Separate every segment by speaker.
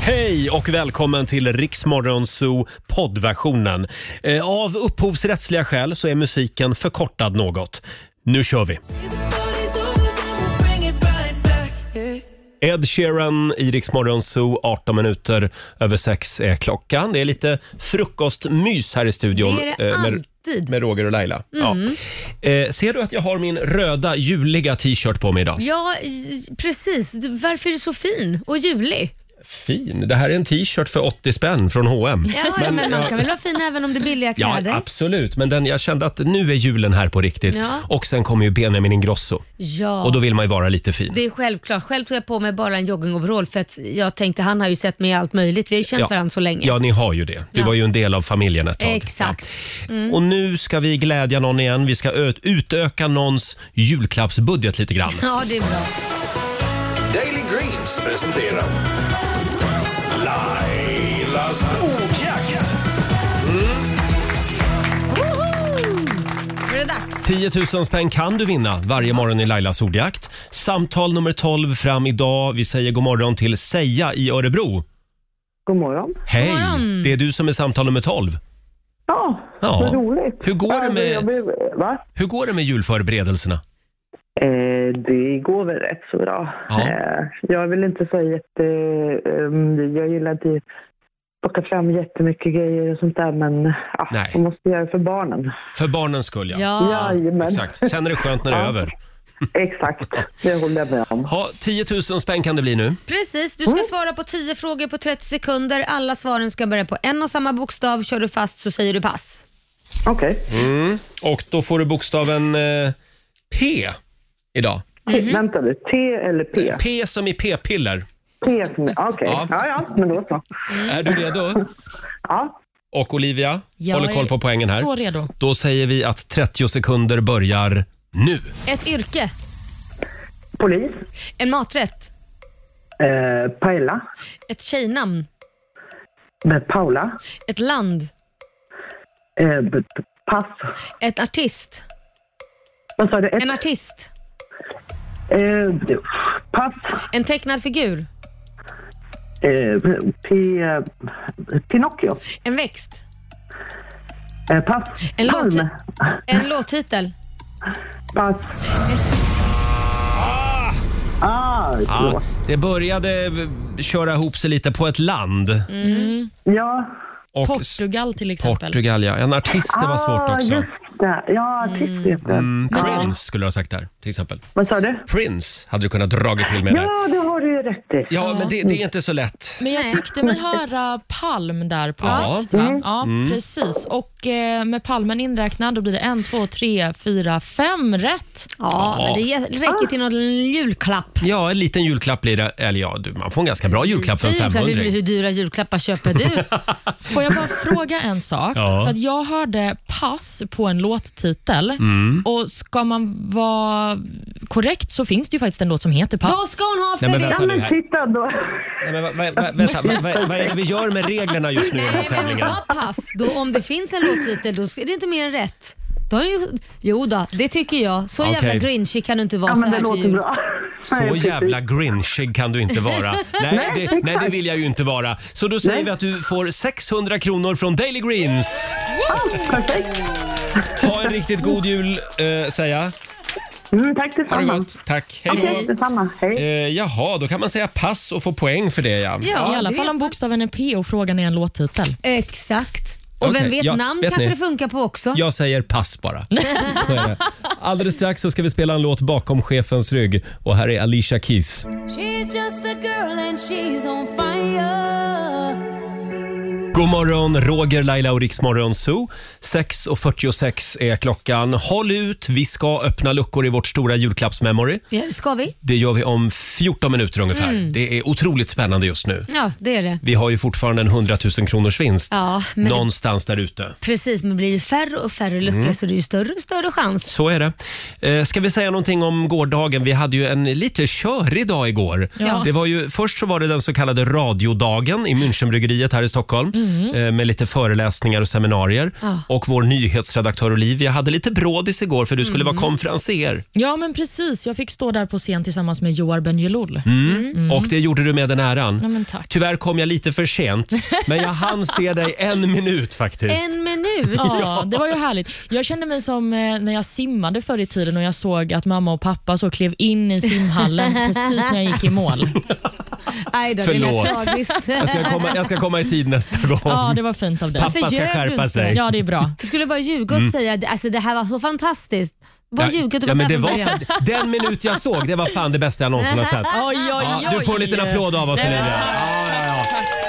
Speaker 1: Hej och välkommen till Riksmorgon Zoo poddversionen. Eh, Av upphovsrättsliga skäl så är musiken förkortad något. Nu kör vi! Ed Sheeran i Riksmorgon Zoo, 18 minuter över 6 är klockan. Det är lite frukostmys här i studion.
Speaker 2: Det är det
Speaker 1: eh, med,
Speaker 2: alltid. Mm.
Speaker 1: med Roger och Laila. Ja. Eh, ser du att jag har min röda juliga t-shirt på mig idag?
Speaker 2: Ja, i- precis. Du, Varför är du så fin och julig?
Speaker 1: Fin! Det här är en t-shirt för 80 spänn från H&M.
Speaker 2: Ja, ja, men man kan väl vara fin även om det är billiga
Speaker 1: Ja,
Speaker 2: kläder?
Speaker 1: absolut. Men den, jag kände att nu är julen här på riktigt.
Speaker 2: Ja.
Speaker 1: Och sen kommer ju Benjamin Ingrosso.
Speaker 2: Ja,
Speaker 1: Och då vill man ju vara lite fin.
Speaker 2: det är självklart. Själv tog jag på mig bara en joggingoverall för att jag tänkte han har ju sett mig i allt möjligt. Vi har ju känt varandra så länge.
Speaker 1: Ja, ni har ju det. Du
Speaker 2: Ja.
Speaker 1: var ju en del av familjen ett tag.
Speaker 2: Exakt. Mm.
Speaker 1: Ja. Och nu ska vi glädja någon igen. Vi ska ö- utöka någons julklappsbudget lite grann.
Speaker 2: Ja, det är bra.
Speaker 3: Daily Greens presenterar Lailas ordjakt.
Speaker 2: Woho! Nu är det dags.
Speaker 1: 10 000 spänn kan du vinna varje morgon i Lailas ordjakt. Samtal nummer 12 fram idag. Vi säger god morgon till Seja i Örebro.
Speaker 4: God morgon.
Speaker 1: Hej!
Speaker 2: God morgon.
Speaker 1: Det är du som är samtal nummer 12.
Speaker 4: Ja,
Speaker 1: Ja.
Speaker 4: vad roligt.
Speaker 1: Hur går det
Speaker 4: Ja,
Speaker 1: med-
Speaker 4: jag blir- va?
Speaker 1: Hur går det med julförberedelserna?
Speaker 4: Eh, det går väl rätt så bra.
Speaker 1: Ja.
Speaker 4: Eh, jag vill inte säga jätte... Eh, jag gillar inte att plocka fram jättemycket grejer och sånt där, men ja,
Speaker 1: Nej.
Speaker 4: man måste göra det för barnen.
Speaker 1: För barnens skull, ja.
Speaker 2: Ja.
Speaker 4: Jajamän.
Speaker 1: Exakt. Sen är det skönt när det är
Speaker 4: Ja.
Speaker 1: över.
Speaker 4: Exakt, det håller jag med om.
Speaker 1: Ha, 10 000 spänn kan det bli nu.
Speaker 2: Precis, du ska svara på 10 frågor på 30 sekunder. Alla svaren ska börja på en och samma bokstav. Kör du fast så säger du pass.
Speaker 4: Okej.
Speaker 1: Och då får du bokstaven eh, P idag.
Speaker 4: Vänta du, T eller P?
Speaker 1: P som i p-piller.
Speaker 4: P som är... Okej.
Speaker 1: Ja.
Speaker 4: Ja. ja, men då så.
Speaker 1: Är du redo?
Speaker 4: Ja.
Speaker 1: Och Olivia
Speaker 5: Jag
Speaker 1: håller koll
Speaker 5: är
Speaker 1: på poängen här.
Speaker 5: Så redo.
Speaker 1: Då säger vi att 30 sekunder börjar nu.
Speaker 2: Ett yrke,
Speaker 4: Polis.
Speaker 2: en maträtt,
Speaker 4: Eh, Paella.
Speaker 2: ett tjejnamn,
Speaker 4: Eh, Paula.
Speaker 2: ett land,
Speaker 4: Eh, b- b- pass.
Speaker 2: ett artist,
Speaker 4: Vad sa du? Ett,
Speaker 2: en artist,
Speaker 4: eh, pass.
Speaker 2: en tecknad figur,
Speaker 4: Eh, P, Pinocchio.
Speaker 2: en växt,
Speaker 4: Eh, pass.
Speaker 2: En låt.
Speaker 4: Palm.
Speaker 2: en låttitel.
Speaker 4: Pass. Ah!
Speaker 1: Ah,
Speaker 4: så.
Speaker 1: det började eh, köra ihop sig lite på ett land.
Speaker 4: Ja.
Speaker 1: Och s-
Speaker 5: Mm, Portugal till exempel.
Speaker 1: Portugal, ja. En artist det var svårt
Speaker 4: ah,
Speaker 1: också. Mm.
Speaker 4: just det. Ja,
Speaker 2: Mm.
Speaker 4: artist heter det.
Speaker 1: Prince skulle du ha sagt där, till exempel.
Speaker 4: Vad sa du?
Speaker 1: Prince hade du kunnat dra till med där.
Speaker 4: Ja, det har du ju rätt i.
Speaker 1: Ja, men det, det är inte så lätt.
Speaker 5: men jag
Speaker 2: Nej.
Speaker 5: tyckte mig höra palm där på
Speaker 1: Ja. Mm.
Speaker 5: växt, va? Ja, precis. Och eh, med palmen inräknad, då blir det en, två, tre, fyra, fem rätt.
Speaker 2: Ja,
Speaker 1: Ja.
Speaker 2: men det ge- räcker till någon julklapp.
Speaker 1: Ja, en liten julklapp blir det. Eller ja, du, man får en ganska bra julklapp för en
Speaker 2: Julklapp, hur,
Speaker 1: 500
Speaker 2: hur dyra julklappar köper du?
Speaker 5: Får jag bara fråga en sak?
Speaker 1: Ja.
Speaker 5: För att jag hörde pass på en låttitel
Speaker 1: Mm.
Speaker 5: och ska man vara korrekt så finns det ju faktiskt en låt som heter pass.
Speaker 2: Då ska hon ha för
Speaker 1: Nej, men
Speaker 2: det.
Speaker 1: vänta nu
Speaker 4: Ja, men
Speaker 1: här.
Speaker 4: titta då.
Speaker 1: Nej, men, va, va, va, vänta, va, va, vad är det vi gör med reglerna just nu i den här
Speaker 2: Nej, men hon
Speaker 1: tävlingen?
Speaker 2: sa pass. Då, om det finns en låttitel, då ska- är det inte mer än rätt. Då har ju, jo då, det tycker jag. Så jävla
Speaker 1: Okej.
Speaker 2: grinchig kan du inte vara
Speaker 4: Ja,
Speaker 2: så
Speaker 4: men det
Speaker 2: här till
Speaker 4: låter
Speaker 2: jul.
Speaker 4: bra. Nej,
Speaker 1: Så
Speaker 4: precis.
Speaker 1: jävla grinchig kan du inte vara. Nej, det, nej, det vill jag ju inte vara. Så då säger vi att du får 600 kronor från Daily Greens.
Speaker 4: Ah, Perfekt.
Speaker 1: Ha en riktigt god jul, eh, säga.
Speaker 4: Mm, tack
Speaker 1: Ha det
Speaker 4: detsamma.
Speaker 1: gott. Tack. Hej
Speaker 4: Okej,
Speaker 1: då.
Speaker 4: detsamma. Hej.
Speaker 1: Eh, jaha, då kan man säga pass och få poäng för det ja.
Speaker 2: Ja,
Speaker 5: I alla
Speaker 2: det
Speaker 5: fall
Speaker 2: vet
Speaker 5: om bokstaven är P och frågan är en låttitel.
Speaker 2: Exakt. Och
Speaker 1: Okej,
Speaker 2: vem vet,
Speaker 1: ja,
Speaker 2: namn
Speaker 1: vet
Speaker 2: kanske
Speaker 1: ni?
Speaker 2: det funkar på också.
Speaker 1: Jag säger pass bara. Så är det. Alldeles strax så ska vi spela en låt bakom chefens rygg och här är Alicia Keys. God morgon, Roger, Laila och Riksmorgon Zoo. 6.46 är klockan. Håll ut, vi ska öppna luckor i vårt stora julklappsmemory.
Speaker 2: Ja, ska vi?
Speaker 1: Det gör vi om 14 minuter ungefär.
Speaker 2: Mm.
Speaker 1: Det är otroligt spännande just nu.
Speaker 2: Ja, det är det.
Speaker 1: Vi har ju fortfarande en 100 000 kronors vinst
Speaker 2: Ja, men det-
Speaker 1: någonstans där ute.
Speaker 2: Precis, men det blir ju färre och färre
Speaker 1: Mm.
Speaker 2: luckor så det är ju större och större chans.
Speaker 1: Så är det. Eh, ska vi säga någonting om gårdagen? Vi hade ju en lite körig dag igår.
Speaker 5: Ja.
Speaker 1: Det var ju, först så var det den så kallade radiodagen i Münchenbryggeriet här i Stockholm. eh, med lite föreläsningar och seminarier.
Speaker 5: Mm. Ja.
Speaker 1: Och vår nyhetsredaktör Olivia hade lite brådis igår för du skulle
Speaker 5: Mm.
Speaker 1: vara konferenser.
Speaker 5: Ja, men precis. Jag fick stå där på scen tillsammans med Joar Bendjelloul.
Speaker 1: Mm. Och det gjorde du med den äran.
Speaker 5: Mm. Ja, men tack.
Speaker 1: Tyvärr kom jag lite för sent, men jag hann se dig en minut faktiskt.
Speaker 2: En minut?
Speaker 5: Ja, det var ju härligt. Jag kände mig som eh, när jag simmade förr i tiden och jag såg att mamma och pappa så klev in i simhallen precis när jag gick i mål.
Speaker 2: Aj då, det
Speaker 1: Förlåt. Alltså-
Speaker 2: lät tragiskt.
Speaker 1: Jag, ska komma, jag ska komma i tid nästa gång.
Speaker 5: Ja, det var fint av dig.
Speaker 1: Pappa
Speaker 2: Varför
Speaker 1: ska
Speaker 2: ljög du
Speaker 1: skärpa
Speaker 2: inte?
Speaker 1: sig.
Speaker 5: Ja, det är bra.
Speaker 2: Du skulle bara ljuga och säga att alltså, det här var så fantastiskt. Bara ljuga,
Speaker 1: Mm. ja,
Speaker 2: du var
Speaker 1: men
Speaker 2: där
Speaker 1: det
Speaker 2: från
Speaker 1: var
Speaker 2: början.
Speaker 1: fan, Den minut jag såg, det var fan det bästa jag någonsin har sett.
Speaker 5: Oj, oj, oj.
Speaker 1: Ja, du får en liten applåd av oss
Speaker 5: Nej, men
Speaker 1: Olivia. Ja, ja, ja.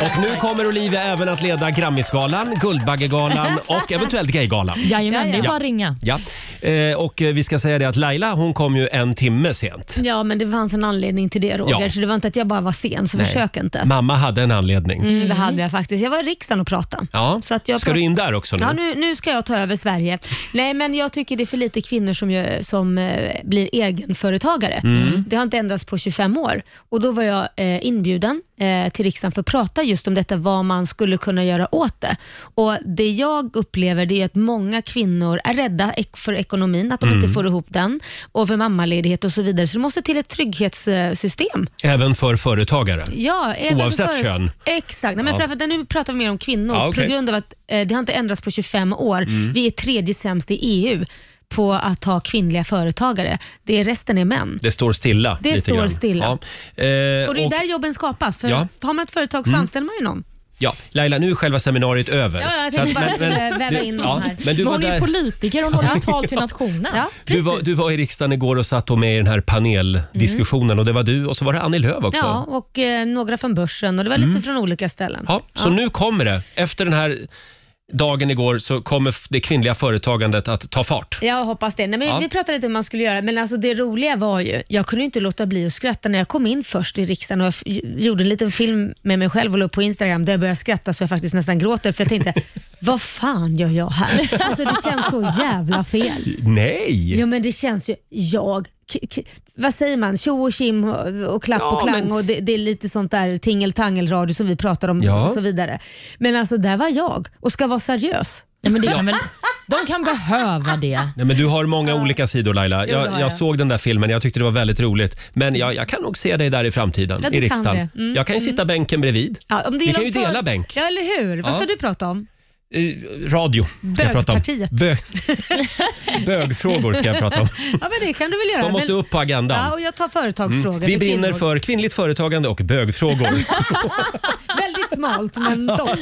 Speaker 1: Och nu kommer Olivia även att leda Grammisgalan, Guldbaggegalan och eventuellt Gaygalan.
Speaker 5: Jajamän, det är
Speaker 1: Ja.
Speaker 5: bara att ringa.
Speaker 1: Ja. Eh, och eh, vi ska säga det att Laila hon kom ju en timme sent.
Speaker 2: Ja, men det fanns en anledning till det Roger,
Speaker 1: Ja.
Speaker 2: så det var inte att jag bara var sen, så försök inte.
Speaker 1: Mamma hade en anledning.
Speaker 2: Mm, det hade jag faktiskt. Jag var i riksdagen och pratade.
Speaker 1: Ja.
Speaker 2: Så att jag
Speaker 1: ska
Speaker 2: prat-
Speaker 1: du in där också nu?
Speaker 2: Ja, nu, nu ska jag ta över Sverige. Nej, men jag tycker det är för lite kvinnor som, gör, som eh, blir egenföretagare. Det har inte ändrats på 25 år. Och Då var jag eh, inbjuden eh, till riksdagen för att prata just om detta, vad man skulle kunna göra åt det. Och Det jag upplever det är att många kvinnor är rädda ek- för ekonomin, att de inte får ihop den, och för mammaledighet och så vidare. Så det måste till ett trygghetssystem.
Speaker 1: Även för företagare?
Speaker 2: Ja, även
Speaker 1: Oavsett
Speaker 2: för,
Speaker 1: kön.
Speaker 2: Exakt. Nej, men
Speaker 1: Ja.
Speaker 2: framförallt, nu pratar vi mer om kvinnor
Speaker 1: Ja, okej. Mm.
Speaker 2: på grund av att eh, det har inte ändrats på 25 år. Vi är tredje sämst i EU på att ha kvinnliga företagare. Det är, resten är män.
Speaker 1: Det står stilla.
Speaker 2: Det
Speaker 1: lite
Speaker 2: står
Speaker 1: grann.
Speaker 2: stilla.
Speaker 1: Ja. Eh,
Speaker 2: Och Det är
Speaker 1: och,
Speaker 2: där jobben skapas. För
Speaker 1: Ja. Mm.
Speaker 2: Har man ett företag så anställer man ju någon.
Speaker 1: ja, Laila, nu är själva seminariet över.
Speaker 2: Ja, jag
Speaker 1: Så
Speaker 2: tänkte
Speaker 1: att-
Speaker 2: bara eh, väva
Speaker 1: du-
Speaker 2: in
Speaker 1: ja,
Speaker 2: någon här.
Speaker 1: men du
Speaker 5: Men
Speaker 1: var
Speaker 5: hon är ju
Speaker 1: där.
Speaker 5: politiker, hon håller ju tal till nationen.
Speaker 2: Ja,
Speaker 1: Du var,
Speaker 2: precis.
Speaker 1: du var i riksdagen igår och satt då med i den här paneldiskussionen och det var du och så var det Annie Lööf också.
Speaker 2: Mm. Ja, och eh, några från börsen och det var
Speaker 1: Mm.
Speaker 2: lite från olika ställen.
Speaker 1: Ja, så nu kommer det. Efter den här dagen igår så kommer f- det kvinnliga företagandet att ta fart.
Speaker 2: Jag hoppas det. Nej, men
Speaker 1: Ja.
Speaker 2: Vi pratade lite om hur man skulle göra, men alltså det roliga var ju, jag kunde inte låta bli att skratta när jag kom in först i riksdagen och jag f- gjorde en liten film med mig själv och la upp på Instagram där jag började skratta så jag faktiskt nästan gråter för jag tänkte, vad fan gör jag här? Alltså det känns så jävla fel.
Speaker 1: Nej!
Speaker 2: Jo men det känns ju, jag, k- k- vad säger man, tjo och kim och, och klapp
Speaker 1: Ja,
Speaker 2: och klang
Speaker 1: men-
Speaker 2: och det, det är lite sånt där tingeltangelradio som vi pratar om
Speaker 1: Ja.
Speaker 2: och så vidare. Men alltså där var jag och ska vara seriös.
Speaker 5: Nej, men det kan väl, de kan behöva det.
Speaker 1: Nej, men du har många olika sidor Laila.
Speaker 2: Jo, det
Speaker 1: Jag,
Speaker 2: har
Speaker 1: jag
Speaker 2: jag. Mm.
Speaker 1: såg den där filmen, jag tyckte det var väldigt roligt. Men jag, jag kan nog se dig där i framtiden,
Speaker 2: Ja, du
Speaker 1: i
Speaker 2: kan
Speaker 1: riksdagen.
Speaker 2: det. Mm,
Speaker 1: Jag kan ju sitta bänken bredvid.
Speaker 2: Ja, om det
Speaker 1: Vi
Speaker 2: gäller
Speaker 1: kan ju
Speaker 2: om för-
Speaker 1: dela bänk.
Speaker 2: Ja, eller hur? Vad
Speaker 1: Ja.
Speaker 2: ska du prata om?
Speaker 1: Eh, radio. ska jag prata om.
Speaker 2: Bögpartiet.
Speaker 1: Bö, bögfrågor ska jag prata om.
Speaker 2: Ja, men det kan du väl göra.
Speaker 1: De måste
Speaker 2: men...
Speaker 1: upp på agendan.
Speaker 2: Ja, och jag tar företagsfrågor.
Speaker 1: Vi
Speaker 2: för
Speaker 1: brinner
Speaker 2: kvinnor.
Speaker 1: för kvinnligt företagande och bögfrågor.
Speaker 2: Väldigt smalt, men dock.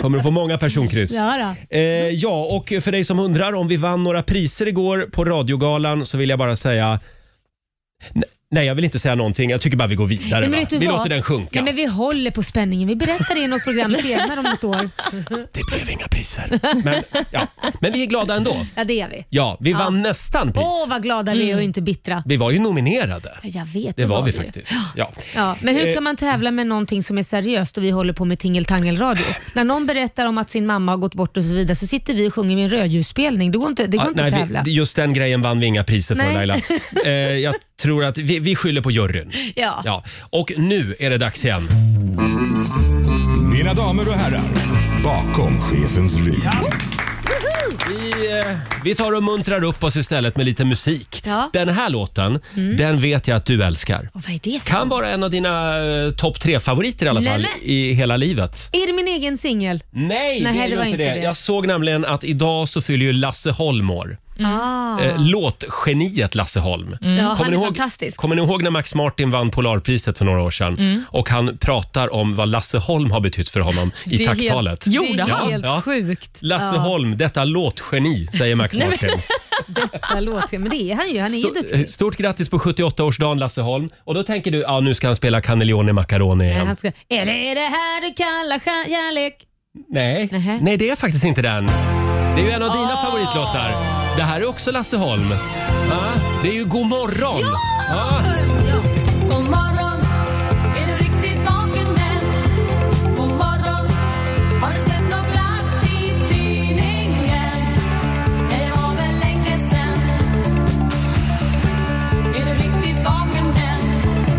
Speaker 1: Kommer att få många personkryss.
Speaker 2: Ja, då.
Speaker 1: Eh, ja, och för dig som undrar om vi vann några priser igår på radiogalan så vill jag bara säga N- Nej, jag vill inte säga någonting. Jag tycker bara vi går vidare.
Speaker 2: Nej, men
Speaker 1: va?
Speaker 2: vet du
Speaker 1: Vi
Speaker 2: vad?
Speaker 1: låter den sjunka.
Speaker 2: Nej, men vi håller på spänningen. Vi berättar det i något program senare om ett år.
Speaker 1: Det blev inga priser. Men, ja. men vi är glada ändå.
Speaker 2: Ja, det är vi.
Speaker 1: Ja, vi vann nästan pris.
Speaker 2: Åh, vad glada vi är och inte bittra.
Speaker 1: Vi var ju nominerade.
Speaker 2: Jag vet,
Speaker 1: Det var vi
Speaker 2: ju.
Speaker 1: faktiskt. Ja.
Speaker 2: Ja, men hur
Speaker 1: Eh.
Speaker 2: kan man tävla med någonting som är seriöst och vi håller på med tingeltangelradio? När någon berättar om att sin mamma har gått bort och så vidare så sitter vi och sjunger med en rödljusspelning. Det går inte, det går
Speaker 1: Ja,
Speaker 2: inte att tävla.
Speaker 1: vi, just den grejen vann vi inga priser för
Speaker 2: Nej.
Speaker 1: Laila. Eh, jag tror att vi, vi skyller på juryn.
Speaker 2: Ja.
Speaker 1: Ja. Och nu är det dags igen.
Speaker 3: Mina damer och herrar, bakom chefens rygg.
Speaker 1: Vi, eh, vi tar och muntrar upp oss istället med lite musik.
Speaker 2: Ja. Mm.
Speaker 1: Den här låten, den vet jag att du älskar.
Speaker 2: Och vad är det för?
Speaker 1: Kan vara en av dina eh, topp tre-favoriter i alla fall
Speaker 2: Nämen.
Speaker 1: i hela livet.
Speaker 2: Är det min egen singel?
Speaker 1: Mm. Nej,
Speaker 2: Nej,
Speaker 1: det är
Speaker 2: det
Speaker 1: ju
Speaker 2: var
Speaker 1: inte det.
Speaker 2: inte det.
Speaker 1: Jag såg nämligen att idag så fyller ju Lasse Holm år.
Speaker 2: Ah. Mm.
Speaker 1: Eh, låtgeniet Lasse Holm.
Speaker 2: Ja, han är
Speaker 1: ni ihåg,
Speaker 2: fantastisk. Mm.
Speaker 1: Kommer ni ihåg när Max Martin vann Polarpriset för några år sedan? Och han pratar om vad Lasse Holm har betytt för honom i
Speaker 2: Det är
Speaker 1: tacktalet.
Speaker 2: Helt,
Speaker 5: Gjorde
Speaker 2: det är
Speaker 5: han?
Speaker 2: helt
Speaker 1: Ja.
Speaker 2: sjukt.
Speaker 1: Lasse
Speaker 2: ja,
Speaker 1: Holm, detta låtgeni, säger Max Martin.
Speaker 2: detta låter, men det är han ju. Han är ju
Speaker 1: Stort, eh,
Speaker 2: duktig.
Speaker 1: stort grattis på 78-årsdagen Lasse Holm. Och då tänker du, ja nu ska han spela Cannelloni Macaroni
Speaker 2: Nej,
Speaker 1: igen.
Speaker 2: han ska, är det det här du kallar skär- kärlek?
Speaker 1: Nej.
Speaker 2: Nähä.
Speaker 1: Nej, det är faktiskt inte den. Det är ju en av dina favoritlåtar. Det här är också Lasse Holm. Ja, det är ju God morgon. Ja!
Speaker 6: God morgon, är du riktigt vaken än? God morgon, har du sett något glatt i tidningen? Nej, det var väl länge sen. Är du riktigt vaken än? God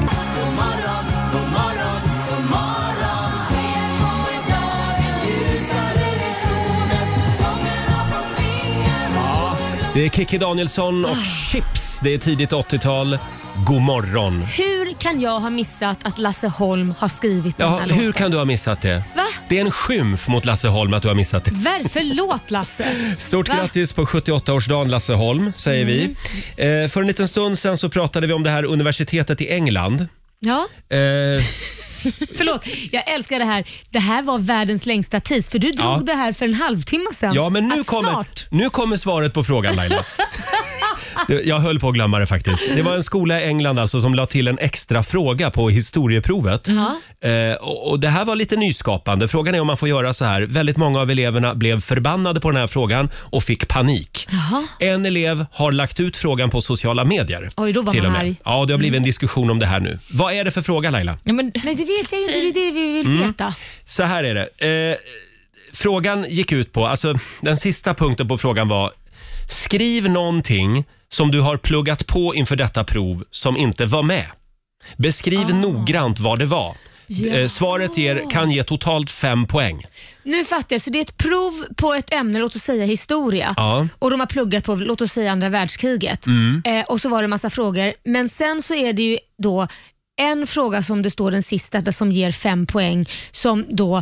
Speaker 6: morgon, god morgon, god morgon. Se på hur dagen
Speaker 1: Det är Kikki Danielsson och
Speaker 2: Ah.
Speaker 1: Chips. Det är tidigt 80-tal. God morgon.
Speaker 2: Hur kan jag ha missat att Lasse Holm har skrivit den
Speaker 1: Ja,
Speaker 2: här
Speaker 1: hur
Speaker 2: låten?
Speaker 1: kan du ha missat det?
Speaker 2: Va?
Speaker 1: Det är en skymf mot Lasse Holm att du har missat det.
Speaker 2: Ver, förlåt Lasse.
Speaker 1: Stort
Speaker 2: Va? Mm.
Speaker 1: grattis på 78-årsdagen Lasse Holm, säger vi. Eh, för en liten stund sen så pratade vi om det här universitetet i England.
Speaker 2: Ja,
Speaker 1: Eh,
Speaker 2: förlåt. Jag älskar det här. Det här var världens längsta tis för du drog
Speaker 1: Ja.
Speaker 2: det här för en halvtimme sedan.
Speaker 1: ja, men nu
Speaker 2: att
Speaker 1: kommer,
Speaker 2: snart.
Speaker 1: nu kommer svaret på frågan Laila. Det- Jag höll på att glömma det faktiskt. Det var en skola i England alltså som la till en extra fråga på historieprovet. Eh, och, och det här var lite nyskapande. Frågan är om man får göra så här. Väldigt många av eleverna blev förbannade på den här frågan och fick panik. En elev har lagt ut frågan på sociala medier.
Speaker 2: Oj, då var
Speaker 1: till
Speaker 2: man
Speaker 1: och med.
Speaker 2: arg. Mm.
Speaker 1: Ja, det har blivit en diskussion om det här nu. Vad är det för fråga Laila?
Speaker 5: Ja, men,
Speaker 2: Nej, det vet jag inte. Det är det vi vill
Speaker 1: Mm.
Speaker 2: veta.
Speaker 1: Så här är det. Eh, frågan gick ut på, alltså den sista punkten på frågan var Skriv någonting som du har pluggat på inför detta prov som inte var med. Beskriv
Speaker 2: Ah.
Speaker 1: noggrant vad det var. Eh, svaret ger, kan ge totalt fem poäng.
Speaker 2: Nu fattar jag. Så det är ett prov på ett ämne, låt oss säga historia.
Speaker 1: Ja. Mm.
Speaker 2: Och de har pluggat på, låt oss säga andra världskriget. Eh, och så var det massa frågor. Men sen så är det ju då en fråga som det står den sista, där som ger fem poäng, som då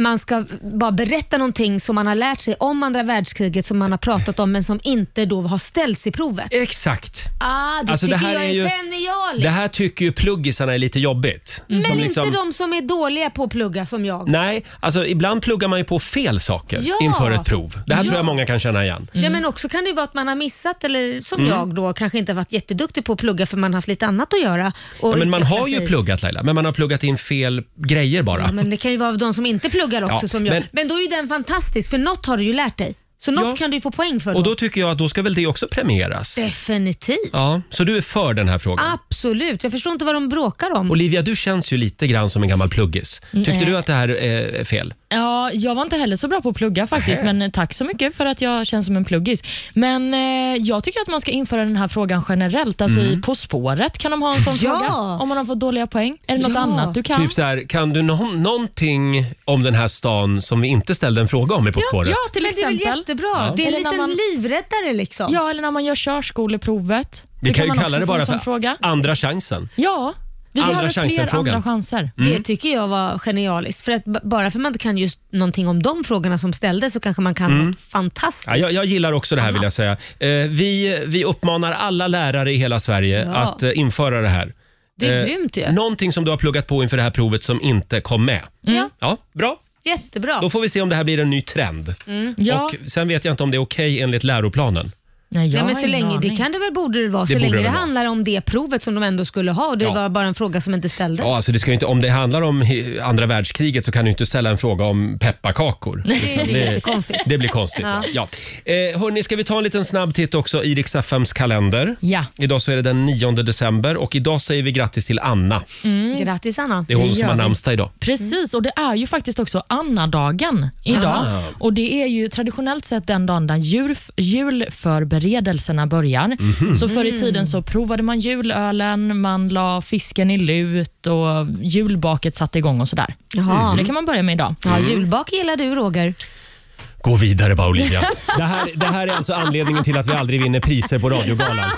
Speaker 2: man ska bara berätta någonting som man har lärt sig om andra världskriget som man har pratat om men som inte då har ställts i provet.
Speaker 1: Exakt.
Speaker 2: Ah, det
Speaker 1: Alltså, det
Speaker 2: tycker
Speaker 1: här
Speaker 2: jag
Speaker 1: är
Speaker 2: är,
Speaker 1: ju-
Speaker 2: genialiskt.
Speaker 1: Det här tycker ju pluggisarna är lite jobbigt.
Speaker 2: men
Speaker 1: Som
Speaker 2: inte
Speaker 1: liksom-
Speaker 2: de som är dåliga på att plugga som jag.
Speaker 1: Nej, alltså ibland pluggar man ju på fel saker
Speaker 2: Ja.
Speaker 1: inför ett prov. Det här tror
Speaker 2: Ja.
Speaker 1: jag många kan känna igen.
Speaker 2: Ja, men också kan det ju vara att man har missat, eller som
Speaker 1: Mm.
Speaker 2: jag då, kanske inte varit jätteduktig på att plugga för man har haft lite annat att göra. Och
Speaker 1: Ja, men man
Speaker 2: utveckla
Speaker 1: har ju
Speaker 2: sig.
Speaker 1: pluggat Laila, men man har pluggat in fel grejer bara.
Speaker 2: Ja, men det kan ju vara de som inte pluggar också
Speaker 1: Ja,
Speaker 2: som jag.
Speaker 1: men-
Speaker 2: Men, då är ju den fantastisk, för något har du ju lärt dig. Så något
Speaker 1: Ja.
Speaker 2: kan du ju få poäng för.
Speaker 1: Och då tycker jag att då ska väl det också premieras.
Speaker 2: Definitivt.
Speaker 1: Ja, så du är för den här frågan.
Speaker 2: Absolut. Jag förstår inte vad de bråkar om.
Speaker 1: Olivia, du känns ju lite grann som en gammal pluggis. Tyckte du att det här eh, är fel?
Speaker 5: ja, jag var inte heller så bra på att plugga faktiskt, men eh, tack så mycket för att jag känns som en pluggis. Men eh, jag tycker att man ska införa den här frågan generellt. Alltså i På spåret kan de ha en sån
Speaker 2: Ja.
Speaker 5: fråga om man har fått dåliga poäng. Är det något
Speaker 2: Ja.
Speaker 5: annat du kan?
Speaker 1: Typ så här, kan du nå- någonting om den här stan som vi inte ställde en fråga om i På spåret?
Speaker 5: ja, till
Speaker 2: men det är väl
Speaker 5: exempel.
Speaker 2: jättebra?
Speaker 1: Ja.
Speaker 2: Det är en
Speaker 5: Eller när
Speaker 2: liten
Speaker 5: man-
Speaker 2: livräddare liksom.
Speaker 5: Ja, eller när man gör körskoleprovet.
Speaker 1: vi kan ju
Speaker 5: man
Speaker 1: kalla
Speaker 5: också
Speaker 1: det
Speaker 5: få en
Speaker 1: bara
Speaker 5: sån
Speaker 1: för
Speaker 5: fråga.
Speaker 1: andra chansen.
Speaker 5: Ja, vi
Speaker 1: Andra
Speaker 5: behöver fler
Speaker 1: chansen-frågan.
Speaker 5: andra chanser.
Speaker 1: Mm.
Speaker 2: Det tycker jag var genialiskt. För att b- bara för att man inte kan just någonting om de frågorna som ställdes så kanske man kan något fantastiskt.
Speaker 1: Mm. Ja, jag, jag gillar också det här vill jag säga. Eh, vi, vi uppmanar alla lärare i hela Sverige
Speaker 2: Ja.
Speaker 1: att eh, införa det här.
Speaker 2: Det är
Speaker 1: Eh,
Speaker 2: grymt ju.
Speaker 1: Någonting som du har pluggat på inför det här provet som inte kom med.
Speaker 2: Ja.
Speaker 1: Ja, bra.
Speaker 2: Mm. Jättebra.
Speaker 1: Mm. Då får vi se om det här blir en ny trend.
Speaker 5: Ja.
Speaker 1: Och sen vet jag inte om det är okej enligt läroplanen.
Speaker 5: Nej, jag
Speaker 2: Ja, men
Speaker 5: har
Speaker 2: så
Speaker 5: ingen
Speaker 2: länge, det
Speaker 5: aning.
Speaker 2: kan det väl borde det vara,
Speaker 1: borde
Speaker 2: så länge
Speaker 1: det
Speaker 2: det,
Speaker 1: väl vara.
Speaker 2: handlar om det provet som de ändå skulle ha och det
Speaker 1: Ja.
Speaker 2: var bara en fråga som inte ställdes.
Speaker 1: Ja, alltså det ska ju inte, om det handlar om hi- andra världskriget så kan du inte ställa en fråga om pepparkakor. Liksom,
Speaker 2: blir jättekonstigt.
Speaker 1: det blir konstigt. Ja. Ja. Eh, hörni, ska vi ta en liten snabb titt också i Rix FMs kalender?
Speaker 5: Ja.
Speaker 1: Idag så är det den 9 december och idag säger vi grattis till Anna.
Speaker 2: Mm, Grattis Anna.
Speaker 1: Det är hon
Speaker 5: Det
Speaker 1: som
Speaker 5: gör
Speaker 1: har
Speaker 5: vi.
Speaker 1: namnsdag idag.
Speaker 5: Precis, och det är ju faktiskt också Anna-dagen idag.
Speaker 1: Ah.
Speaker 5: Och Det är ju traditionellt sett den dagen där jul, julförberedelserna börjar.
Speaker 1: Mhm.
Speaker 5: Så förr i tiden så provade man julölen, man la fisken i lut och julbaket satte igång och sådär.
Speaker 2: Jaha.
Speaker 1: Mm.
Speaker 5: Så det kan man börja med idag.
Speaker 2: Ja, julbak gillar du Roger.
Speaker 1: Gå vidare bara Olivia. Det här, det här är alltså anledningen till att vi aldrig vinner priser på Radiogalan.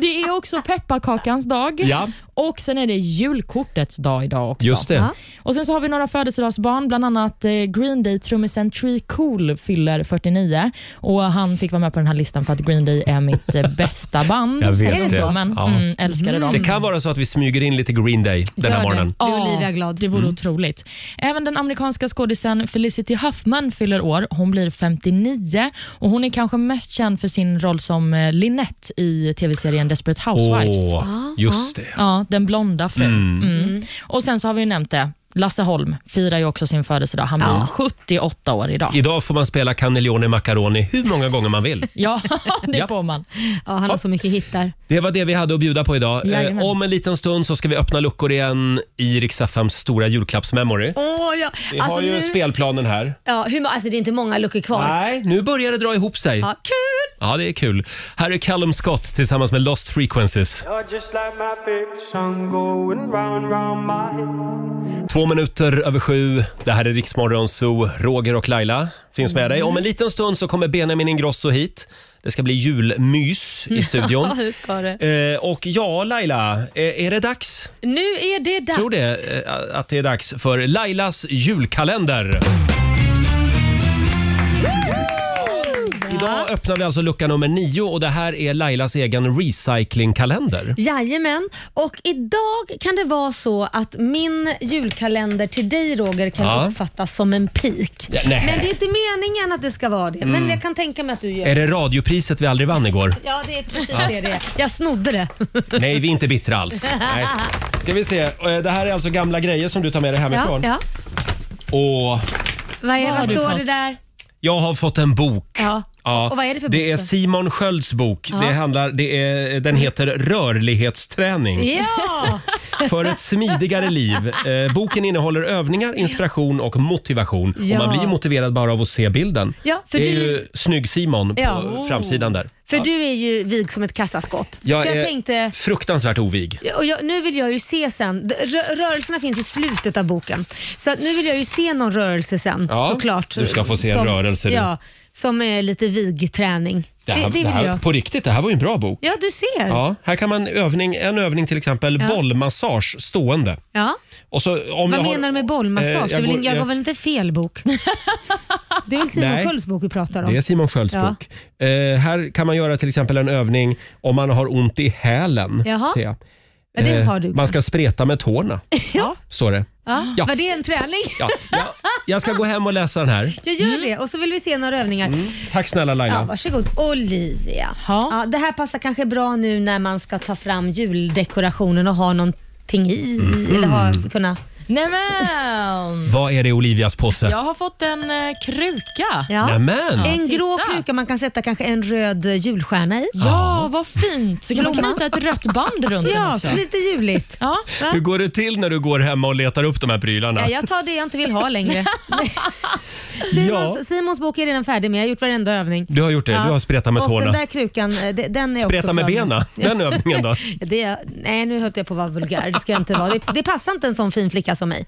Speaker 5: Det är också pepparkakans dag
Speaker 1: Ja.
Speaker 5: och sen är det julkortets dag idag också.
Speaker 1: Just det.
Speaker 2: Ja.
Speaker 5: Och Sen så har vi några födelsedagsbarn, bland annat eh, Green Day-trummisen Tree Cool fyller 49. Och Han fick vara med på den här listan för att Green Day är mitt eh, bästa band.
Speaker 1: Jag vet
Speaker 5: Säger
Speaker 1: det.
Speaker 5: Så, men,
Speaker 1: Ja.
Speaker 5: mm, älskade dem.
Speaker 1: Det kan vara så att vi smyger in lite Green Day den här
Speaker 2: Gör det.
Speaker 1: morgonen.
Speaker 2: Blir
Speaker 5: Ja,
Speaker 2: Olivia glad.
Speaker 5: Det vore
Speaker 1: Mm.
Speaker 5: otroligt. Även den amerikanska skådisen Felicity Huffman fyller år. Hon blir 59 och hon är kanske mest känd för sin roll som eh, Lynette i tv-serien Desperate Housewives.
Speaker 1: Åh, just det.
Speaker 5: Ja, den blonda frun. Mm. Och sen så har vi ju nämnt det. Lasse Holm firar ju också sin födelsedag. Han blir 78 år idag.
Speaker 1: Idag får man spela Cannelloni Macaroni hur många gånger man vill.
Speaker 5: Ja, det
Speaker 1: Ja.
Speaker 5: får man.
Speaker 2: Ja, han har så mycket hittar.
Speaker 1: Det var det vi hade att bjuda på idag. Eh,
Speaker 5: Jajamän.
Speaker 1: om en liten stund så ska vi öppna luckor igen i Riks-FMs stora julklappsmemory.
Speaker 2: Åh, ja.
Speaker 1: Vi
Speaker 2: alltså,
Speaker 1: har ju
Speaker 2: nu,
Speaker 1: spelplanen här.
Speaker 2: ja, hur, må- alltså det är inte många luckor kvar.
Speaker 1: Nej, nu börjar det dra ihop sig.
Speaker 2: Ja, kul!
Speaker 1: Ja, det är kul. Här är Callum Scott tillsammans med Lost Frequencies.
Speaker 7: You're just like my favorite song going round round my head.
Speaker 1: Två minuter över sju. Det här är Riksmorgon Zoo. Roger och Laila finns med dig. Om en liten stund så kommer Benjamin Ingrosso hit. Det ska bli julmys i studion.
Speaker 2: Ja, det ska det.
Speaker 1: Eh, och ja, Laila, är, är det dags?
Speaker 2: Nu är det dags.
Speaker 1: Tror det, eh, att det är dags för Lailas julkalender. Idag öppnar vi alltså lucka nummer nio och det här är Lailas egen recyclingkalender.
Speaker 2: Jajamän. Och idag kan det vara så att min julkalender till dig Roger kan
Speaker 1: Ja.
Speaker 2: uppfattas som en pik.
Speaker 1: Ja, nej.
Speaker 2: Men det är inte meningen att det ska vara det. Men jag kan tänka mig att du gör
Speaker 1: Är det radiopriset vi aldrig vann igår?
Speaker 2: Ja, det är precis det det är. Jag snodde det.
Speaker 1: Nej, vi är inte bittra alls. Nej. Ska vi se. Eh, Det här är alltså gamla grejer som du tar med dig
Speaker 2: Ja,
Speaker 1: hemifrån.
Speaker 2: ja.
Speaker 1: Och
Speaker 2: Vad, är,
Speaker 5: Vad har
Speaker 2: vad
Speaker 5: du
Speaker 2: står
Speaker 5: fått?
Speaker 2: det där?
Speaker 1: jag har fått en bok.
Speaker 2: Ja.
Speaker 1: Ja,
Speaker 2: Och vad är det för
Speaker 1: det
Speaker 2: bok
Speaker 1: är
Speaker 2: då?
Speaker 1: Simon Skölds bok. Det handlar, det är, den heter Rörlighetsträning
Speaker 2: Ja!
Speaker 1: för ett smidigare liv. Eh, boken innehåller övningar, inspiration och motivation.
Speaker 2: Ja.
Speaker 1: Och man blir ju motiverad bara av att se bilden.
Speaker 2: Ja, för
Speaker 1: det är
Speaker 2: du-
Speaker 1: ju snygg-Simon på
Speaker 2: Ja.
Speaker 1: framsidan där.
Speaker 2: För du är ju vig som ett kassaskåp.
Speaker 1: Jag,
Speaker 2: så jag
Speaker 1: är
Speaker 2: tänkte...
Speaker 1: fruktansvärt ovig.
Speaker 2: Och jag, nu vill jag ju se sen. d- rö- Rörelserna finns i slutet av boken. Så att nu vill jag ju se någon rörelse sen
Speaker 1: Ja,
Speaker 2: såklart.
Speaker 1: du ska få se en rörelse, du.
Speaker 2: Ja, som är lite vigträning. Det, det, vill
Speaker 1: det här,
Speaker 2: jag.
Speaker 1: På riktigt, det här var ju en bra bok.
Speaker 2: Ja, du ser. Ja.
Speaker 1: Ja, här kan man övning, en övning till exempel bollmassage stående. Och så, om
Speaker 2: Vad
Speaker 1: jag har-
Speaker 2: menar du med bollmassage?
Speaker 1: Eh,
Speaker 2: jag, jag,
Speaker 1: går-
Speaker 2: jag
Speaker 1: eh,
Speaker 2: gav väl inte fel bok? det är väl Simon
Speaker 1: Nej.
Speaker 2: Skölds bok vi pratar om?
Speaker 1: Det är Simon Skölds
Speaker 2: Ja.
Speaker 1: bok. Eh, här kan man göra till exempel en övning om man har ont i hälen.
Speaker 2: Jaha.
Speaker 1: ser jag.
Speaker 2: Ja, det
Speaker 1: Eh,
Speaker 2: har du.
Speaker 1: man ska spreta med tårna,
Speaker 2: Ja.
Speaker 1: står det.
Speaker 2: Ja.
Speaker 1: Ja.
Speaker 2: Var det en träning?
Speaker 1: Ja, jag, jag ska gå hem och läsa den här.
Speaker 2: Jag gör det och så vill vi se några övningar.
Speaker 1: Mm. Tack snälla
Speaker 2: Ja,
Speaker 1: Laila.
Speaker 2: varsågod. Olivia.
Speaker 5: Ja.
Speaker 2: Ja, det här passar kanske bra nu när man ska ta fram juldekorationen och ha någonting i. Eller ha, kunna.
Speaker 5: Nämen!
Speaker 1: Vad är det i Olivias påse?
Speaker 5: Jag har fått en eh, kruka. Ja,
Speaker 2: Ja.
Speaker 1: Nämen!
Speaker 2: En grå
Speaker 5: titta.
Speaker 2: kruka man kan sätta kanske en röd eh, julstjärna i.
Speaker 5: vad fint. Så kan man
Speaker 2: Blomma.
Speaker 5: knyta ett rött band runt den
Speaker 2: Ja,
Speaker 5: också.
Speaker 2: så lite juligt.
Speaker 5: Ja.
Speaker 1: Hur går det till när du går hem och letar upp de här prylarna?
Speaker 2: Ja, jag tar det jag inte vill ha längre. Simons,
Speaker 1: Ja.
Speaker 2: Simons bok är redan färdig med. Jag har gjort varenda övning.
Speaker 1: Du har gjort det,
Speaker 2: Ja.
Speaker 1: du har spretat med
Speaker 2: och Den
Speaker 1: tårna.
Speaker 2: där krukan, eh, de- den är
Speaker 1: Spreta
Speaker 2: också
Speaker 1: med
Speaker 2: klar.
Speaker 1: benen, den övningen då?
Speaker 2: Det, nej, nu höll jag på att vara vulgär. Det ska jag inte vara. Det, det passar inte en sån fin flicka som mig.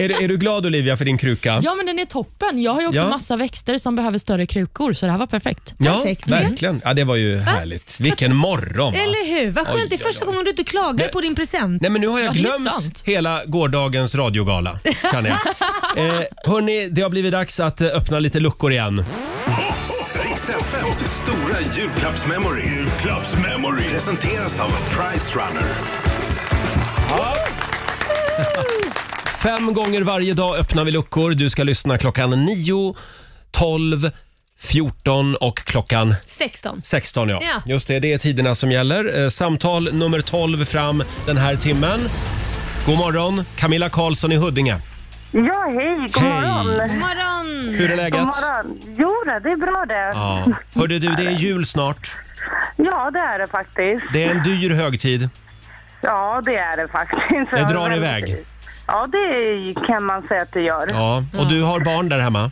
Speaker 1: Är, du- är du glad Olivia för din kruka?
Speaker 5: ja, men den är toppen. Jag har ju också
Speaker 1: Ja.
Speaker 5: massa växter som behöver större krukor, så det här var perfekt.
Speaker 1: Ja,
Speaker 2: perfekt. Mm.
Speaker 1: verkligen. Ja, det var ju härligt. Vilken morgon! va?
Speaker 2: Eller hur? Vad skönt, det
Speaker 1: Oj,
Speaker 2: är
Speaker 1: oj,
Speaker 2: första
Speaker 1: oj.
Speaker 2: gången du inte klagar på din present.
Speaker 1: Nej men nu har jag
Speaker 5: Ja, det är
Speaker 1: glömt
Speaker 5: sant.
Speaker 1: hela gårdagens radiogala. Kan jag. eh, hörni, det har blivit dags att eh, öppna lite luckor igen.
Speaker 7: Riks FMs stora julklappsmemory. Julklappsmemory. Presenteras av Price Runner.
Speaker 1: Fem gånger varje dag öppnar vi luckor. Du ska lyssna klockan 9, 12, 14 och klockan
Speaker 2: 16.
Speaker 1: 16. Ja.
Speaker 2: Ja.
Speaker 1: Just det, det är tiderna som gäller. Eh, samtal nummer 12 fram den här timmen. God morgon, Camilla Karlsson i Huddinge.
Speaker 8: Ja, hej, god
Speaker 1: Hej.
Speaker 8: morgon.
Speaker 2: God morgon!
Speaker 1: Hur är läget?
Speaker 8: God morgon. Jo, då, det är bra det. Ja.
Speaker 1: Ja. Hörde du, det är jul snart.
Speaker 8: det är det faktiskt.
Speaker 1: Det är en dyr högtid.
Speaker 8: Ja, det är det faktiskt.
Speaker 1: Det drar
Speaker 8: Ja,
Speaker 1: iväg.
Speaker 8: Ja, det kan man säga att det gör. Ja,
Speaker 1: Ja. Och du har barn där hemma?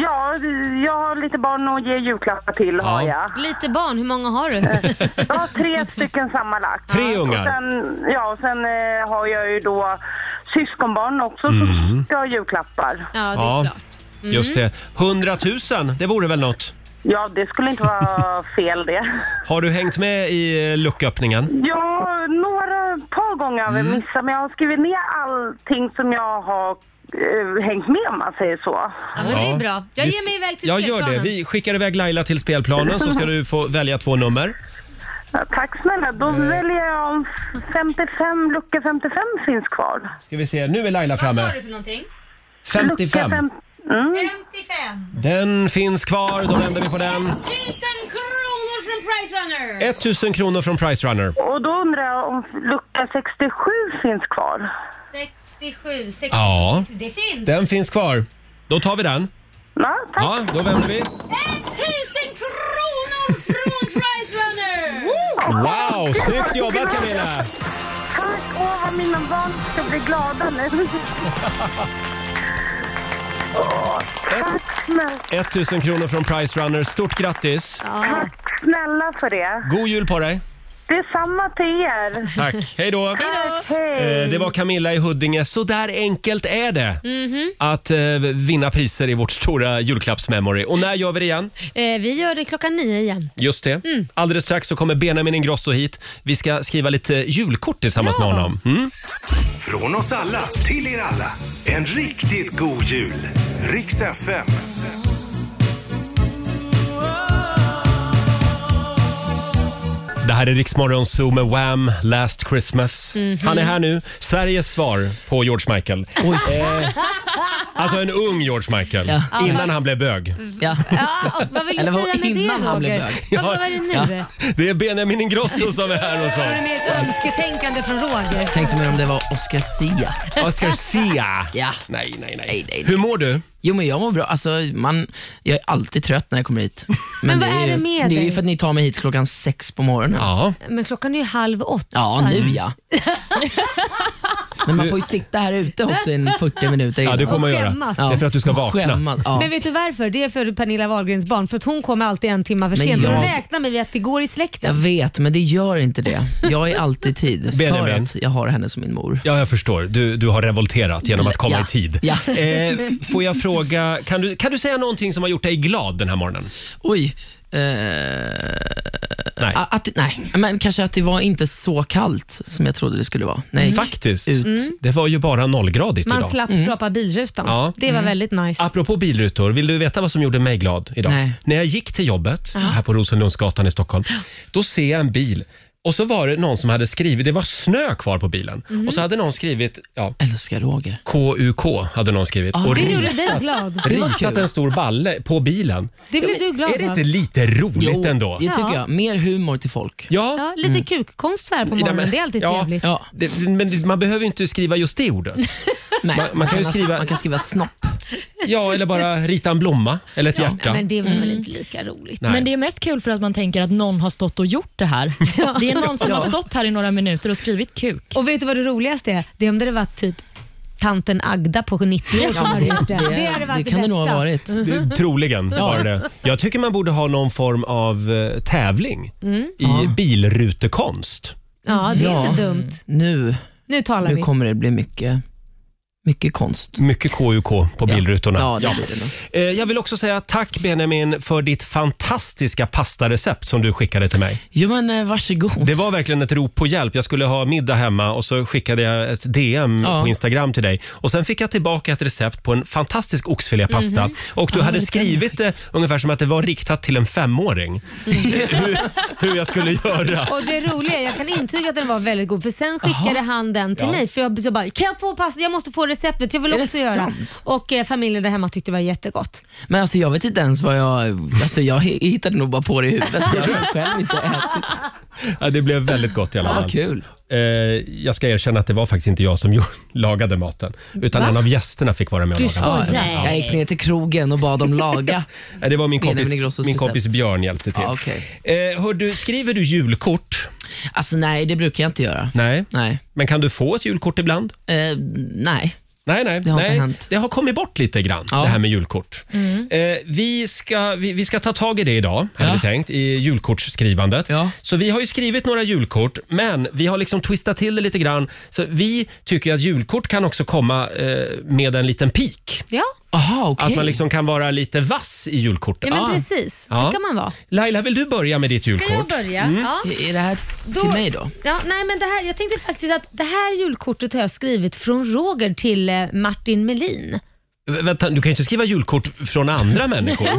Speaker 8: jag har lite barn att ge julklappar till, har
Speaker 1: Ja.
Speaker 8: jag.
Speaker 2: Lite barn, hur många har du?
Speaker 8: Jag har tre stycken sammanlagt.
Speaker 1: Tre ungar.
Speaker 8: Och sen, ja, och sen eh, har jag ju då syskonbarn också
Speaker 1: Mm.
Speaker 8: som ska ha julklappar.
Speaker 2: Ja, det
Speaker 1: Ja.
Speaker 2: är klart. Mm.
Speaker 1: Just det. 100 000, det vore väl något?
Speaker 8: Ja, det skulle inte vara fel det.
Speaker 1: Har du hängt med i eh, lucköppningen?
Speaker 8: Ja, några par gånger har vi
Speaker 1: Mm.
Speaker 8: missat, men jag har skrivit ner allting som jag har eh, hängt med om man säger så.
Speaker 2: Ja, men det
Speaker 1: Ja.
Speaker 2: är bra. Jag
Speaker 1: Vi
Speaker 2: ger mig iväg till
Speaker 1: Jag gör
Speaker 2: spelplanen.
Speaker 1: det. Vi skickar iväg Laila till spelplanen så ska du få välja två nummer.
Speaker 8: Ja, tack snälla,
Speaker 9: Eh.
Speaker 8: då väljer jag om 55, lucka 55 finns kvar.
Speaker 1: Ska vi se, nu är Laila
Speaker 2: Vad sa
Speaker 1: framme.
Speaker 2: du för någonting?
Speaker 8: Lucka
Speaker 1: 55.
Speaker 8: fem-
Speaker 2: 55
Speaker 1: Den finns kvar, då vänder vi på den.
Speaker 2: 000 kronor från Price Runner!
Speaker 1: 1000 kronor från Price Runner.
Speaker 8: Och då undrar jag om lucka 67 finns kvar.
Speaker 2: 67, 60,
Speaker 1: Ja.
Speaker 2: det finns.
Speaker 1: Den finns kvar. Då tar vi den.
Speaker 8: Ja, tack.
Speaker 1: Ja, då vänder vi.
Speaker 2: 1000 kronor från Price Runner!
Speaker 1: Wow, snyggt jobbat Camilla!
Speaker 8: Tack, åh vad mina barn ska bli glada nu. Åh, tack snälla,
Speaker 1: 1000 kronor från Price Runner. Stort grattis!
Speaker 8: snälla för det.
Speaker 1: God jul på dig!
Speaker 8: Det är samma till er.
Speaker 1: Tack, hej då!
Speaker 8: Tack, hej.
Speaker 1: Eh,
Speaker 9: Mm.
Speaker 1: Det var Camilla i Huddinge. Så där enkelt är det
Speaker 9: Mhm.
Speaker 1: att eh, vinna priser i vårt stora julklappsmemory. Och när gör vi det igen?
Speaker 2: Eh, vi gör det klockan nio igen.
Speaker 1: Just det.
Speaker 9: Mm.
Speaker 1: Alldeles strax så kommer Benjamin Ingrosso hit. Vi ska skriva lite julkort tillsammans med honom. Mm.
Speaker 7: Från oss alla till er alla. En riktigt god jul. Riks FM.
Speaker 1: Det här är Riksmorgon Zoo med Wham! Last Christmas.
Speaker 9: Mhm.
Speaker 1: Han är här nu. Sveriges svar på George Michael. Eh, alltså en ung George Michael,
Speaker 9: Ja.
Speaker 1: innan han blev bög.
Speaker 9: Ja.
Speaker 2: Ja, och vad vill du
Speaker 9: Eller vad-
Speaker 2: säga med det
Speaker 9: innan han blev
Speaker 2: Roger?
Speaker 9: bög.
Speaker 2: Vad vad var det nu?
Speaker 9: Ja.
Speaker 1: Det är Benjamin Ingrosso som är här hos
Speaker 2: Var det
Speaker 1: oss.
Speaker 2: mer ett önsketänkande från Roger?
Speaker 9: Tänkte mer om det var Oscar Sia.
Speaker 1: Oscar Sia.
Speaker 9: Ja.
Speaker 1: Nej,
Speaker 9: Nej,
Speaker 1: nej,
Speaker 9: nej,
Speaker 1: nej.
Speaker 9: nej.
Speaker 1: Hur mår du?
Speaker 9: Jo men jag mår bra. Alltså, man, jag är alltid trött när jag kommer hit. Men,
Speaker 2: vad är
Speaker 9: ju,
Speaker 2: det med
Speaker 9: Det är ju
Speaker 2: dig?
Speaker 9: för att ni tar mig hit klockan sex på morgonen. Ja,
Speaker 1: Ja.
Speaker 2: Men klockan är ju halv åtta. Mm.
Speaker 9: nu ja. men man får ju sitta här ute också i en 40 minuter
Speaker 1: Ja,
Speaker 9: innan.
Speaker 1: det får man
Speaker 2: Och
Speaker 1: göra.
Speaker 2: skämmas.
Speaker 1: Det är för att du ska vakna.
Speaker 9: Skämmas, ja.
Speaker 2: Men vet du varför? Det är för Pernilla Wahlgrens barn. För att hon kommer alltid en timma för
Speaker 9: Men
Speaker 2: sent. Och då
Speaker 9: jag-
Speaker 2: räknar vi att det går i
Speaker 9: Jag
Speaker 2: släkten.
Speaker 9: vet, men det gör inte det. Jag är alltid i tid för
Speaker 1: Benjamin.
Speaker 9: att jag har henne som min mor.
Speaker 1: Ja, jag förstår. Du, du har revolterat genom att komma
Speaker 9: Ja.
Speaker 1: i tid.
Speaker 9: Ja.
Speaker 1: Eh, får jag fråga, kan du, kan du säga någonting som har gjort dig glad den här morgonen?
Speaker 9: Oj. Eh,
Speaker 1: Nej.
Speaker 9: att, nej, men kanske att det var inte så kallt som jag trodde det skulle vara. Nej.
Speaker 8: Mm.
Speaker 1: Faktiskt.
Speaker 9: Ut.
Speaker 1: Det var ju bara nollgradigt
Speaker 2: Mm. Man
Speaker 1: idag.
Speaker 2: slapp
Speaker 9: Mm.
Speaker 2: skrapa bilrutan.
Speaker 1: Ja.
Speaker 2: Det var väldigt nice.
Speaker 1: Apropå bilrutor, vill du veta vad som gjorde mig glad idag?
Speaker 9: Nej.
Speaker 1: När jag gick till jobbet här på Rosenlundsgatan i Stockholm, då ser jag en bil och så var det någon som hade skrivit, det var snö kvar på bilen
Speaker 2: Mm.
Speaker 1: och så hade någon skrivit, ja,
Speaker 9: Älskar Roger.
Speaker 1: KUK hade någon skrivit och
Speaker 2: Det
Speaker 1: ritat
Speaker 2: gjorde dig glad.
Speaker 9: Det var
Speaker 1: ritat
Speaker 9: kul.
Speaker 1: en stor balle på bilen.
Speaker 2: Det blev du glad
Speaker 1: Är det
Speaker 2: av.
Speaker 1: inte lite roligt ändå?
Speaker 9: det tycker
Speaker 2: Ja.
Speaker 9: jag. Mer humor till folk.
Speaker 1: Ja.
Speaker 2: Ja, lite
Speaker 9: Mm.
Speaker 2: kukkonst så här på morgonen,
Speaker 1: Nej, men-
Speaker 2: det är alltid
Speaker 1: ja,
Speaker 2: trevligt.
Speaker 9: Ja.
Speaker 1: Det, men man behöver ju inte skriva just det ordet.
Speaker 9: Nej,
Speaker 1: Man- man kan ju
Speaker 9: annars-
Speaker 1: skriva-
Speaker 9: man kan skriva snopp.
Speaker 1: Ja, eller bara rita en blomma eller ett hjärta.
Speaker 2: Men det var
Speaker 9: Mm.
Speaker 2: väl inte lika roligt?
Speaker 1: Nej.
Speaker 5: Men det är mest kul för att man tänker att någon har stått och gjort det här. Det är någon som har stått här i några minuter och skrivit kuk.
Speaker 2: Och vet du vad det roligaste är? Det är om det hade varit typ tanten Agda på 90 år som hade gjort det. Det hade varit
Speaker 9: det
Speaker 2: det
Speaker 9: kan det nog ha
Speaker 2: bästa.
Speaker 9: varit.
Speaker 1: Det, troligen var det Jag tycker man borde ha någon form av eh, tävling i bilrutekonst.
Speaker 2: Ja, det är
Speaker 9: Ja.
Speaker 2: inte dumt.
Speaker 9: Nu,
Speaker 2: Nu talar
Speaker 9: nu
Speaker 2: vi.
Speaker 9: kommer det bli mycket, mycket konst.
Speaker 1: Mycket KUK på bilrutorna.
Speaker 9: Ja, det blir det nog.
Speaker 1: Eh, Jag vill också säga tack Benjamin för ditt fantastiska pastarecept som du skickade till mig.
Speaker 9: Jo, men eh, varsågod.
Speaker 1: Det var verkligen ett rop på hjälp. Jag skulle ha middag hemma och så skickade jag ett DM
Speaker 9: Ja.
Speaker 1: på Instagram till dig. Och Sen fick jag tillbaka ett recept på en fantastisk oxfilépasta.
Speaker 9: Mhm.
Speaker 1: Och du hade skrivit det ungefär som att det var riktat till en femåring.
Speaker 9: Mm.
Speaker 1: hur, hur jag skulle göra.
Speaker 2: Och det roliga, är, jag kan intyga att den var väldigt god för sen skickade han den till
Speaker 1: Ja.
Speaker 2: mig för jag, jag bara, kan jag få pasta? Jag måste få receptet, jag vill
Speaker 9: Är det
Speaker 2: också göra.
Speaker 9: sant?
Speaker 2: Och eh, familjen där hemma tyckte det var jättegott.
Speaker 9: Men alltså, jag vet inte ens vad jag... Alltså, jag hi- hittade nog bara på det i huvudet. Jag har själv inte ätit.
Speaker 1: Ja, det blev väldigt gott i alla
Speaker 9: Ja,
Speaker 1: fall.
Speaker 9: vad kul.
Speaker 1: Eh, jag ska erkänna att det var faktiskt inte jag som gjorde- lagade maten. Utan
Speaker 2: Va?
Speaker 1: en av gästerna fick vara med och
Speaker 2: Du
Speaker 1: laga.
Speaker 2: skojar?
Speaker 9: Jag gick ner till krogen och bad dem laga.
Speaker 1: Eh, Det var min
Speaker 9: Benjamin
Speaker 1: kompis,
Speaker 9: Ingrossos
Speaker 1: min
Speaker 9: recept.
Speaker 1: kompis Björn hjälpte till.
Speaker 9: Ja, okej.
Speaker 1: eh, hör du, skriver du julkort?
Speaker 9: Alltså, nej, det brukar jag inte göra.
Speaker 1: Nej.
Speaker 9: Nej.
Speaker 1: Men kan du få ett julkort ibland?
Speaker 9: Eh, nej.
Speaker 1: Nej, nej.
Speaker 9: har
Speaker 1: nej.
Speaker 9: inte hänt.
Speaker 1: Det har kommit bort lite grann,
Speaker 9: Ja.
Speaker 1: det här med julkort.
Speaker 2: Mm.
Speaker 1: Eh, vi, ska, vi, vi ska ta tag i det idag, hade
Speaker 9: Ja.
Speaker 1: vi tänkt, i julkortsskrivandet.
Speaker 9: Ja.
Speaker 1: Så vi har ju skrivit några julkort, men vi har liksom twistat till det lite grann. Så vi tycker att julkort kan också komma eh, med en liten pik.
Speaker 2: Ja,
Speaker 9: Aha, Ah, okej.
Speaker 1: Att man liksom kan vara lite vass i julkortet.
Speaker 2: ja men
Speaker 9: Ah.
Speaker 2: precis.
Speaker 1: Ja.
Speaker 2: Det kan man vara.
Speaker 1: Laila, vill du börja med ditt julkort?
Speaker 2: Ska jag börja? Ja.
Speaker 9: Är- Är Mm. det här till mig då?
Speaker 2: Ja, nej, men det här, jag tänkte faktiskt att det här julkortet har jag skrivit från Roger till eh, Martin Melin.
Speaker 1: V- Vänta, du kan ju inte skriva julkort från andra människor.
Speaker 2: Eh,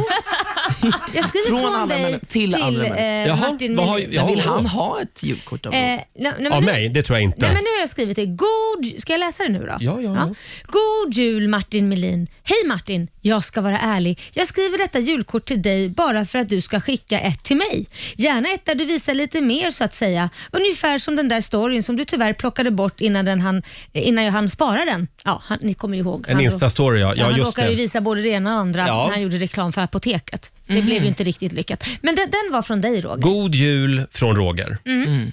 Speaker 2: Jag skriver
Speaker 9: Från
Speaker 2: från,
Speaker 9: andra
Speaker 2: dig
Speaker 9: människor- till andra
Speaker 2: eh,
Speaker 9: människor.
Speaker 1: Jaha,
Speaker 2: Martin
Speaker 1: vad har-
Speaker 2: Melin.
Speaker 1: Ja.
Speaker 9: Men vill han ha ett julkort av
Speaker 2: Eh,
Speaker 9: mig?
Speaker 2: nej, nej, men
Speaker 1: Av
Speaker 2: nu-
Speaker 1: mig? Det tror jag inte.
Speaker 2: Nej, men nu har jag skrivit det. God... Ska jag läsa det nu då?
Speaker 1: Ja, ja, ja.
Speaker 2: God jul Martin Melin. Hej Martin, jag ska vara ärlig. Jag skriver detta julkort till dig bara för att du ska skicka ett till mig. Gärna ett där du visar lite mer så att säga. Ungefär som den där storyn som du tyvärr plockade bort innan, den han, innan jag hann spara den. Ja, han, ni kommer ju ihåg.
Speaker 1: En
Speaker 2: Han-
Speaker 1: Insta-story, ja.
Speaker 2: Ja,
Speaker 1: ja
Speaker 2: han
Speaker 1: just
Speaker 2: råkade ju
Speaker 1: det.
Speaker 2: visa både det ena och det andra
Speaker 1: Ja. Mm.
Speaker 2: när han gjorde reklam för apoteket. Det blev ju inte riktigt lyckat. Men den, den var från dig Roger.
Speaker 1: God jul från Roger.
Speaker 10: Mm.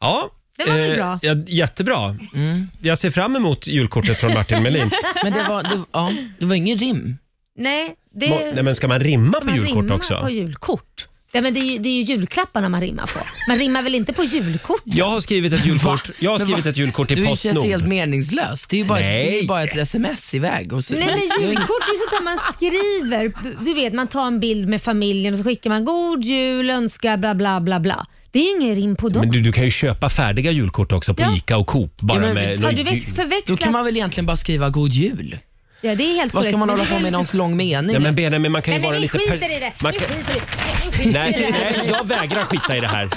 Speaker 1: Ja.
Speaker 2: Mm.
Speaker 1: eh,
Speaker 2: Det var väl bra?
Speaker 1: ja, jättebra.
Speaker 10: Mm.
Speaker 1: Jag ser fram emot julkortet från Martin Melin.
Speaker 9: Men det var, det, ja, det var ingen rim.
Speaker 2: Nej, det...
Speaker 1: Må- Nej, men ska man rimma
Speaker 2: Ska
Speaker 1: på
Speaker 2: man
Speaker 1: julkort
Speaker 2: rimma
Speaker 1: också?
Speaker 2: på julkort? Ja, men det, är ju, det är ju julklapparna man rimmar på. Man rimmar väl inte på julkort?
Speaker 1: Jag har skrivit ett julkort, jag har
Speaker 10: Men
Speaker 1: skrivit
Speaker 10: va?
Speaker 1: ett julkort till
Speaker 10: Du känns helt
Speaker 1: Postnord.
Speaker 10: meningslös. Det är ju bara, det är
Speaker 1: Nej.
Speaker 10: ju bara ett sms iväg. Och så,
Speaker 2: Nej men julkort är ju sånt där man skriver. Du vet man tar en bild med familjen och så skickar man god jul, önskar bla bla bla bla. Det är ju ingen rim på
Speaker 1: Men
Speaker 2: dem.
Speaker 1: du, du kan ju köpa färdiga julkort också på
Speaker 2: Ja.
Speaker 1: ICA och Coop. Bara
Speaker 10: Ja, men
Speaker 1: med
Speaker 2: Har
Speaker 1: någon
Speaker 2: du växt,
Speaker 1: gu-
Speaker 10: Då
Speaker 2: förväxlat?
Speaker 10: kan man väl egentligen bara skriva God Jul?
Speaker 2: Ja det är helt
Speaker 10: Vad ska
Speaker 2: korrekt, men
Speaker 10: man hålla
Speaker 2: det är
Speaker 10: på med
Speaker 2: väl-
Speaker 10: någons lång mening?
Speaker 1: Ja, men Benjamin, man kan ju
Speaker 2: Nej,
Speaker 1: vara
Speaker 2: men vi
Speaker 1: lite... per-
Speaker 2: skiter i det.
Speaker 1: Man
Speaker 2: Vi
Speaker 1: kan...
Speaker 2: skiter i det. Vi skiter i
Speaker 1: Nej,
Speaker 2: det.
Speaker 1: nej, jag vägrar skita i det här.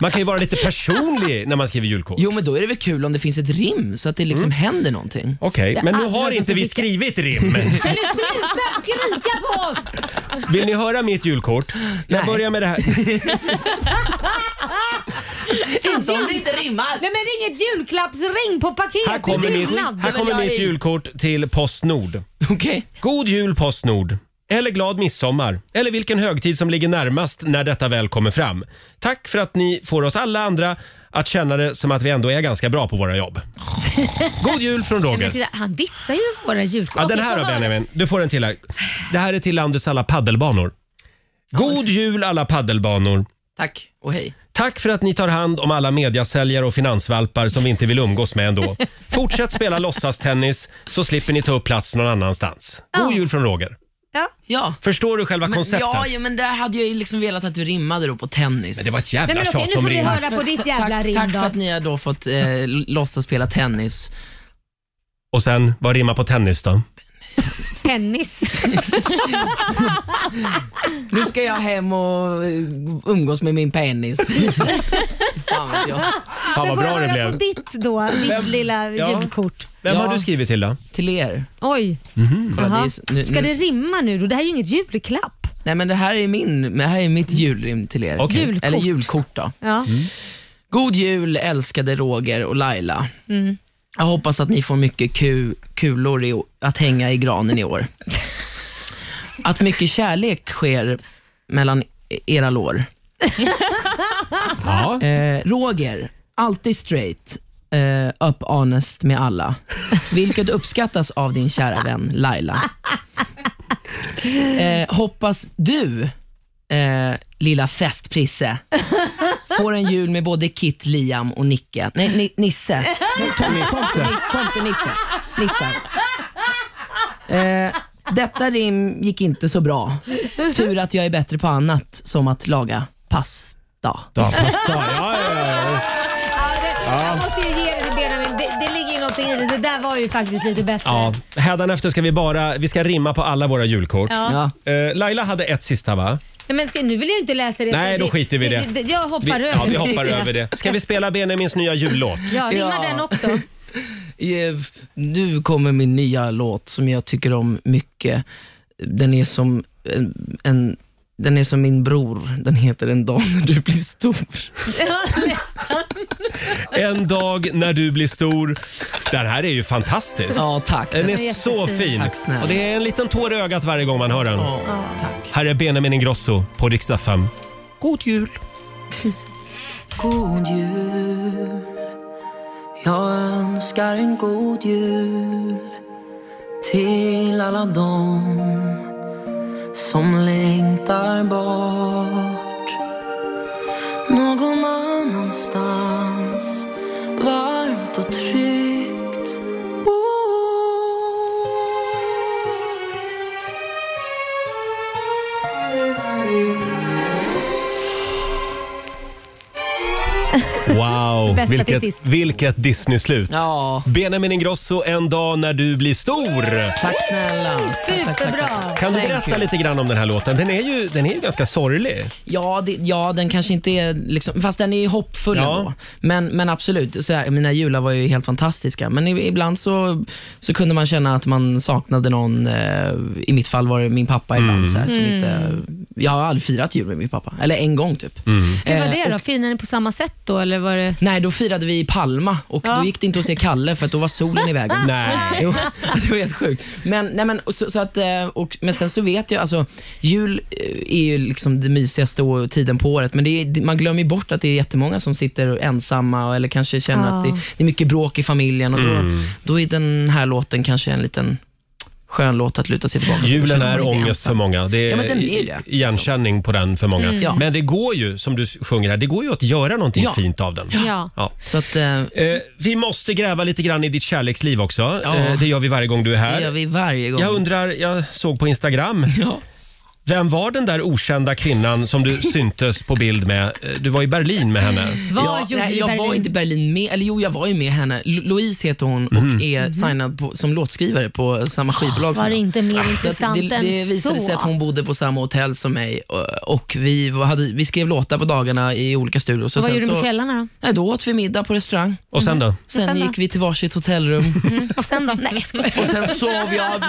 Speaker 1: Man kan ju vara lite personlig när man skriver julkort.
Speaker 10: Jo, men då är det väl kul om det finns ett rim så att det liksom
Speaker 1: Mm.
Speaker 10: händer någonting.
Speaker 1: Okej,
Speaker 2: Jag
Speaker 1: men nu
Speaker 2: aldrig
Speaker 1: har
Speaker 2: hört
Speaker 1: inte
Speaker 2: någon
Speaker 1: vi
Speaker 2: som skicka-
Speaker 1: skrivit rim.
Speaker 2: Kan du sluta skrika på oss?
Speaker 1: Vill ni höra mitt julkort? Jag
Speaker 10: Nej.
Speaker 1: börjar med det här.
Speaker 10: Inte om det inte rimmar!
Speaker 2: Nej men det är inget julklappsring på paketet.
Speaker 1: Här kommer
Speaker 2: det är
Speaker 1: mitt,
Speaker 2: skillnad.
Speaker 1: här kommer
Speaker 10: jag
Speaker 1: mitt
Speaker 10: i.
Speaker 1: julkort till Postnord.
Speaker 10: Okej.
Speaker 1: God jul Postnord! Eller glad midsommar, eller vilken högtid som ligger närmast när detta väl kommer fram. Tack för att ni får oss alla andra att känna det som att vi ändå är ganska bra på våra jobb. God jul från
Speaker 2: Men
Speaker 1: Roger!
Speaker 2: titta, han dissar ju våra julkort.
Speaker 1: Ja,
Speaker 2: Okej,
Speaker 1: den här
Speaker 2: få
Speaker 1: då
Speaker 2: höra.
Speaker 1: Benjamin, du får en till här. Det här är till landets alla paddelbanor. God jul alla paddelbanor!
Speaker 10: Tack och hej.
Speaker 1: Tack för att ni tar hand om alla mediasäljare och finansvalpar som vi inte vill umgås med ändå. Fortsätt spela låtsastennis så slipper ni ta upp plats någon annanstans. God jul från Roger!
Speaker 2: Ja.
Speaker 10: Ja.
Speaker 1: Förstår du själva
Speaker 10: Men,
Speaker 1: konceptet?
Speaker 10: ja, ja, men där hade jag ju liksom velat att du rimmade då på tennis.
Speaker 1: Men det var ett
Speaker 2: Nej,
Speaker 1: jävla
Speaker 2: men okej,
Speaker 1: tjat
Speaker 2: nu
Speaker 1: om
Speaker 2: får vi
Speaker 1: rim.
Speaker 2: höra på ditt jävla
Speaker 10: tack,
Speaker 2: rim
Speaker 10: tack för
Speaker 2: då.
Speaker 10: att ni har då fått eh, låtsas spela tennis.
Speaker 1: Och sen, vad rimmar på tennis då?
Speaker 2: Tennis.
Speaker 10: Nu ska jag hem och eh, umgås med min penis. Fan vet jag.
Speaker 1: Fan
Speaker 2: Men
Speaker 1: vad
Speaker 2: får jag
Speaker 1: bra det
Speaker 2: höra
Speaker 1: blev.
Speaker 2: på ditt då, ditt lilla
Speaker 1: Ja.
Speaker 2: julkort.
Speaker 1: Vem
Speaker 10: Ja.
Speaker 1: har du skrivit till då?
Speaker 10: Till er.
Speaker 2: Oj.
Speaker 10: Kolla,
Speaker 2: Jaha.
Speaker 10: det är, nu,
Speaker 2: Ska
Speaker 10: nu,
Speaker 2: det rimma nu då? Det här är ju inget julklapp.
Speaker 10: nej men det här är, min, men det här är mitt julrim till er.
Speaker 1: Okej.
Speaker 2: Julkort.
Speaker 10: Eller Mm. julkort då.
Speaker 2: Ja.
Speaker 10: God jul älskade Roger och Laila.
Speaker 2: Mm.
Speaker 10: Jag hoppas att ni får mycket ku- kulor i, å- att hänga i granen i år. Att mycket kärlek sker mellan e- era lår.
Speaker 1: Ja.
Speaker 10: Eh, Roger, alltid straight, eh, up honest med alla. Vilket uppskattas av din kära vän Laila. Eh, hoppas du, eh, lilla festprisse, får en jul med både Kit, Liam och Nicke. Nej, ni, Nisse. Nej, Tommy, Tomte, Tomte, Nisse. Nissar. Eh, detta rim gick inte så bra. Tur att jag är bättre på annat, som att laga pasta.
Speaker 1: Ja, pasta. Ja, ja, ja.
Speaker 2: Jag måste ju ge det till Benjamin. Det, det ligger ju någonting i det. Det där var ju faktiskt lite bättre.
Speaker 1: ja. Hädanefter ska vi bara vi ska rimma på alla våra julkort.
Speaker 2: Ja.
Speaker 10: Ja.
Speaker 1: Eh, Laila hade ett sista va?
Speaker 2: Nej, Men ska, nu vill jag ju inte läsa det.
Speaker 1: Nej, då skiter vi i det.
Speaker 2: Jag
Speaker 1: Vi,
Speaker 2: hoppar över
Speaker 1: ja, vi
Speaker 2: det,
Speaker 1: hoppar
Speaker 2: tycker jag.
Speaker 1: över det. Ska vi spela Benjamins nya jullåt?
Speaker 2: Ja, rimma
Speaker 10: Ja.
Speaker 2: den också.
Speaker 10: Eh, Nu kommer min nya låt som jag tycker om mycket. Den är som en, en den är som min bror, den heter En dag när du blir stor.
Speaker 2: Ja, nästan.
Speaker 1: En dag när du blir stor. Den här är ju fantastisk.
Speaker 10: Ja, tack.
Speaker 1: Den
Speaker 2: är
Speaker 1: är så fin.
Speaker 10: Tack snälla.
Speaker 1: Och det är en liten tår i ögat varje gång man hör den.
Speaker 10: Ja, tack.
Speaker 1: Här är Benjamin Ingrosso på riksdag 5. God jul!
Speaker 11: God jul Jag önskar en god jul till alla dem som längtar bort någon annanstans varmt och tryggt Oh. bor
Speaker 1: Wow,
Speaker 2: Bästa till
Speaker 1: vilket,
Speaker 2: sist.
Speaker 1: vilket Disney-slut.
Speaker 10: Ja,
Speaker 1: Benjamin Ingrosso, en dag när du blir stor.
Speaker 10: tack snälla. Tack, tack, tack, tack.
Speaker 2: Superbra.
Speaker 1: Kan du
Speaker 10: Thank
Speaker 1: berätta
Speaker 10: you.
Speaker 1: lite grann om den här låten? Den är ju, den är ju ganska sorglig.
Speaker 10: Ja, det, ja, den kanske inte är, liksom, fast den är ju hoppfull
Speaker 1: Ja.
Speaker 10: ändå. Men, men absolut, så här, mina jular var ju helt fantastiska. Men i- ibland så, så kunde man känna att man saknade någon. Eh, I mitt fall var det min pappa ibland. Så här, som inte, jag har aldrig firat jul med min pappa, eller en gång typ.
Speaker 2: Hur var
Speaker 10: Eh,
Speaker 2: det då? Firade ni på samma sätt då eller var det?
Speaker 10: Nej, då firade vi i Palma och
Speaker 2: Ja.
Speaker 10: då gick det inte att se Kalle för att då var solen i vägen.
Speaker 1: Nej.
Speaker 10: Jo, det var helt sjukt. Men, nej, men, och så, så att, eh, och, men sen så vet jag, alltså, jul eh, är ju liksom det mysigaste å- tiden på året, men det är, man glömmer ju bort att det är jättemånga som sitter ensamma och- eller kanske känner
Speaker 2: Ja.
Speaker 1: Mm.
Speaker 10: att det, det är mycket bråk i familjen och då, då är den här låten kanske en liten
Speaker 9: skön låt att luta sig tillbaka på.
Speaker 1: Julen
Speaker 9: Känner man
Speaker 1: är
Speaker 9: lite
Speaker 1: ångest
Speaker 9: ensam.
Speaker 1: för många. Det är,
Speaker 9: Ja, men den är det. liksom.
Speaker 1: igenkänning på den för många.
Speaker 9: Mm. Ja.
Speaker 1: Men det går ju, som du sjunger här, det går ju att göra någonting
Speaker 9: Ja.
Speaker 1: fint av den.
Speaker 2: Ja.
Speaker 1: Ja.
Speaker 9: Så att, eh,
Speaker 1: Eh, vi måste gräva lite grann i ditt kärleksliv också.
Speaker 9: Ja.
Speaker 1: Eh, det gör vi varje gång du är här.
Speaker 9: det gör vi varje gång.
Speaker 1: Jag undrar, jag såg på Instagram.
Speaker 9: Ja.
Speaker 1: Vem var den där okända kvinnan som du syntes på bild med? Eh, Du var i Berlin med henne.
Speaker 2: Vad
Speaker 9: Ja,
Speaker 2: gjorde
Speaker 9: nej,
Speaker 2: du i
Speaker 9: jag
Speaker 2: Berlin?
Speaker 9: var inte i Berlin med, eller jo jag var ju med henne. Lo- Louise heter hon och
Speaker 1: Mhm.
Speaker 9: är
Speaker 2: Mhm.
Speaker 9: signad på, som låtskrivare på
Speaker 2: Ah,
Speaker 9: samma skivbolag som
Speaker 2: Var det
Speaker 9: jag.
Speaker 2: inte
Speaker 10: Ah,
Speaker 2: mer
Speaker 9: Så att
Speaker 2: intressant
Speaker 9: det, det
Speaker 2: än
Speaker 9: visade
Speaker 2: så?
Speaker 9: sig att hon bodde på samma hotell som mig och, och vi, var- hade, vi skrev låtar på dagarna i olika studios. Och
Speaker 2: Vad gjorde du
Speaker 9: så,
Speaker 2: på kvällarna då?
Speaker 9: nej, då åt vi middag på restaurang.
Speaker 1: Och sen då?
Speaker 9: Sen,
Speaker 2: sen då?
Speaker 9: gick vi till varsitt hotellrum
Speaker 2: Och sen då? Nej, jag skojar.
Speaker 9: och sen sov jag.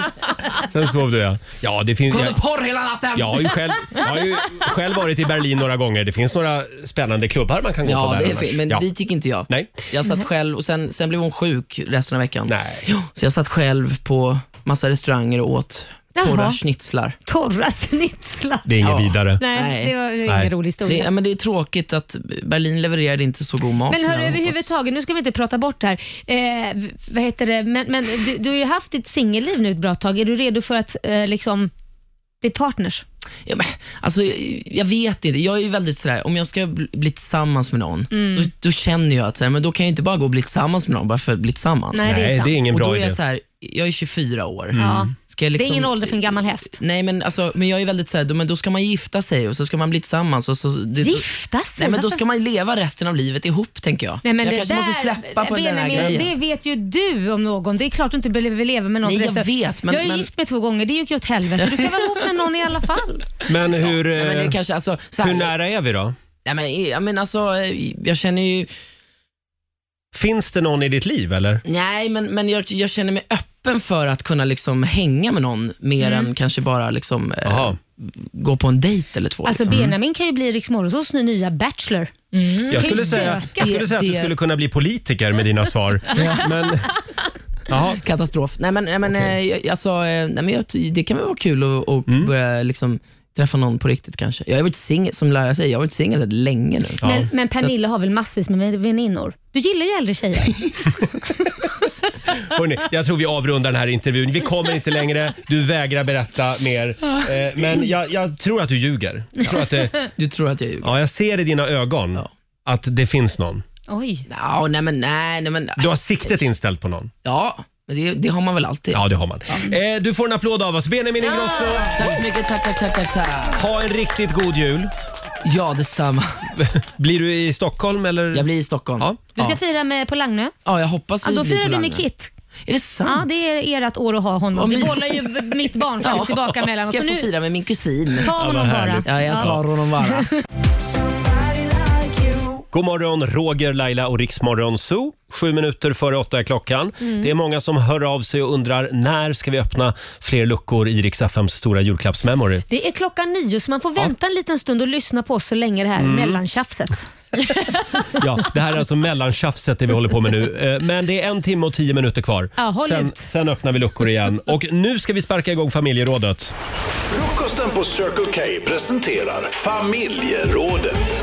Speaker 1: Sen sov du ja. Ja, det finns...
Speaker 9: Kollade
Speaker 1: Jag,
Speaker 9: porr hela natten.
Speaker 1: jag, har ju själv, jag har ju själv varit i Berlin några gånger. Det finns några spännande klubbar man kan gå på
Speaker 9: Ja,
Speaker 1: där.
Speaker 9: det är
Speaker 1: annars.
Speaker 9: fel, men
Speaker 1: ja.
Speaker 9: dit gick inte jag.
Speaker 1: Nej.
Speaker 9: Jag satt själv och sen, sen blev hon sjuk resten av veckan.
Speaker 1: Nej.
Speaker 9: Jo, Så jag satt själv på massa restauranger och åt porra
Speaker 2: Jaha.
Speaker 9: schnitzlar.
Speaker 2: Torra snitslar.
Speaker 1: Det är inget
Speaker 9: Ja.
Speaker 1: vidare.
Speaker 2: Nej,
Speaker 9: Nej.
Speaker 2: det var ju
Speaker 1: Nej.
Speaker 2: ingen rolig
Speaker 9: Det,
Speaker 2: historia.
Speaker 9: ja, men det är tråkigt att Berlin levererade inte så god mat.
Speaker 2: Men
Speaker 9: som jag
Speaker 2: hörru,
Speaker 9: hade hoppats.
Speaker 2: överhuvudtaget, nu ska vi inte prata bort det här. Eh, v- vad heter det? Men, men du, du har ju haft ditt singelliv nu ett bra tag. Är du redo för att eh, liksom bli partners?
Speaker 9: Ja, men, alltså, jag, jag vet inte. Jag är ju väldigt sådär, om jag ska bli bli tillsammans med någon,
Speaker 2: Mm.
Speaker 9: då, då känner jag att sådär, men då kan jag inte bara gå och bli tillsammans med någon bara för att bli tillsammans.
Speaker 2: Nej, det är
Speaker 1: Nej,
Speaker 2: sant.
Speaker 1: det är ingen
Speaker 9: och då
Speaker 1: bra
Speaker 9: är
Speaker 1: idé.
Speaker 9: jag så jag är 24 år.
Speaker 2: Ja.
Speaker 9: Ska jag
Speaker 2: Det
Speaker 9: liksom,
Speaker 2: är ingen ålder för en gammal häst.
Speaker 9: Nej, men, alltså, men jag är väldigt såhär, då, men då ska man gifta sig och så ska man bli tillsammans. Och så, det,
Speaker 2: Gifta sig?
Speaker 9: Nej, men då
Speaker 2: Varför-
Speaker 9: ska man leva resten av livet ihop, tänker jag.
Speaker 2: Nej, men
Speaker 9: jag
Speaker 2: det
Speaker 9: kanske
Speaker 2: där,
Speaker 9: måste släppa på den här
Speaker 2: Benjamin,
Speaker 9: grejen.
Speaker 2: Det vet ju du om någon. Det är klart du inte behöver leva med någon.
Speaker 9: Nej, jag
Speaker 2: resten-
Speaker 9: vet, men-
Speaker 2: jag är
Speaker 9: men-
Speaker 2: gift med två gånger, det gick ju åt helvete. Du ska vara ihop med någon i alla fall.
Speaker 1: Men hur,
Speaker 9: Nej, men det
Speaker 1: eh,
Speaker 9: är kanske, alltså, så här,
Speaker 1: hur nära är vi då?
Speaker 9: Nej, men, jag, men alltså, jag känner ju...
Speaker 1: Finns det någon i ditt liv eller?
Speaker 9: Nej, men, men jag, jag känner mig öppen för att kunna liksom hänga med någon mer än kanske bara liksom, eh,
Speaker 1: Mm. Jaha.
Speaker 9: gå på en dejt eller två.
Speaker 2: Alltså
Speaker 9: liksom.
Speaker 2: Benjamin kan ju bli Rix Morgonzås nya Bachelor.
Speaker 1: Jag
Speaker 2: Kan ju
Speaker 1: skulle, säga,
Speaker 2: söka.
Speaker 1: jag skulle säga att du
Speaker 9: Det-
Speaker 1: skulle kunna bli politiker med dina svar. Men, jaha.
Speaker 9: Katastrof. Nej, men, nej, men, eh, jag, alltså, eh, nej, men jag, det kan väl vara kul att och börja liksom, träffa någon på riktigt kanske. Jag har varit singel, som lärare säger, jag har varit singel länge nu.
Speaker 1: Ja.
Speaker 2: Men, men Pernilla
Speaker 9: Så
Speaker 2: har väl massvis med väninnor? Du gillar ju äldre tjejer.
Speaker 1: Hörrni, jag tror vi avrundar den här intervjun. Vi kommer inte längre. Du vägrar berätta mer. Eh, Men jag, jag tror att du ljuger. Jag, tror att det,
Speaker 9: Du tror att jag ljuger?
Speaker 1: ja, jag ser i dina ögon att det finns någon.
Speaker 2: Oj.
Speaker 9: Ja, nej, men nej, nej, men
Speaker 1: Du har siktet inställt på någon.
Speaker 9: Ja, men det, det har man väl alltid.
Speaker 1: Ja, det har man. Eh, Du får en applåd av oss. Benjamin Ingrosso,
Speaker 9: Tack så mycket, tack, tack, tack, tack, tack.
Speaker 1: ha en riktigt god jul.
Speaker 9: Ja, detsamma.
Speaker 1: Blir du i Stockholm eller?
Speaker 9: Jag blir i Stockholm.
Speaker 1: Ja.
Speaker 9: Ja,
Speaker 2: Du ska fira med på Langnö.
Speaker 9: jag hoppas
Speaker 2: Ja,
Speaker 9: vi
Speaker 2: då
Speaker 9: blir
Speaker 2: firar
Speaker 9: på
Speaker 2: du
Speaker 9: Langen.
Speaker 2: med Kit.
Speaker 9: Är det
Speaker 2: Ja,
Speaker 9: sant?
Speaker 2: det är ert år att ha
Speaker 9: Vad
Speaker 2: honom. Du
Speaker 9: mysigt.
Speaker 2: bollar ju b- mitt barn fram och tillbaka mellan oss.
Speaker 9: Ska
Speaker 2: Så
Speaker 9: jag få
Speaker 2: nu,
Speaker 9: fira med min kusin?
Speaker 2: ta honom bara.
Speaker 1: härligt.
Speaker 9: Ja, jag tar honom bara.
Speaker 1: God morgon, Roger, Laila och Riksmorgon Zoo. Sju minuter före åtta är klockan.
Speaker 2: Mm.
Speaker 1: Det är många som hör av sig och undrar när ska vi öppna fler luckor i Rix FMs stora julklappsmemory?
Speaker 2: Det är klockan nio, så man får vänta en liten stund och lyssna på oss så länge det här mellantjafset.
Speaker 1: Ja, det här är alltså mellantjafset det vi håller på med nu. Eh, Men det är en timme och tio minuter kvar.
Speaker 2: Ja, håll
Speaker 1: sen,
Speaker 2: ut.
Speaker 1: sen öppnar vi luckor igen. Och nu ska vi sparka igång familjerådet.
Speaker 7: Frukosten på Circle K presenterar Familjerådet.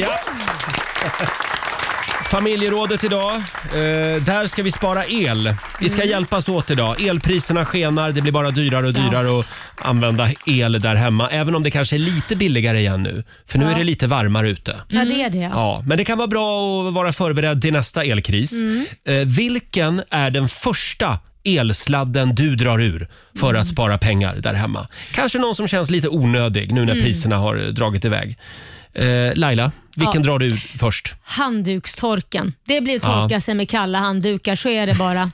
Speaker 1: Ja. Familjerådet idag. Eh, där ska vi spara el. Vi ska hjälpas åt idag. Elpriserna skenar, det blir bara dyrare och dyrare att använda el där hemma. Även om det kanske är lite billigare igen nu. För nu är det lite varmare ute.
Speaker 2: Ja, det är det. Ja.
Speaker 1: Ja, men det kan vara bra att vara förberedd till nästa elkris.
Speaker 2: Mm.
Speaker 1: Eh, vilken är den första elsladden du drar ur för
Speaker 2: Mm.
Speaker 1: att spara pengar där hemma? Kanske någon som känns lite onödig nu när
Speaker 2: Mm.
Speaker 1: priserna har eh, dragit iväg. Eh, Laila, vilken drar du ur först?
Speaker 2: Handdukstorken. Det blir att
Speaker 1: Ja.
Speaker 2: torka sig med kalla handdukar, så är det bara.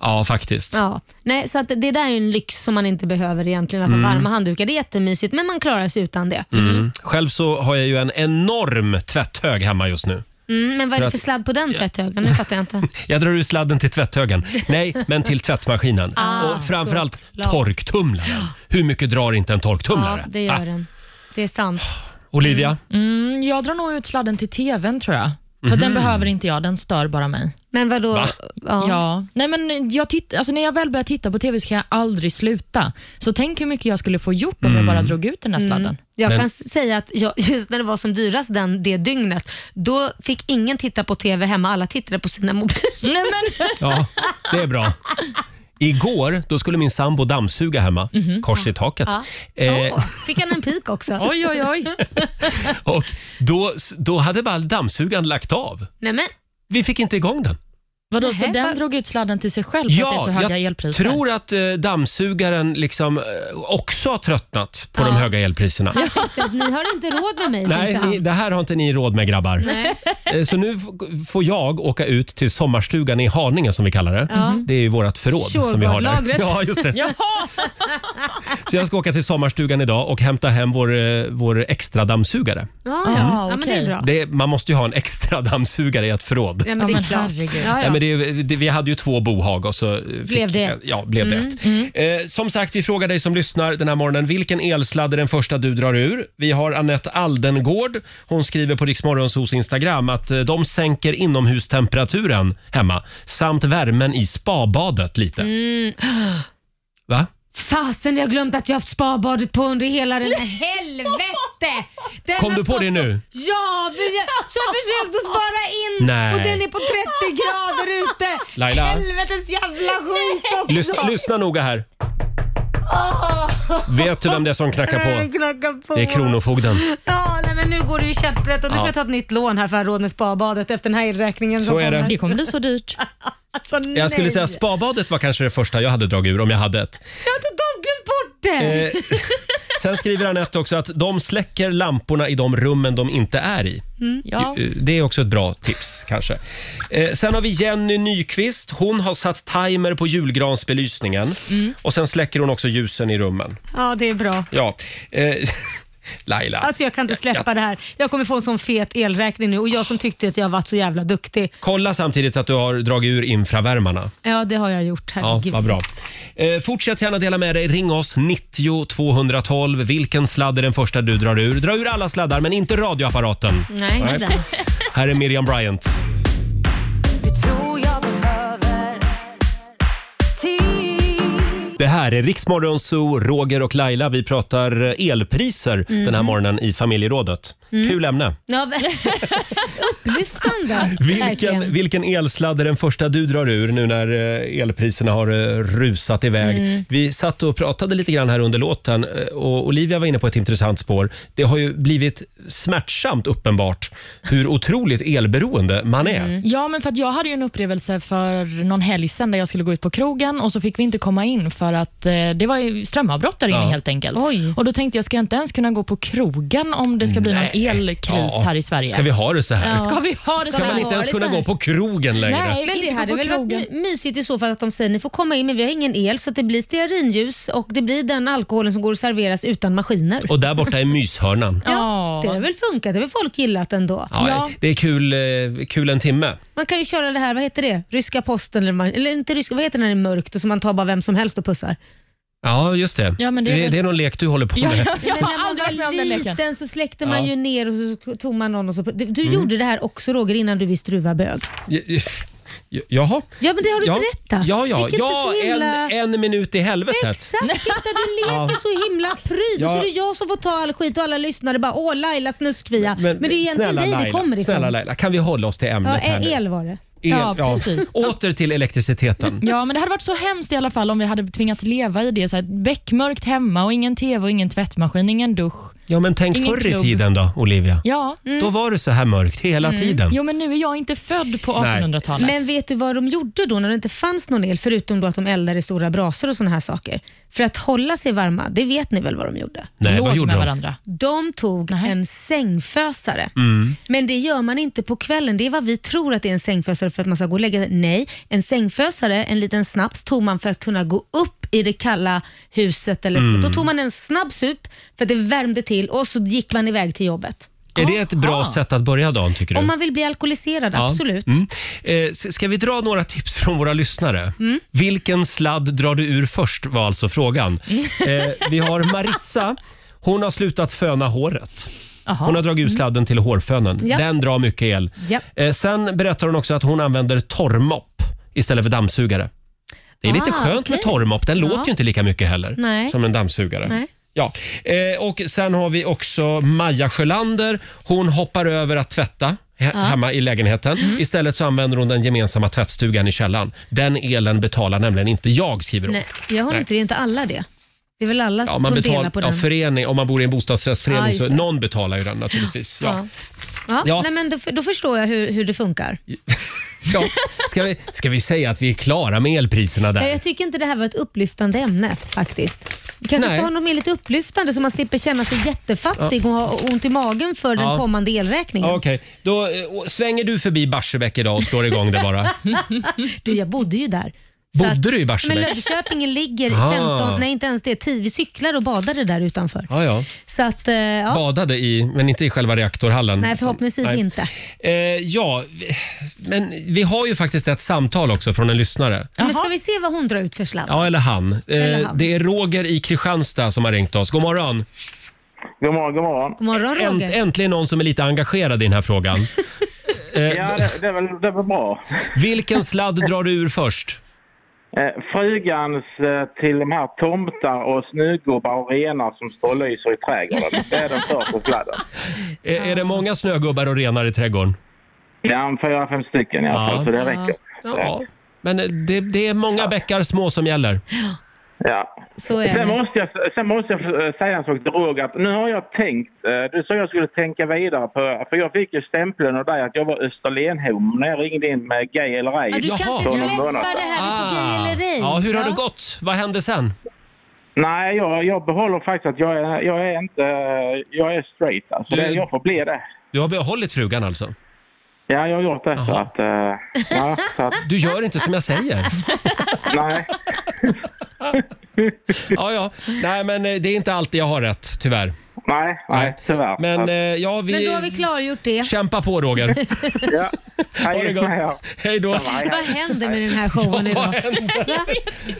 Speaker 1: Ja, faktiskt.
Speaker 2: Ja. Nej, så att det där är ju en lyx som man inte behöver egentligen, att ha varma handdukar. Det är jättemysigt, men man klarar sig utan det. Mm.
Speaker 1: Själv så har jag ju en enorm tvätthög hemma just nu.
Speaker 2: Mm, men vad är det
Speaker 1: att-
Speaker 2: för sladd på den tvätthögen? Nu fattar jag inte.
Speaker 1: Jag drar ur sladden till tvätthögen. Nej, men till tvättmaskinen.
Speaker 2: Ah,
Speaker 1: Och framförallt
Speaker 2: såklart.
Speaker 1: torktumlaren. Hur mycket drar inte en torktumlare?
Speaker 2: Ja, det gör
Speaker 1: Ah,
Speaker 2: den. Det är sant.
Speaker 1: Olivia?
Speaker 5: Mm, jag drar nog ut sladden till tvn tror jag. För att den
Speaker 2: Mhm.
Speaker 5: behöver inte jag, den stör bara mig.
Speaker 2: Men vadå?
Speaker 5: Va?
Speaker 2: Ja.
Speaker 5: Ja. Nej, men jag titt, alltså, när jag väl börjar titta på TV så kan jag aldrig sluta. Så tänk hur mycket jag skulle få gjort om
Speaker 2: Mm.
Speaker 5: jag bara drog ut den här
Speaker 2: Mm.
Speaker 5: sladden.
Speaker 2: Jag kan s- säga att jag, just när det var som dyrast den, det dygnet, då fick ingen titta på TV hemma. Alla tittade på sina mobiler.
Speaker 5: Nej, men.
Speaker 1: Ja, det är bra. Igår då skulle min sambo dammsuga hemma,
Speaker 2: Mhm.
Speaker 1: kors i taket.
Speaker 2: Ja.
Speaker 1: Eh,
Speaker 2: Åh, fick han en pik också?
Speaker 5: Oj, oj, oj.
Speaker 1: och då, då hade bara dammsugaren lagt av.
Speaker 2: Nej, men.
Speaker 1: Vi fick inte igång den.
Speaker 5: Vadå, så
Speaker 2: Nähä,
Speaker 5: den
Speaker 2: vad-
Speaker 5: drog ut sladden till sig själv för att det är så höga elpriser?
Speaker 1: tror att eh, dammsugaren liksom, eh, också har tröttnat på de höga elpriserna.
Speaker 2: Han tyckte att ni har inte råd med mig.
Speaker 1: Nej,
Speaker 2: tänkte han.
Speaker 1: ni, det här har inte ni råd med grabbar.
Speaker 2: Nej.
Speaker 1: Eh, Så nu f- får jag åka ut till sommarstugan i Haninge som vi kallar det.
Speaker 2: Ja.
Speaker 1: Det är ju vårt förråd som vi har där.
Speaker 2: Shurgard-lagret.
Speaker 1: Ja, just det.
Speaker 5: Jaha.
Speaker 1: Så jag ska åka till sommarstugan idag och hämta hem vår, eh, vår extra dammsugare.
Speaker 2: Ja, ja. ja, men det är bra.
Speaker 1: Det, man måste ju ha en extra dammsugare i ett förråd.
Speaker 2: Ja, men det är klart. Ja,
Speaker 1: Nej,
Speaker 2: ja.
Speaker 1: men det, det, vi hade ju två bohag och så eh, fick,
Speaker 2: Blev det ett?
Speaker 1: Ja, blev det
Speaker 2: Mm,
Speaker 1: ett. Eh, som sagt, vi frågar dig som lyssnar den här morgonen vilken elsladd är den första du drar ur? Vi har Annette Aldengård. Hon skriver på Riksmorgonsos Instagram att eh, de sänker inomhustemperaturen hemma samt värmen i spabadet lite.
Speaker 2: Mm.
Speaker 1: Va?
Speaker 2: Fasen, jag har glömt att jag haft spabadet på under hela den här helvete! Den
Speaker 1: Kom
Speaker 2: har
Speaker 1: du på
Speaker 2: stått
Speaker 1: det nu?
Speaker 2: Ja, vi har, så jag försökte spara in
Speaker 1: Nej.
Speaker 2: och den är på 30 grader ute.
Speaker 1: Laila.
Speaker 2: Helvetes jävla skit också.
Speaker 1: Lys, lyssna noga här.
Speaker 2: Ah. Åh!
Speaker 1: Vet du vem det är som knackar
Speaker 2: Nej,
Speaker 1: på?
Speaker 2: knackar på.
Speaker 1: Det är Kronofogden.
Speaker 2: Ja, nej, men nu går det ju käpprätt och nu
Speaker 1: Ja.
Speaker 2: får jag ta ett nytt lån här för att ha råd med spabadet efter den här elräkningen
Speaker 1: Så är det. Det kommer
Speaker 5: bli så dyrt.
Speaker 2: alltså,
Speaker 1: Jag skulle
Speaker 2: nej.
Speaker 1: säga spabadet var kanske det första jag hade dragit ur om jag hade ett.
Speaker 2: Jag har totalt glömt bort det!
Speaker 1: Eh, Sen skriver Anette också att de släcker lamporna i de rummen de inte är i.
Speaker 5: Mm. Ja.
Speaker 1: Eh, Det är också ett bra tips kanske. Eh, Sen har vi Jenny Nyqvist. Hon har satt timer på julgransbelysningen
Speaker 2: Mm.
Speaker 1: och sen släcker hon också ljusen i rummen.
Speaker 2: Ja, det är bra.
Speaker 1: Ja. Eh, Laila,
Speaker 2: Alltså jag kan inte släppa det här. Jag kommer få en sån fet elräkning nu och jag som tyckte att jag varit så jävla duktig.
Speaker 1: kolla samtidigt så att du har dragit ur infravärmarna.
Speaker 2: Ja, det har jag gjort.
Speaker 1: Ja,
Speaker 2: Herregud.
Speaker 1: vad bra. Eh, fortsätt gärna dela med dig. Ring oss 90 212. Vilken sladd är den första du drar ur? Dra ur alla sladdar, men inte radioapparaten.
Speaker 6: Nej, inte den.
Speaker 1: Här är Miriam Bryant.
Speaker 6: Du tror jag behöver tid
Speaker 1: Det här är Riksmorgon Zoo, Roger och Laila. Vi pratar eh, elpriser
Speaker 2: Mm.
Speaker 1: den här morgonen i familjerådet.
Speaker 2: Mm.
Speaker 1: Kul ämne.
Speaker 2: Ja, men- Upplyftande.
Speaker 1: Vilken,
Speaker 2: verkligen.
Speaker 1: vilken elsladd är den första du drar ur nu när eh, elpriserna har eh, rusat iväg?
Speaker 2: Mm.
Speaker 1: Vi satt och pratade lite grann här under låten eh, och Olivia var inne på ett intressant spår. Det har ju blivit smärtsamt uppenbart hur otroligt elberoende man är.
Speaker 5: Ja, men för att jag hade ju en upplevelse för någon helg sedan där jag skulle gå ut på krogen och så fick vi inte komma in för att eh, det var ju strömavbrott där inne
Speaker 1: Ja.
Speaker 5: helt enkelt. Och Då tänkte jag, ska jag inte ens kunna gå på krogen om det ska bli
Speaker 1: Nej.
Speaker 5: någon elkris
Speaker 1: Ja.
Speaker 5: här i Sverige?
Speaker 1: Ska vi ha det så här?
Speaker 5: Ja. Ska vi ha det
Speaker 1: Ska
Speaker 5: så
Speaker 1: man
Speaker 5: här?
Speaker 1: inte ens kunna gå på krogen längre?
Speaker 2: men det
Speaker 5: inte
Speaker 2: hade
Speaker 5: på
Speaker 2: väl varit
Speaker 5: krogen.
Speaker 2: my- mysigt i så fall att de säger ni får komma in men vi har ingen el så att det blir stearinljus och det blir den alkoholen som går att serveras utan maskiner.
Speaker 1: Och där borta är myshörnan.
Speaker 2: Ja, det har väl funkat. Det har väl folk gillat ändå.
Speaker 1: Ja, Det är kul, eh, kul en timme.
Speaker 2: Man kan ju köra det här, vad heter det? Ryska posten eller, man, eller inte ryska, vad heter det när det är mörkt och så man tar bara vem som helst och pussar?
Speaker 1: Ja, just det.
Speaker 2: Ja, men
Speaker 1: det,
Speaker 2: det
Speaker 1: är
Speaker 2: är
Speaker 1: det,
Speaker 2: väl-
Speaker 1: är någon lek du håller på med.
Speaker 2: Men när man
Speaker 5: aldrig varit med
Speaker 2: var
Speaker 5: om den leken.
Speaker 2: liten så släckte
Speaker 1: Ja.
Speaker 2: man ju ner och så tog man någon och så... Du
Speaker 1: Mm.
Speaker 2: gjorde det här också Roger innan du visste du var bög.
Speaker 1: J- j- Jaha.
Speaker 2: Ja men det har du
Speaker 1: ja.
Speaker 2: berättat.
Speaker 1: Ja, ja.
Speaker 2: Vilket
Speaker 1: ja
Speaker 2: så himla-
Speaker 1: en, en minut i helvetet.
Speaker 2: Exakt, titta du
Speaker 1: Ja.
Speaker 2: leker så himla pryd
Speaker 1: Ja.
Speaker 2: och så är det jag som får ta all skit och alla lyssnare bara åh Laila snuskfia. Men, det är egentligen dig det kommer ifrån.
Speaker 1: Snälla Laila, kan vi hålla oss till ämnet
Speaker 2: ja,
Speaker 1: här nu?
Speaker 2: el var det.
Speaker 5: Ja, precis.
Speaker 1: Åter till elektriciteten.
Speaker 5: Ja, men det hade varit så hemskt i alla fall om vi hade tvingats leva i det. Så här, beckmörkt hemma och ingen TV och ingen tvättmaskin, ingen dusch.
Speaker 1: Ja, men tänk
Speaker 5: Ingen
Speaker 1: förr i
Speaker 5: klubb.
Speaker 1: tiden då, Olivia.
Speaker 5: Ja.
Speaker 2: Mm.
Speaker 1: Då var det så här mörkt hela
Speaker 5: Mm.
Speaker 1: tiden.
Speaker 5: Jo, men nu är jag inte född på
Speaker 1: Nej.
Speaker 5: 1800-talet.
Speaker 2: Men vet du vad de gjorde då när det inte fanns någon el förutom då att de eldade i stora brasor och såna här saker? För att hålla sig varma, det vet ni väl vad de gjorde?
Speaker 1: Nej, vad Låg gjorde med de? varandra.
Speaker 2: De tog en sängfösare.
Speaker 1: Mm.
Speaker 2: Men det gör man inte på kvällen. Det är vad vi tror att det är en sängfösare för att man ska gå och lägga sig. Nej, en sängfösare, en liten snaps, tog man för att kunna gå upp i det kalla huset. Eller så.
Speaker 1: Mm.
Speaker 2: Då tog man en snabb sup för att det värmde till och så gick man iväg till jobbet.
Speaker 1: Är det ett bra sätt att börja dagen tycker du?
Speaker 2: Om man vill bli alkoholiserad,
Speaker 1: Ja.
Speaker 2: absolut.
Speaker 1: Mm. Eh, s- ska vi dra några tips från våra lyssnare?
Speaker 2: Mm.
Speaker 1: Vilken sladd drar du ur först var alltså frågan. Eh, vi har Marissa. Hon har slutat föna håret.
Speaker 5: Jaha.
Speaker 1: Hon har dragit ur sladden till hårfönen.
Speaker 2: Mm. Ja.
Speaker 1: Den drar mycket el.
Speaker 2: Ja.
Speaker 1: Eh, sen berättar hon också att hon använder torrmopp istället för dammsugare. Det är lite
Speaker 2: Ah,
Speaker 1: skönt med
Speaker 2: okej.
Speaker 1: torrmopp. Den
Speaker 2: Ja.
Speaker 1: låter ju inte lika mycket heller
Speaker 2: Nej.
Speaker 1: som en dammsugare.
Speaker 2: Nej.
Speaker 1: Ja. Eh, och sen har vi också Maja Sjölander. Hon hoppar över att tvätta he- hemma i lägenheten.
Speaker 2: Mm.
Speaker 1: Istället så använder hon den gemensamma tvättstugan i källaren. Den elen betalar nämligen inte jag, skriver hon.
Speaker 2: Nej, jag har
Speaker 1: Nej.
Speaker 2: inte, det är inte alla det. Det är väl alla
Speaker 1: Ja,
Speaker 2: som
Speaker 1: man
Speaker 2: delar
Speaker 1: betalar,
Speaker 2: på
Speaker 1: ja,
Speaker 2: den.
Speaker 1: förening, om man bor i en
Speaker 2: Ja,
Speaker 1: bostadsrättsförening
Speaker 2: just
Speaker 1: så
Speaker 2: det.
Speaker 1: någon betalar ju den naturligtvis. Ja.
Speaker 2: Ja. Ja,
Speaker 1: Ja.
Speaker 2: Nej, men då, då förstår jag hur, hur det funkar.
Speaker 1: Ja. Ska, vi, ska vi säga att vi är klara med elpriserna
Speaker 2: Ja,
Speaker 1: där?
Speaker 2: jag tycker inte det här var ett upplyftande ämne faktiskt. Vi kanske
Speaker 1: Nej.
Speaker 2: ska ha något mer lite upplyftande så man slipper känna sig jättefattig och ha ont i magen för
Speaker 1: Ja.
Speaker 2: den kommande elräkningen.
Speaker 1: Ja, Okej, då eh, svänger du förbi Barsebäck idag och slår igång det bara.
Speaker 2: Du, jag bodde ju där. Så att-
Speaker 1: Bodde du i
Speaker 2: Men
Speaker 1: Barsebäck?
Speaker 2: Löfköpingen ligger
Speaker 1: Ah.
Speaker 2: 15, nej inte ens det, 10. Vi cyklade och badade där utanför.
Speaker 1: Ja, ja.
Speaker 2: Så att, eh, ja.
Speaker 1: Badade i, men inte i själva reaktorhallen.
Speaker 2: Nej, förhoppningsvis
Speaker 1: Nej.
Speaker 2: inte.
Speaker 1: Eh, ja, vi- men vi har ju faktiskt ett samtal också från en lyssnare.
Speaker 2: Men ska vi se vad hon drar ut för sladd?
Speaker 1: Ja, eller han. Eh,
Speaker 2: Eller han.
Speaker 1: Det är Roger i Kristianstad som har ringt oss. God morgon!
Speaker 12: God morgon, god morgon.
Speaker 2: God morgon
Speaker 1: Änt,
Speaker 2: Roger.
Speaker 1: äntligen någon som är lite engagerad i den här frågan. Eh,
Speaker 12: Ja, det, det, är väl, det är väl bra.
Speaker 1: Vilken sladd drar du ur först?
Speaker 12: Eh, frugans eh, till de här tomtar och snögubbar och renar som står och lyser i trädgården. Det är den första sladden.
Speaker 1: Är, är det många snögubbar och renar i trädgården?
Speaker 12: Ja, en fyra, fem stycken i alla fall,
Speaker 1: Ja.
Speaker 12: så det räcker.
Speaker 1: Ja, men eh, det, det är många bäckar små som gäller.
Speaker 12: Ja.
Speaker 2: Så är
Speaker 12: Sen
Speaker 2: det.
Speaker 12: måste, jag, sen måste jag eh, säga en sak till Roger. att Nu har jag tänkt, eh, du sa jag skulle tänka vidare på, för jag fick ju stämpeln av dig att jag var Österlenhom när jag ringde in med gay eller ej.
Speaker 2: Ja, du kan
Speaker 1: Jaha.
Speaker 2: inte
Speaker 12: Någon
Speaker 2: släppa
Speaker 12: månad.
Speaker 2: det här med på gay eller ej.
Speaker 1: Ah. Ja, hur har det gått? Vad hände sen?
Speaker 12: Nej, jag, jag behåller faktiskt att jag är, jag är inte, eh, jag är straight alltså.
Speaker 1: Du-
Speaker 12: Det, jag får bli det.
Speaker 1: Du har behållit frugan alltså?
Speaker 12: Ja, jag har gjort det så
Speaker 1: Jaha.
Speaker 12: att, eh, ja, så att,
Speaker 1: Du gör inte som jag säger.
Speaker 12: nej.
Speaker 1: Ja, ja. Nej, men eh, det är inte alltid jag har rätt, tyvärr.
Speaker 12: Nej, nej, tyvärr. Så
Speaker 1: Men
Speaker 12: att,
Speaker 1: eh, ja,
Speaker 2: Men då har
Speaker 1: vi...
Speaker 2: vi klargjort det.
Speaker 1: Kämpa på Roger.
Speaker 12: ja.
Speaker 1: Ha det gott. Hej då.
Speaker 2: Vad händer med den här showen
Speaker 1: Ja,
Speaker 2: idag?
Speaker 1: vad händer?
Speaker 2: Va?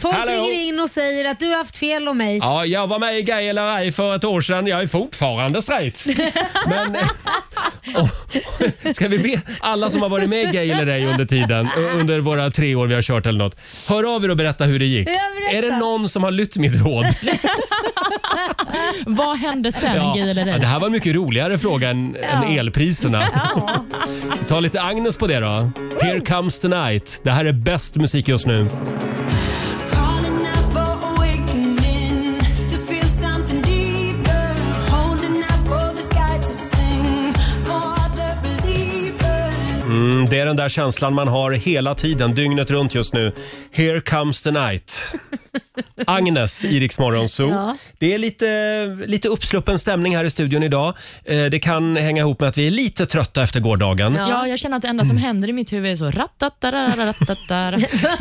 Speaker 2: Folk
Speaker 1: Hallå?
Speaker 2: ringer in och säger att du har haft fel om mig.
Speaker 1: Ja, jag var med i Gay eller ej för ett år sedan. Jag är fortfarande straight. Men, eh, åh, ska vi be alla som har varit med i Gay eller ej under tiden, eh, under våra tre år vi har kört eller något. Hör av er och berätta hur det gick.
Speaker 2: Ja, berätta.
Speaker 1: Är det någon som har lytt mitt råd?
Speaker 5: Vad hände sen, Gay eller
Speaker 1: Ja,
Speaker 5: ej?
Speaker 1: det här var en mycket roligare fråga än, än elpriserna.
Speaker 2: Ja.
Speaker 1: Ta lite Agnes på det då. Here comes the night. Det här är bäst musik just nu. Mm,
Speaker 11: Calling out for awakening to feel something deeper. Holding out for the sky to sing for all the believers.
Speaker 1: Mm, det är den där känslan man har hela tiden, dygnet runt just nu. Here comes the night. Agnes i Rix Morgon Zoo.
Speaker 2: Ja.
Speaker 1: Det är lite, lite uppsluppen stämning här i studion idag. Eh, Det kan hänga ihop med att vi är lite trötta efter gårdagen.
Speaker 5: Ja, jag känner att det enda som händer i mitt huvud är så rattatararatatara.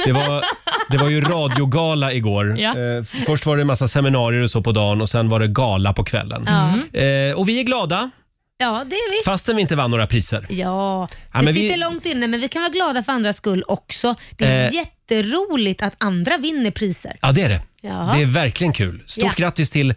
Speaker 1: Det, var, det var ju radiogala igår.
Speaker 5: Ja.
Speaker 1: Eh, f- Först var det en massa seminarier och så på dagen och sen var det gala på kvällen. Eh, Och vi är glada,
Speaker 2: ja, det är vi.
Speaker 1: fastän vi inte vann några priser.
Speaker 2: Ja,
Speaker 1: Ja,
Speaker 2: det
Speaker 1: men vi-
Speaker 2: sitter långt inne men vi kan vara glada för andras skull också. Det är
Speaker 1: Eh.
Speaker 2: jätteroligt att andra vinner priser.
Speaker 1: Ja, det är det.
Speaker 2: Ja.
Speaker 1: Det är verkligen kul. Stort
Speaker 2: Ja.
Speaker 1: grattis till,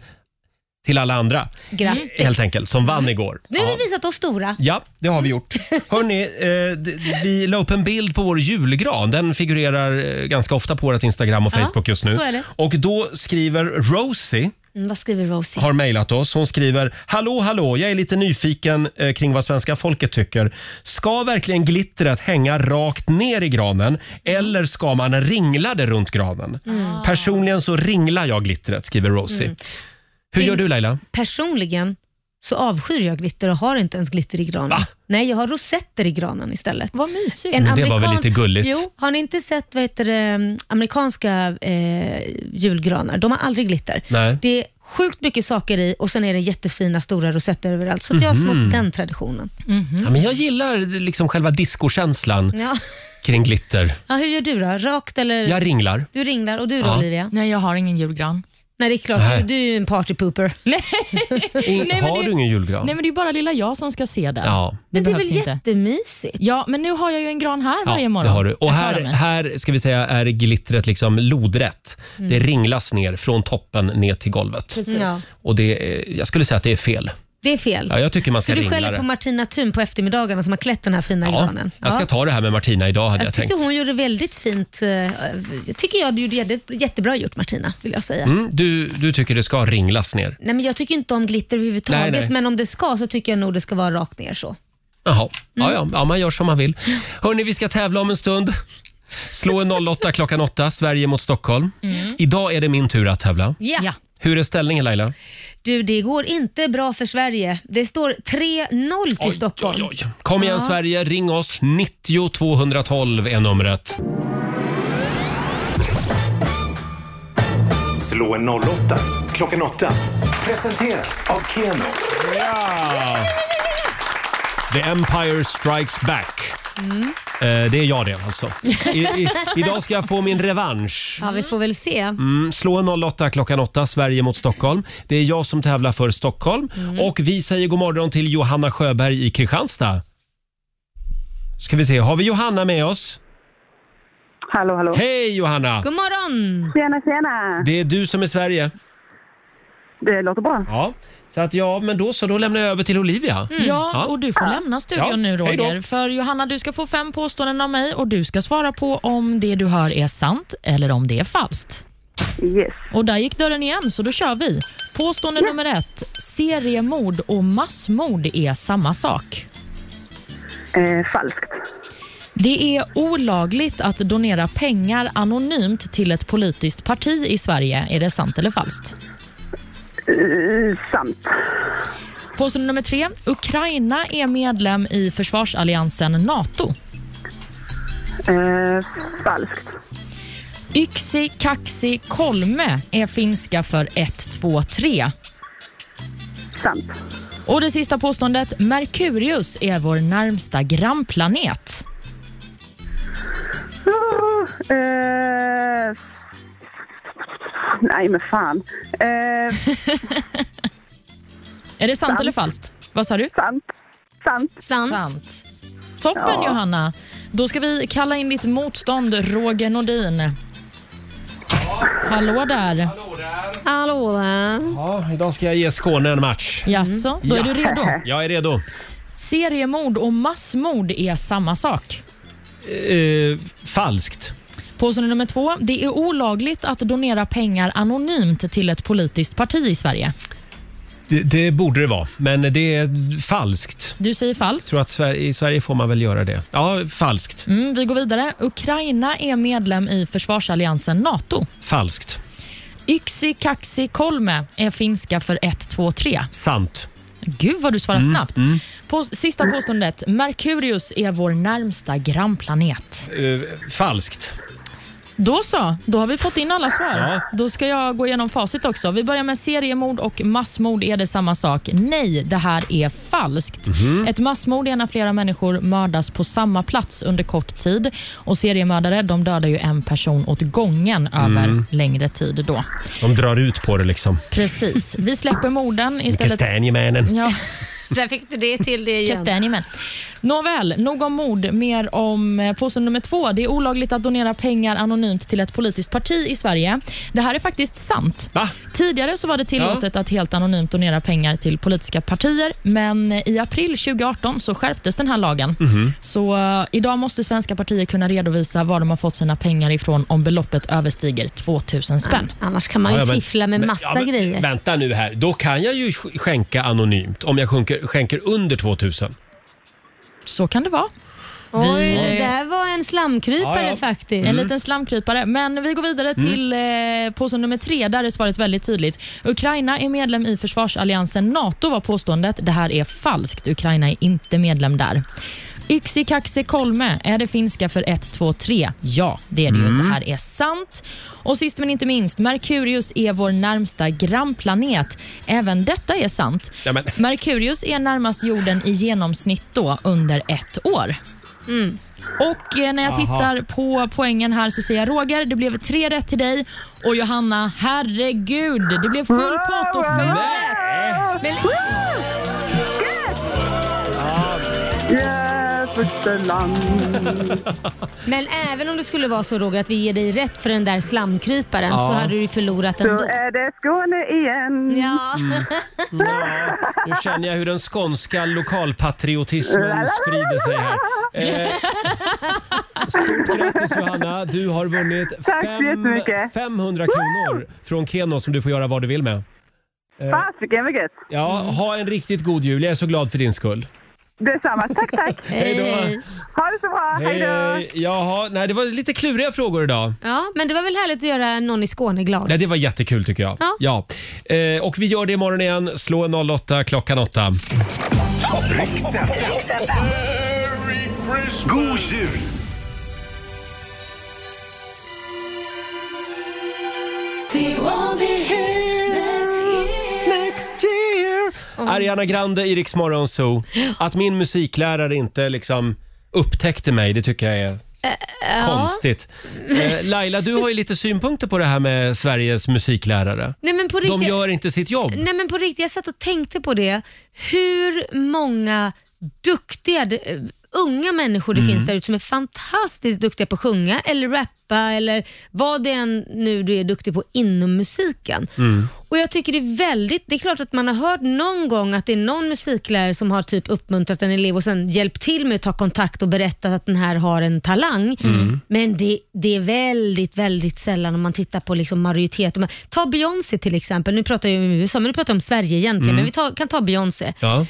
Speaker 1: till alla andra,
Speaker 2: Grattis.
Speaker 1: helt enkelt, som vann igår.
Speaker 2: Mm. Nu
Speaker 1: Mm. Ja.
Speaker 2: har vi visat oss stora.
Speaker 1: Ja, det har vi gjort. Hörrni, eh, d- vi la upp en bild på vår julgran. Den figurerar eh, ganska ofta på vårt Instagram och
Speaker 2: Ja,
Speaker 1: Facebook just nu.
Speaker 2: så är det.
Speaker 1: Och då skriver Rosie,
Speaker 2: Mm, vad skriver Rosie?
Speaker 1: har mejlat oss. Hon skriver “Hallå, hallå, jag är lite nyfiken eh, kring vad svenska folket tycker. Ska verkligen glittret hänga rakt ner i granen eller ska man ringla det runt granen?
Speaker 5: Mm.
Speaker 1: Personligen så ringlar jag glittret”, skriver Rosie. Hur gör du Laila?
Speaker 2: Personligen så avskyr jag glitter och har inte ens glitter i granen.
Speaker 1: Va?
Speaker 2: Nej, jag har rosetter i granen istället.
Speaker 5: Vad mysigt.
Speaker 2: En
Speaker 1: Men det var väl
Speaker 2: amerikansk-
Speaker 1: lite gulligt?
Speaker 2: Jo, har ni inte sett vad heter det, mm, amerikanska eh, julgranar? De har aldrig glitter.
Speaker 1: Nej.
Speaker 2: Det är sjukt mycket saker i och sen är det jättefina stora rosetter överallt. Så att jag
Speaker 1: Mhm.
Speaker 2: har snott den traditionen.
Speaker 5: Mm.
Speaker 1: Ja, men jag gillar liksom själva diskokänslan
Speaker 2: Ja.
Speaker 1: kring
Speaker 5: Mm.
Speaker 1: glitter.
Speaker 2: Ja, hur gör du då? Rakt eller?
Speaker 1: Jag ringlar.
Speaker 2: Du ringlar och du då
Speaker 1: Ja.
Speaker 2: Olivia?
Speaker 5: Nej, jag har ingen julgran.
Speaker 2: Nej, det är klart.
Speaker 1: Nej.
Speaker 2: Du, du är ju en partypooper.
Speaker 5: Nej,
Speaker 1: In,
Speaker 5: men
Speaker 1: har
Speaker 5: det-
Speaker 1: du ingen julgran?
Speaker 5: Nej, men det är ju bara lilla jag som ska se den.
Speaker 1: Ja.
Speaker 5: Det,
Speaker 2: Men det är
Speaker 5: behövs
Speaker 2: väl
Speaker 5: inte.
Speaker 2: jättemysigt?
Speaker 5: Ja, men nu har jag ju en gran här varje
Speaker 1: Ja,
Speaker 5: morgon.
Speaker 1: det har du. Och
Speaker 5: Jag klarar
Speaker 1: här,
Speaker 5: mig.
Speaker 1: här ska vi säga är glittret liksom lodrätt.
Speaker 5: Mm.
Speaker 1: Det ringlas ner från toppen ner till golvet.
Speaker 5: Precis.
Speaker 2: Ja.
Speaker 1: Och det, är- jag skulle säga att det är fel.
Speaker 2: Det är fel.
Speaker 1: Ja, jag tycker man ska
Speaker 2: så du
Speaker 1: ringla
Speaker 2: skäller
Speaker 1: det.
Speaker 2: på Martina Thun på eftermiddagarna som har klätt den här fina granen?
Speaker 1: Jag ska
Speaker 2: Ja.
Speaker 1: ta det här med Martina idag hade jag,
Speaker 2: jag
Speaker 1: tänkt.
Speaker 2: tyckte hon gjorde väldigt fint. eh, Jag tycker jag du gjorde jätte- jättebra gjort Martina, vill jag säga.
Speaker 1: Mm, du, du tycker det ska ringlas ner?
Speaker 2: Nej, men jag tycker inte om glitter överhuvudtaget,
Speaker 1: Nej, nej.
Speaker 2: men om det ska så tycker jag nog det ska vara rakt ner så.
Speaker 1: Jaha, ja,
Speaker 2: Mm.
Speaker 1: ja, ja, man gör som man vill. Hörni, vi ska tävla om en stund. Slå en 08 klockan 8, Sverige mot Stockholm.
Speaker 2: Mm.
Speaker 1: Idag är det min tur att tävla.
Speaker 2: Ja.
Speaker 1: Hur är ställningen Laila?
Speaker 2: Du, det går inte bra för Sverige. Det står 3-0 till Stockholm.
Speaker 1: Kom igen
Speaker 2: Ja.
Speaker 1: Sverige, ring oss. 90 212 är numret.
Speaker 7: Slå en 08 klockan 8. Presenteras av Keno.
Speaker 1: Ja! The Empire Strikes Back.
Speaker 2: Mm.
Speaker 1: Eh, det är jag det alltså. I, i, idag ska jag få min revansch.
Speaker 2: Ja, vi får väl se.
Speaker 1: Mm, slå en 08 klockan 8, Sverige mot Stockholm. Det är jag som tävlar för Stockholm.
Speaker 2: Mm.
Speaker 1: Och vi säger god morgon till Johanna Sjöberg i Kristianstad. Ska vi se, har vi Johanna med oss?
Speaker 8: Hallå, hallå.
Speaker 1: Hej Johanna!
Speaker 2: God morgon!
Speaker 8: Tjena, tjena.
Speaker 1: Det är du som är Sverige.
Speaker 8: Det låter bra.
Speaker 1: Ja, så att ja, men då så, då lämnar jag över till Olivia.
Speaker 2: Mm.
Speaker 5: Ja, och du får lämna studion
Speaker 1: Ja,
Speaker 5: nu
Speaker 1: hej då.
Speaker 5: Roger. För Johanna, du ska få fem påståenden av mig och du ska svara på om det du hör är sant eller om det är falskt.
Speaker 8: Yes.
Speaker 5: Och där gick dörren igen, så då kör vi. Påstående nummer ett. Seriemord och massmord är samma sak.
Speaker 8: falskt.
Speaker 5: Det är olagligt att donera pengar anonymt till ett politiskt parti i Sverige. Är det sant eller falskt?
Speaker 8: sant.
Speaker 5: Påstående nummer tre. Ukraina är medlem i försvarsalliansen NATO.
Speaker 8: Eh, falskt.
Speaker 5: Yksi kaxi kolme är finska för 1, 2, 3.
Speaker 8: Sant.
Speaker 5: Och det sista påståendet. Merkurius är vår närmsta grannplanet.
Speaker 8: Eh, nej, men fan. Eh,
Speaker 5: Är det sant,
Speaker 8: Sant.
Speaker 5: eller falskt? Vad sa du?
Speaker 8: Sant. Sant.
Speaker 2: Sant.
Speaker 5: Toppen
Speaker 8: Ja.
Speaker 5: Johanna. Då ska vi kalla in ditt motstånd Roger Nordin. Hallå där.
Speaker 2: Hallå
Speaker 1: Ja, idag ska jag ge Skåne en match.
Speaker 5: Jaså, då är du redo?
Speaker 1: Jag är redo.
Speaker 5: Seriemord och massmord är samma sak.
Speaker 1: Eh, falskt.
Speaker 5: Påstående nummer två. Det är olagligt att donera pengar anonymt till ett politiskt parti i Sverige.
Speaker 1: Det, det borde det vara, men det är falskt.
Speaker 5: Du säger
Speaker 1: Jag
Speaker 5: falskt.
Speaker 1: tror att Sverige, i Sverige får man väl göra det. Ja, falskt.
Speaker 5: Mm, vi går vidare. Ukraina är medlem i försvarsalliansen NATO.
Speaker 1: Falskt.
Speaker 5: Yksi kaxi kolme är finska för 1, 2, 3.
Speaker 1: Sant.
Speaker 5: Gud vad du svarar
Speaker 1: Mm,
Speaker 5: snabbt.
Speaker 1: mm.
Speaker 5: På, sista påståendet. Merkurius är vår närmsta grannplanet.
Speaker 1: Eh, falskt.
Speaker 5: Då så, då har vi fått in alla svar.
Speaker 1: Ja.
Speaker 5: Då ska jag gå igenom facit också. Vi börjar med seriemord och massmord. Är det samma sak? Nej, det här är falskt.
Speaker 1: Mhm.
Speaker 5: Ett massmord är när flera människor mördas på samma plats under kort tid. Och Seriemördare de dödar ju en person åt gången
Speaker 1: Mm.
Speaker 5: över längre tid. då.
Speaker 1: De drar ut på det liksom.
Speaker 5: Precis. Vi släpper morden istället.
Speaker 1: Kastanjemännen.
Speaker 5: Ja.
Speaker 2: Där fick du det till det igen.
Speaker 5: Kastanjemän. Nåväl, nog om mord. Mer om eh, påstående nummer två. Det är olagligt att donera pengar anonymt till ett politiskt parti i Sverige. Det här är faktiskt sant. Tidigare så var det tillåtet att helt anonymt donera pengar till politiska partier, men eh, i april 2018 så skärptes den här lagen.
Speaker 6: Mhm.
Speaker 5: Så eh, idag måste svenska partier kunna redovisa var de har fått sina pengar ifrån om beloppet överstiger 2000 spänn.
Speaker 2: Annars kan man ju
Speaker 1: Ja, ja, men-
Speaker 2: fiffla med
Speaker 1: men-
Speaker 2: massa
Speaker 1: ja, men-
Speaker 2: grejer.
Speaker 1: Vänta nu här. Då kan jag ju sk- skänka anonymt om jag skänker, skänker under 2000.
Speaker 5: Så kan det vara.
Speaker 2: Oj,
Speaker 5: Vi-
Speaker 2: det där var en slamkrypare
Speaker 5: Ja, ja.
Speaker 2: faktiskt.
Speaker 1: Mm.
Speaker 5: En liten slamkrypare. Men vi går vidare till eh, påstående nummer tre. Där är svaret väldigt tydligt. Ukraina är medlem i försvarsalliansen NATO var påståendet. Det här är falskt. Ukraina är inte medlem där. Yksi kaxi kolme, är det finska för 1, 2, 3? Ja, det är det ju.
Speaker 6: Mm.
Speaker 5: Det här är sant. Och sist men inte minst, Merkurius är vår närmsta grannplanet. Även detta är sant.
Speaker 1: Ja, men.
Speaker 5: Merkurius är närmast jorden i genomsnitt då under ett år. Och eh, när jag
Speaker 6: Aha.
Speaker 5: tittar på poängen här så ser jag Roger, det blev tre rätt till dig. Och Johanna, herregud, det blev full pott och fem rätt. Men-
Speaker 2: Men även om det skulle vara så Roger att vi ger dig rätt för den där slamkryparen
Speaker 1: Ja.
Speaker 2: så hade du ju förlorat
Speaker 8: Då
Speaker 2: ändå.
Speaker 8: är det Skåne igen.
Speaker 2: Ja.
Speaker 1: Mm. Ja. Nu känner jag hur den skånska lokalpatriotismen sprider sig här. Eh, stort grattis Johanna, du har vunnit
Speaker 6: Tack så jättemycket.
Speaker 1: 500 kronor från Keno som du får göra vad du vill med. Eh,
Speaker 6: Fasiken vad gött.
Speaker 1: ja, ha en riktigt god jul. Jag är så glad för din skull.
Speaker 6: Detsamma. Tack, tack.
Speaker 1: Hej då.
Speaker 6: Ha det så bra. Hej då.
Speaker 1: Jaha, nej det var lite kluriga frågor idag.
Speaker 2: Ja, men det var väl härligt att göra någon i Skåne glad.
Speaker 1: Nej, det var jättekul tycker jag. Ja. Eh, och vi gör det imorgon igen. Slå en 08 klockan 8.
Speaker 7: Riks FM. God jul!
Speaker 1: Ariana Grande i Rix Morgon Zoo. Att min musiklärare inte liksom upptäckte mig, det tycker jag är konstigt. Eh, Laila, du har ju lite synpunkter på det här med Sveriges musiklärare.
Speaker 2: Nej, men på riktigt,
Speaker 1: De gör inte sitt jobb.
Speaker 2: Nej men på riktigt, jag satt och tänkte på det. Hur många duktiga, eh, unga människor det
Speaker 1: Mm.
Speaker 2: finns där ute som är fantastiskt duktiga på att sjunga eller rappa eller vad det än nu du är duktig på inom musiken.
Speaker 6: Mm.
Speaker 2: Och jag tycker det är väldigt, det är klart att man har hört någon gång att det är någon musiklärare som har typ uppmuntrat en elev och sen hjälpt till med att ta kontakt och berättat att den här har en talang.
Speaker 6: Mm.
Speaker 2: Men det, det är väldigt, väldigt sällan om man tittar på liksom majoriteten. Men Ta Beyoncé till exempel, nu pratar jag ju om USA, men nu pratar jag om Sverige egentligen,
Speaker 6: Mm.
Speaker 2: men vi tar, kan ta Beyoncé.
Speaker 1: Ja.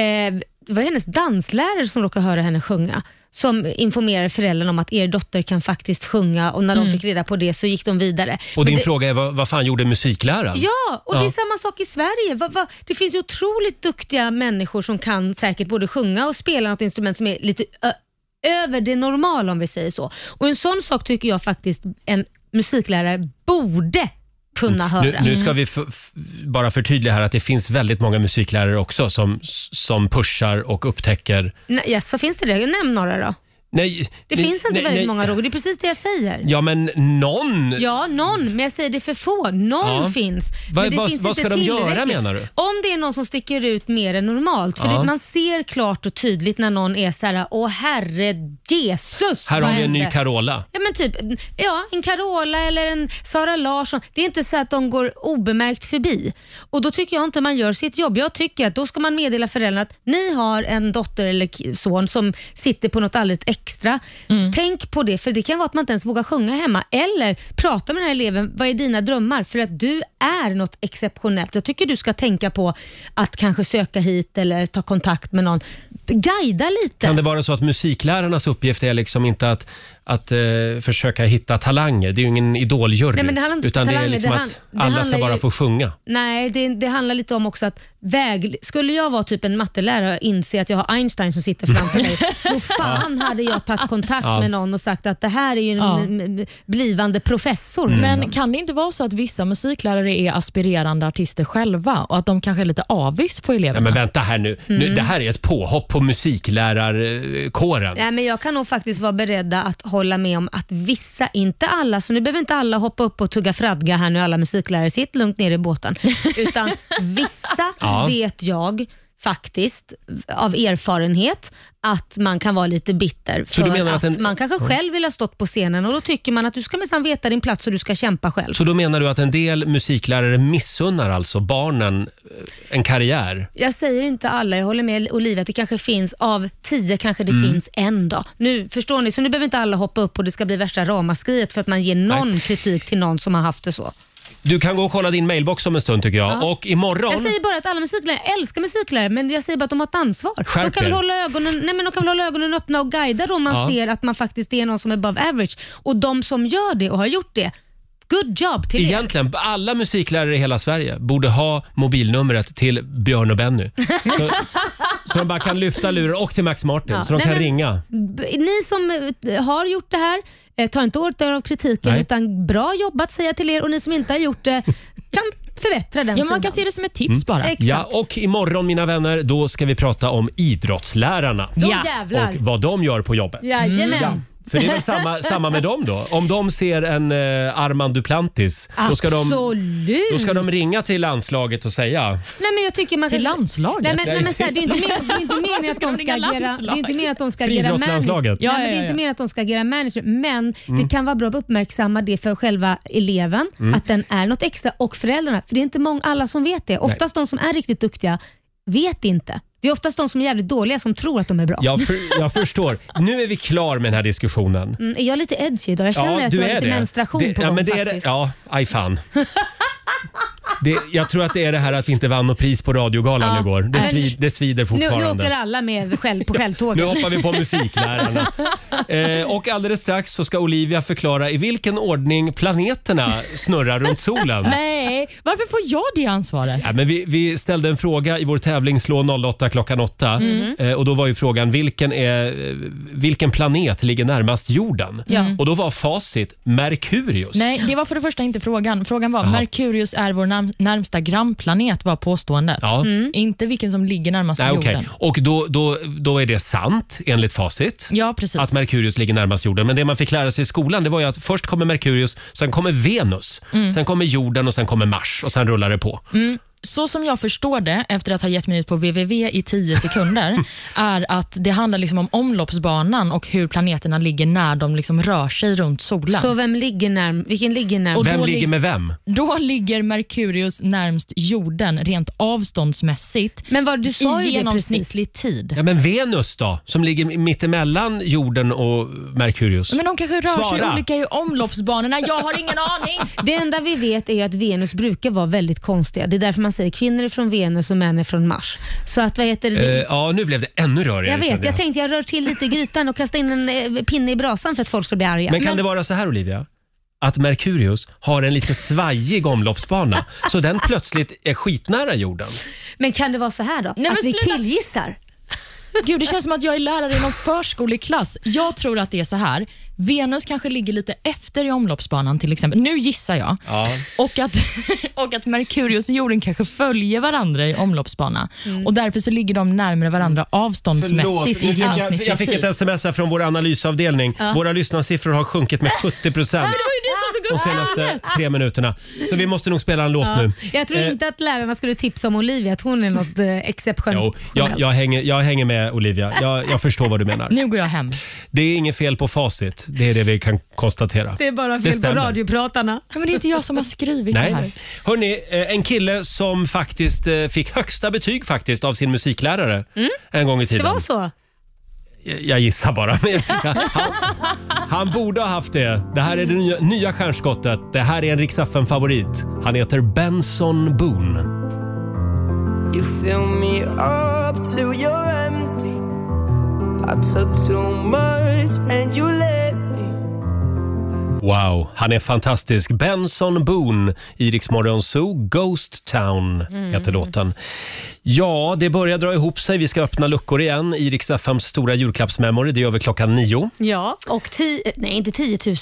Speaker 2: Eh, det var hennes danslärare som råkade höra henne sjunga som informerade föräldrarna om att er dotter kan faktiskt sjunga och när de fick reda på det så gick de vidare.
Speaker 1: Och
Speaker 2: Men
Speaker 1: din
Speaker 2: det-
Speaker 1: fråga är vad, vad fan gjorde musikläraren?
Speaker 2: Ja, och det är samma sak i Sverige. Va, va, det finns ju otroligt duktiga människor som kan säkert både sjunga och spela något instrument som är lite ö, över det normala om vi säger så. Och En sån sak tycker jag faktiskt en musiklärare borde kunna
Speaker 1: Nu,
Speaker 2: höra.
Speaker 1: Mm. nu ska vi f- f- bara förtydliga här att det finns väldigt många musiklärare också som, som pushar och upptäcker.
Speaker 2: Nej, ja, så finns det det? Nämn några då.
Speaker 1: Nej,
Speaker 2: Det
Speaker 1: nej,
Speaker 2: finns inte
Speaker 1: nej,
Speaker 2: väldigt
Speaker 1: nej.
Speaker 2: många Roger, det är precis det jag säger.
Speaker 1: Ja, men någon.
Speaker 2: Ja, någon, men jag säger det är för få. Någon
Speaker 1: Ja.
Speaker 2: finns.
Speaker 1: Vad-
Speaker 2: men det
Speaker 1: vad-
Speaker 2: finns
Speaker 1: vad
Speaker 2: inte
Speaker 1: ska de göra,
Speaker 2: tillräckligt.
Speaker 1: menar du?
Speaker 2: Om det är någon som sticker ut mer än normalt, för
Speaker 1: Ja.
Speaker 2: det, man ser klart och tydligt när någon är så här, åh herre Jesus.
Speaker 1: Här
Speaker 2: vad
Speaker 1: har vi en ny
Speaker 2: hände?"
Speaker 1: Carola.
Speaker 2: Ja, men typ, ja, en Carola eller en Sara Larsson. Det är inte så att de går obemärkt förbi. Och Då tycker jag inte man gör sitt jobb. Jag tycker att då ska man meddela föräldrarna att ni har en dotter eller ki- son som sitter på något alldeles extra. Tänk på det, för det kan vara att man inte ens vågar sjunga hemma. Eller prata med den här eleven, vad är dina drömmar? För att du är något exceptionellt. Jag tycker du ska tänka på att kanske söka hit eller ta kontakt med någon. Guida lite.
Speaker 1: Kan det vara så att musiklärarnas uppgift är liksom inte att, att eh, försöka hitta talanger? Det är ju ingen idoljury.
Speaker 2: Nej, men det handlar inte om
Speaker 1: utan det är
Speaker 2: talanger,
Speaker 1: liksom
Speaker 2: det han-
Speaker 1: att
Speaker 2: det
Speaker 1: alla
Speaker 2: handlar
Speaker 1: ska bara
Speaker 2: ju-
Speaker 1: få sjunga.
Speaker 2: Nej, det, det handlar lite om också att väg, skulle jag vara typ en mattelärare och inse att jag har Einstein som sitter framför mig, då fan hade jag tagit kontakt
Speaker 5: Ja.
Speaker 2: med någon och sagt att det här är ju en
Speaker 5: Ja. Mm.
Speaker 2: m- m- blivande professor.
Speaker 5: Men
Speaker 2: liksom.
Speaker 5: kan det inte vara så att vissa musiklärare är aspirerande artister själva och att de kanske är lite avis på eleverna?
Speaker 1: Nej, men vänta här nu. nu.
Speaker 2: Mm.
Speaker 1: Det här är ett påhopp på musiklärarkåren.
Speaker 2: Nej, men jag kan nog faktiskt vara beredd att hålla med om att vissa, inte alla, så nu behöver inte alla hoppa upp och tugga fradga här nu alla musiklärare, sitt lugnt ner i båten. Utan vissa
Speaker 6: Ja.
Speaker 2: vet jag faktiskt av erfarenhet att man kan vara lite bitter
Speaker 1: Så
Speaker 2: för
Speaker 1: du menar
Speaker 2: att,
Speaker 1: att en-
Speaker 2: man kanske
Speaker 1: Ja.
Speaker 2: själv vill ha stått på scenen och då tycker man att du ska minsann veta din plats och du ska kämpa själv.
Speaker 1: Så då menar du att en del musiklärare missunnar alltså barnen eh, en karriär?
Speaker 2: Jag säger inte alla, jag håller med Olivia att det kanske finns, av tio kanske det
Speaker 1: Mm.
Speaker 2: finns en då. Nu förstår ni, så nu behöver inte alla hoppa upp och det ska bli värsta ramaskriet för att man ger någon kritik till någon som har haft det så.
Speaker 1: Du kan gå och kolla din mailbox om en stund tycker jag.
Speaker 2: Ja.
Speaker 1: Och imorgon...
Speaker 2: Jag säger bara att alla musiklärare, jag älskar musiklärare, men jag säger bara att de har ett ansvar.
Speaker 1: Skärp
Speaker 2: de, kan väl
Speaker 1: er.
Speaker 2: hålla ögonen, nej men de kan väl hålla ögonen öppna och guida då om man
Speaker 1: Ja.
Speaker 2: ser att man faktiskt är någon som är above average. Och de som gör det och har gjort det, good job till er.
Speaker 1: Egentligen, alla musiklärare i hela Sverige borde ha mobilnumret till Björn och Benny. Så, så de bara kan lyfta luren och till Max Martin,
Speaker 2: Ja,
Speaker 1: så de
Speaker 2: nej,
Speaker 1: kan
Speaker 2: men-
Speaker 1: ringa.
Speaker 2: B- Ni som eh, har gjort det här, eh, ta inte åt er av kritiken
Speaker 1: Nej.
Speaker 2: utan bra jobbat säger jag till er och ni som inte har gjort det kan förbättra den
Speaker 5: Ja, man
Speaker 2: sidan.
Speaker 5: kan se det som ett tips
Speaker 1: Mm.
Speaker 2: Exakt.
Speaker 1: Ja, och imorgon mina vänner, då ska vi prata om idrottslärarna.
Speaker 2: Då Ja. jävlar.
Speaker 1: Och vad de gör på jobbet.
Speaker 2: Jajamän.
Speaker 1: För det är väl samma, samma med dem då? Om de ser en eh, Armand Duplantis, då ska, de,
Speaker 2: Absolut.
Speaker 1: då ska de ringa till landslaget och säga
Speaker 2: Nej, men jag tycker man
Speaker 5: Till
Speaker 2: kan-
Speaker 5: landslaget?
Speaker 2: Nej, men, nej, men så här, det är ju inte men- det är inte meningen att de ska
Speaker 5: ringa
Speaker 2: agera Det är inte meningen att de ska agera manager.
Speaker 1: Friidrottslandslaget.
Speaker 2: Nej,
Speaker 1: Ja,
Speaker 2: men det
Speaker 1: ja,
Speaker 2: är inte
Speaker 1: ja.
Speaker 2: meningen att de ska agera manager. Men
Speaker 1: Mm.
Speaker 2: det kan vara bra att uppmärksamma det för själva eleven,
Speaker 1: Mm.
Speaker 2: att den är något extra och föräldrarna. För det är inte många, alla som vet det. Oftast de som är riktigt duktiga vet inte. Det är oftast de som är jävligt dåliga som tror att de är bra.
Speaker 1: Jag, för, jag förstår. Nu är vi klar med den här diskussionen.
Speaker 2: Mm, är jag lite edgy idag? Jag känner att jag har lite menstruation
Speaker 1: Det-
Speaker 2: på
Speaker 1: ja,
Speaker 2: gång
Speaker 1: men det är det.
Speaker 2: faktiskt.
Speaker 1: Ja, aj fan. Det, jag tror att det är det här att vi inte vann något pris på radiogalan
Speaker 2: Ja.
Speaker 1: igår. Det,
Speaker 2: Men-
Speaker 1: svi, det svider
Speaker 2: nu, nu
Speaker 1: fortfarande.
Speaker 2: åker alla med själv på självtåget.
Speaker 1: Nu hoppar vi på musiklärarna. Eh, och alldeles strax så ska Olivia förklara i vilken ordning planeterna snurrar runt solen.
Speaker 5: Nej, varför får jag det ansvaret?
Speaker 1: Ja, men vi, vi ställde en fråga i vår tävling Slå 08 klockan 8
Speaker 5: Mm.
Speaker 1: eh, och då var ju frågan vilken, är, eh, vilken planet ligger närmast jorden?
Speaker 5: Ja.
Speaker 1: Och då var facit Merkurius.
Speaker 5: Nej, det var för det första inte frågan. Frågan var
Speaker 1: Jaha.
Speaker 5: Merkurius är vår närm- närmsta grannplanet var påståendet.
Speaker 1: Ja. Mm.
Speaker 5: Inte vilken som ligger närmast
Speaker 1: Nej, okej.
Speaker 5: jorden.
Speaker 1: Och då, då, då är det sant enligt facit.
Speaker 5: Ja, precis.
Speaker 1: Att Merkurius ligger närmast jorden. Men det man fick lära sig i skolan det var ju att först kommer Merkurius, sen kommer Venus,
Speaker 5: Mm.
Speaker 1: sen kommer jorden och sen kommer Mars och sen rullar det på.
Speaker 5: Mm. Så som jag förstår det, efter att ha gett mig ut på www i 10 sekunder, är att det handlar liksom om omloppsbanan och hur planeterna ligger när de liksom rör sig runt solen.
Speaker 2: Så vem ligger närm- vilken ligger närmast?
Speaker 5: Och då lig-
Speaker 1: vem?
Speaker 5: Då ligger Merkurius närmst jorden rent avståndsmässigt
Speaker 2: Men vad, du sa ju
Speaker 5: i
Speaker 2: det
Speaker 5: genomsnittlig tid.
Speaker 1: Ja, men Venus då, som ligger mittemellan jorden och Merkurius?
Speaker 5: Men de kanske rör sig
Speaker 1: Svara.
Speaker 5: olika i omloppsbanorna. Jag har ingen aning.
Speaker 2: Det enda vi vet är ju att Venus brukar vara väldigt konstiga. Det är därför man säger kvinnor är från Venus och män är från Mars. Så att vad heter det?
Speaker 1: Eh, ja, nu blev det ännu rörigare
Speaker 2: jag vet,
Speaker 1: kände
Speaker 2: jag tänkte jag rör till lite i grytan och kastar in en eh, pinne i brasan för att folk ska bli arga.
Speaker 1: Men kan det vara så här Olivia? Att Merkurius har en lite svajig omloppsbana så den plötsligt är skitnära jorden.
Speaker 2: men kan det vara så här då?
Speaker 5: men
Speaker 2: att vi
Speaker 5: sluta.
Speaker 2: killgissar?
Speaker 5: Gud, det känns som att jag är lärare i någon förskoleklass. Jag tror att det är så här. Venus kanske ligger lite efter i omloppsbanan till exempel. Nu gissar jag.
Speaker 1: Ja.
Speaker 5: Och att, och att Merkurius och jorden kanske följer varandra i omloppsbana.
Speaker 1: Mm.
Speaker 5: Och därför så ligger de närmare varandra avståndsmässigt
Speaker 1: jag,
Speaker 5: i typ.
Speaker 1: jag,
Speaker 5: genomsnittlig
Speaker 1: jag fick ett
Speaker 5: tid.
Speaker 1: sms här från vår analysavdelning.
Speaker 5: Ja.
Speaker 1: Våra lyssnarsiffror har sjunkit med 70
Speaker 5: Ja,
Speaker 1: procent
Speaker 5: men det var ju du som tog
Speaker 1: de
Speaker 5: upp
Speaker 1: senaste
Speaker 5: ämnet.
Speaker 1: tre minuterna. Så vi måste nog spela en låt
Speaker 2: Ja.
Speaker 1: nu.
Speaker 2: Jag tror
Speaker 1: Eh,
Speaker 2: inte att lärarna skulle tipsa om Olivia, att hon är något eh, exceptionellt.
Speaker 1: Jo, jag, jag, hänger, jag hänger med Olivia. Jag, jag förstår vad du menar.
Speaker 5: Nu går jag hem.
Speaker 1: Det är inget fel på facit. Det är det vi kan konstatera.
Speaker 2: Det är bara
Speaker 1: Det
Speaker 2: fel på
Speaker 1: stämmer.
Speaker 2: radiopratarna.
Speaker 5: men det är inte jag som har skrivit det här.
Speaker 1: Nej. Hörni, en kille som faktiskt eh, fick högsta betyg faktiskt av sin musiklärare
Speaker 2: Mm.
Speaker 1: en gång i
Speaker 2: Det
Speaker 1: tiden.
Speaker 2: var så?
Speaker 1: Jag- Jag gissar bara. Men jag- han, han borde ha haft det. Det här är det nya, nya stjärnskottet. Det här är en Rix favorit Han heter Benson Boone.
Speaker 11: You fill me up till you're empty. I took too much and you let me.
Speaker 1: Wow, han är fantastisk. Benson Boone i Rix Morgon Zoo. Ghost Town
Speaker 6: Mm.
Speaker 1: heter låten. Ja, det börjar dra ihop sig. Vi ska öppna luckor igen i Rix FMs stora julklappsmemory. Det gör vi klockan nio.
Speaker 2: Ja, och tio, nej inte 10 000,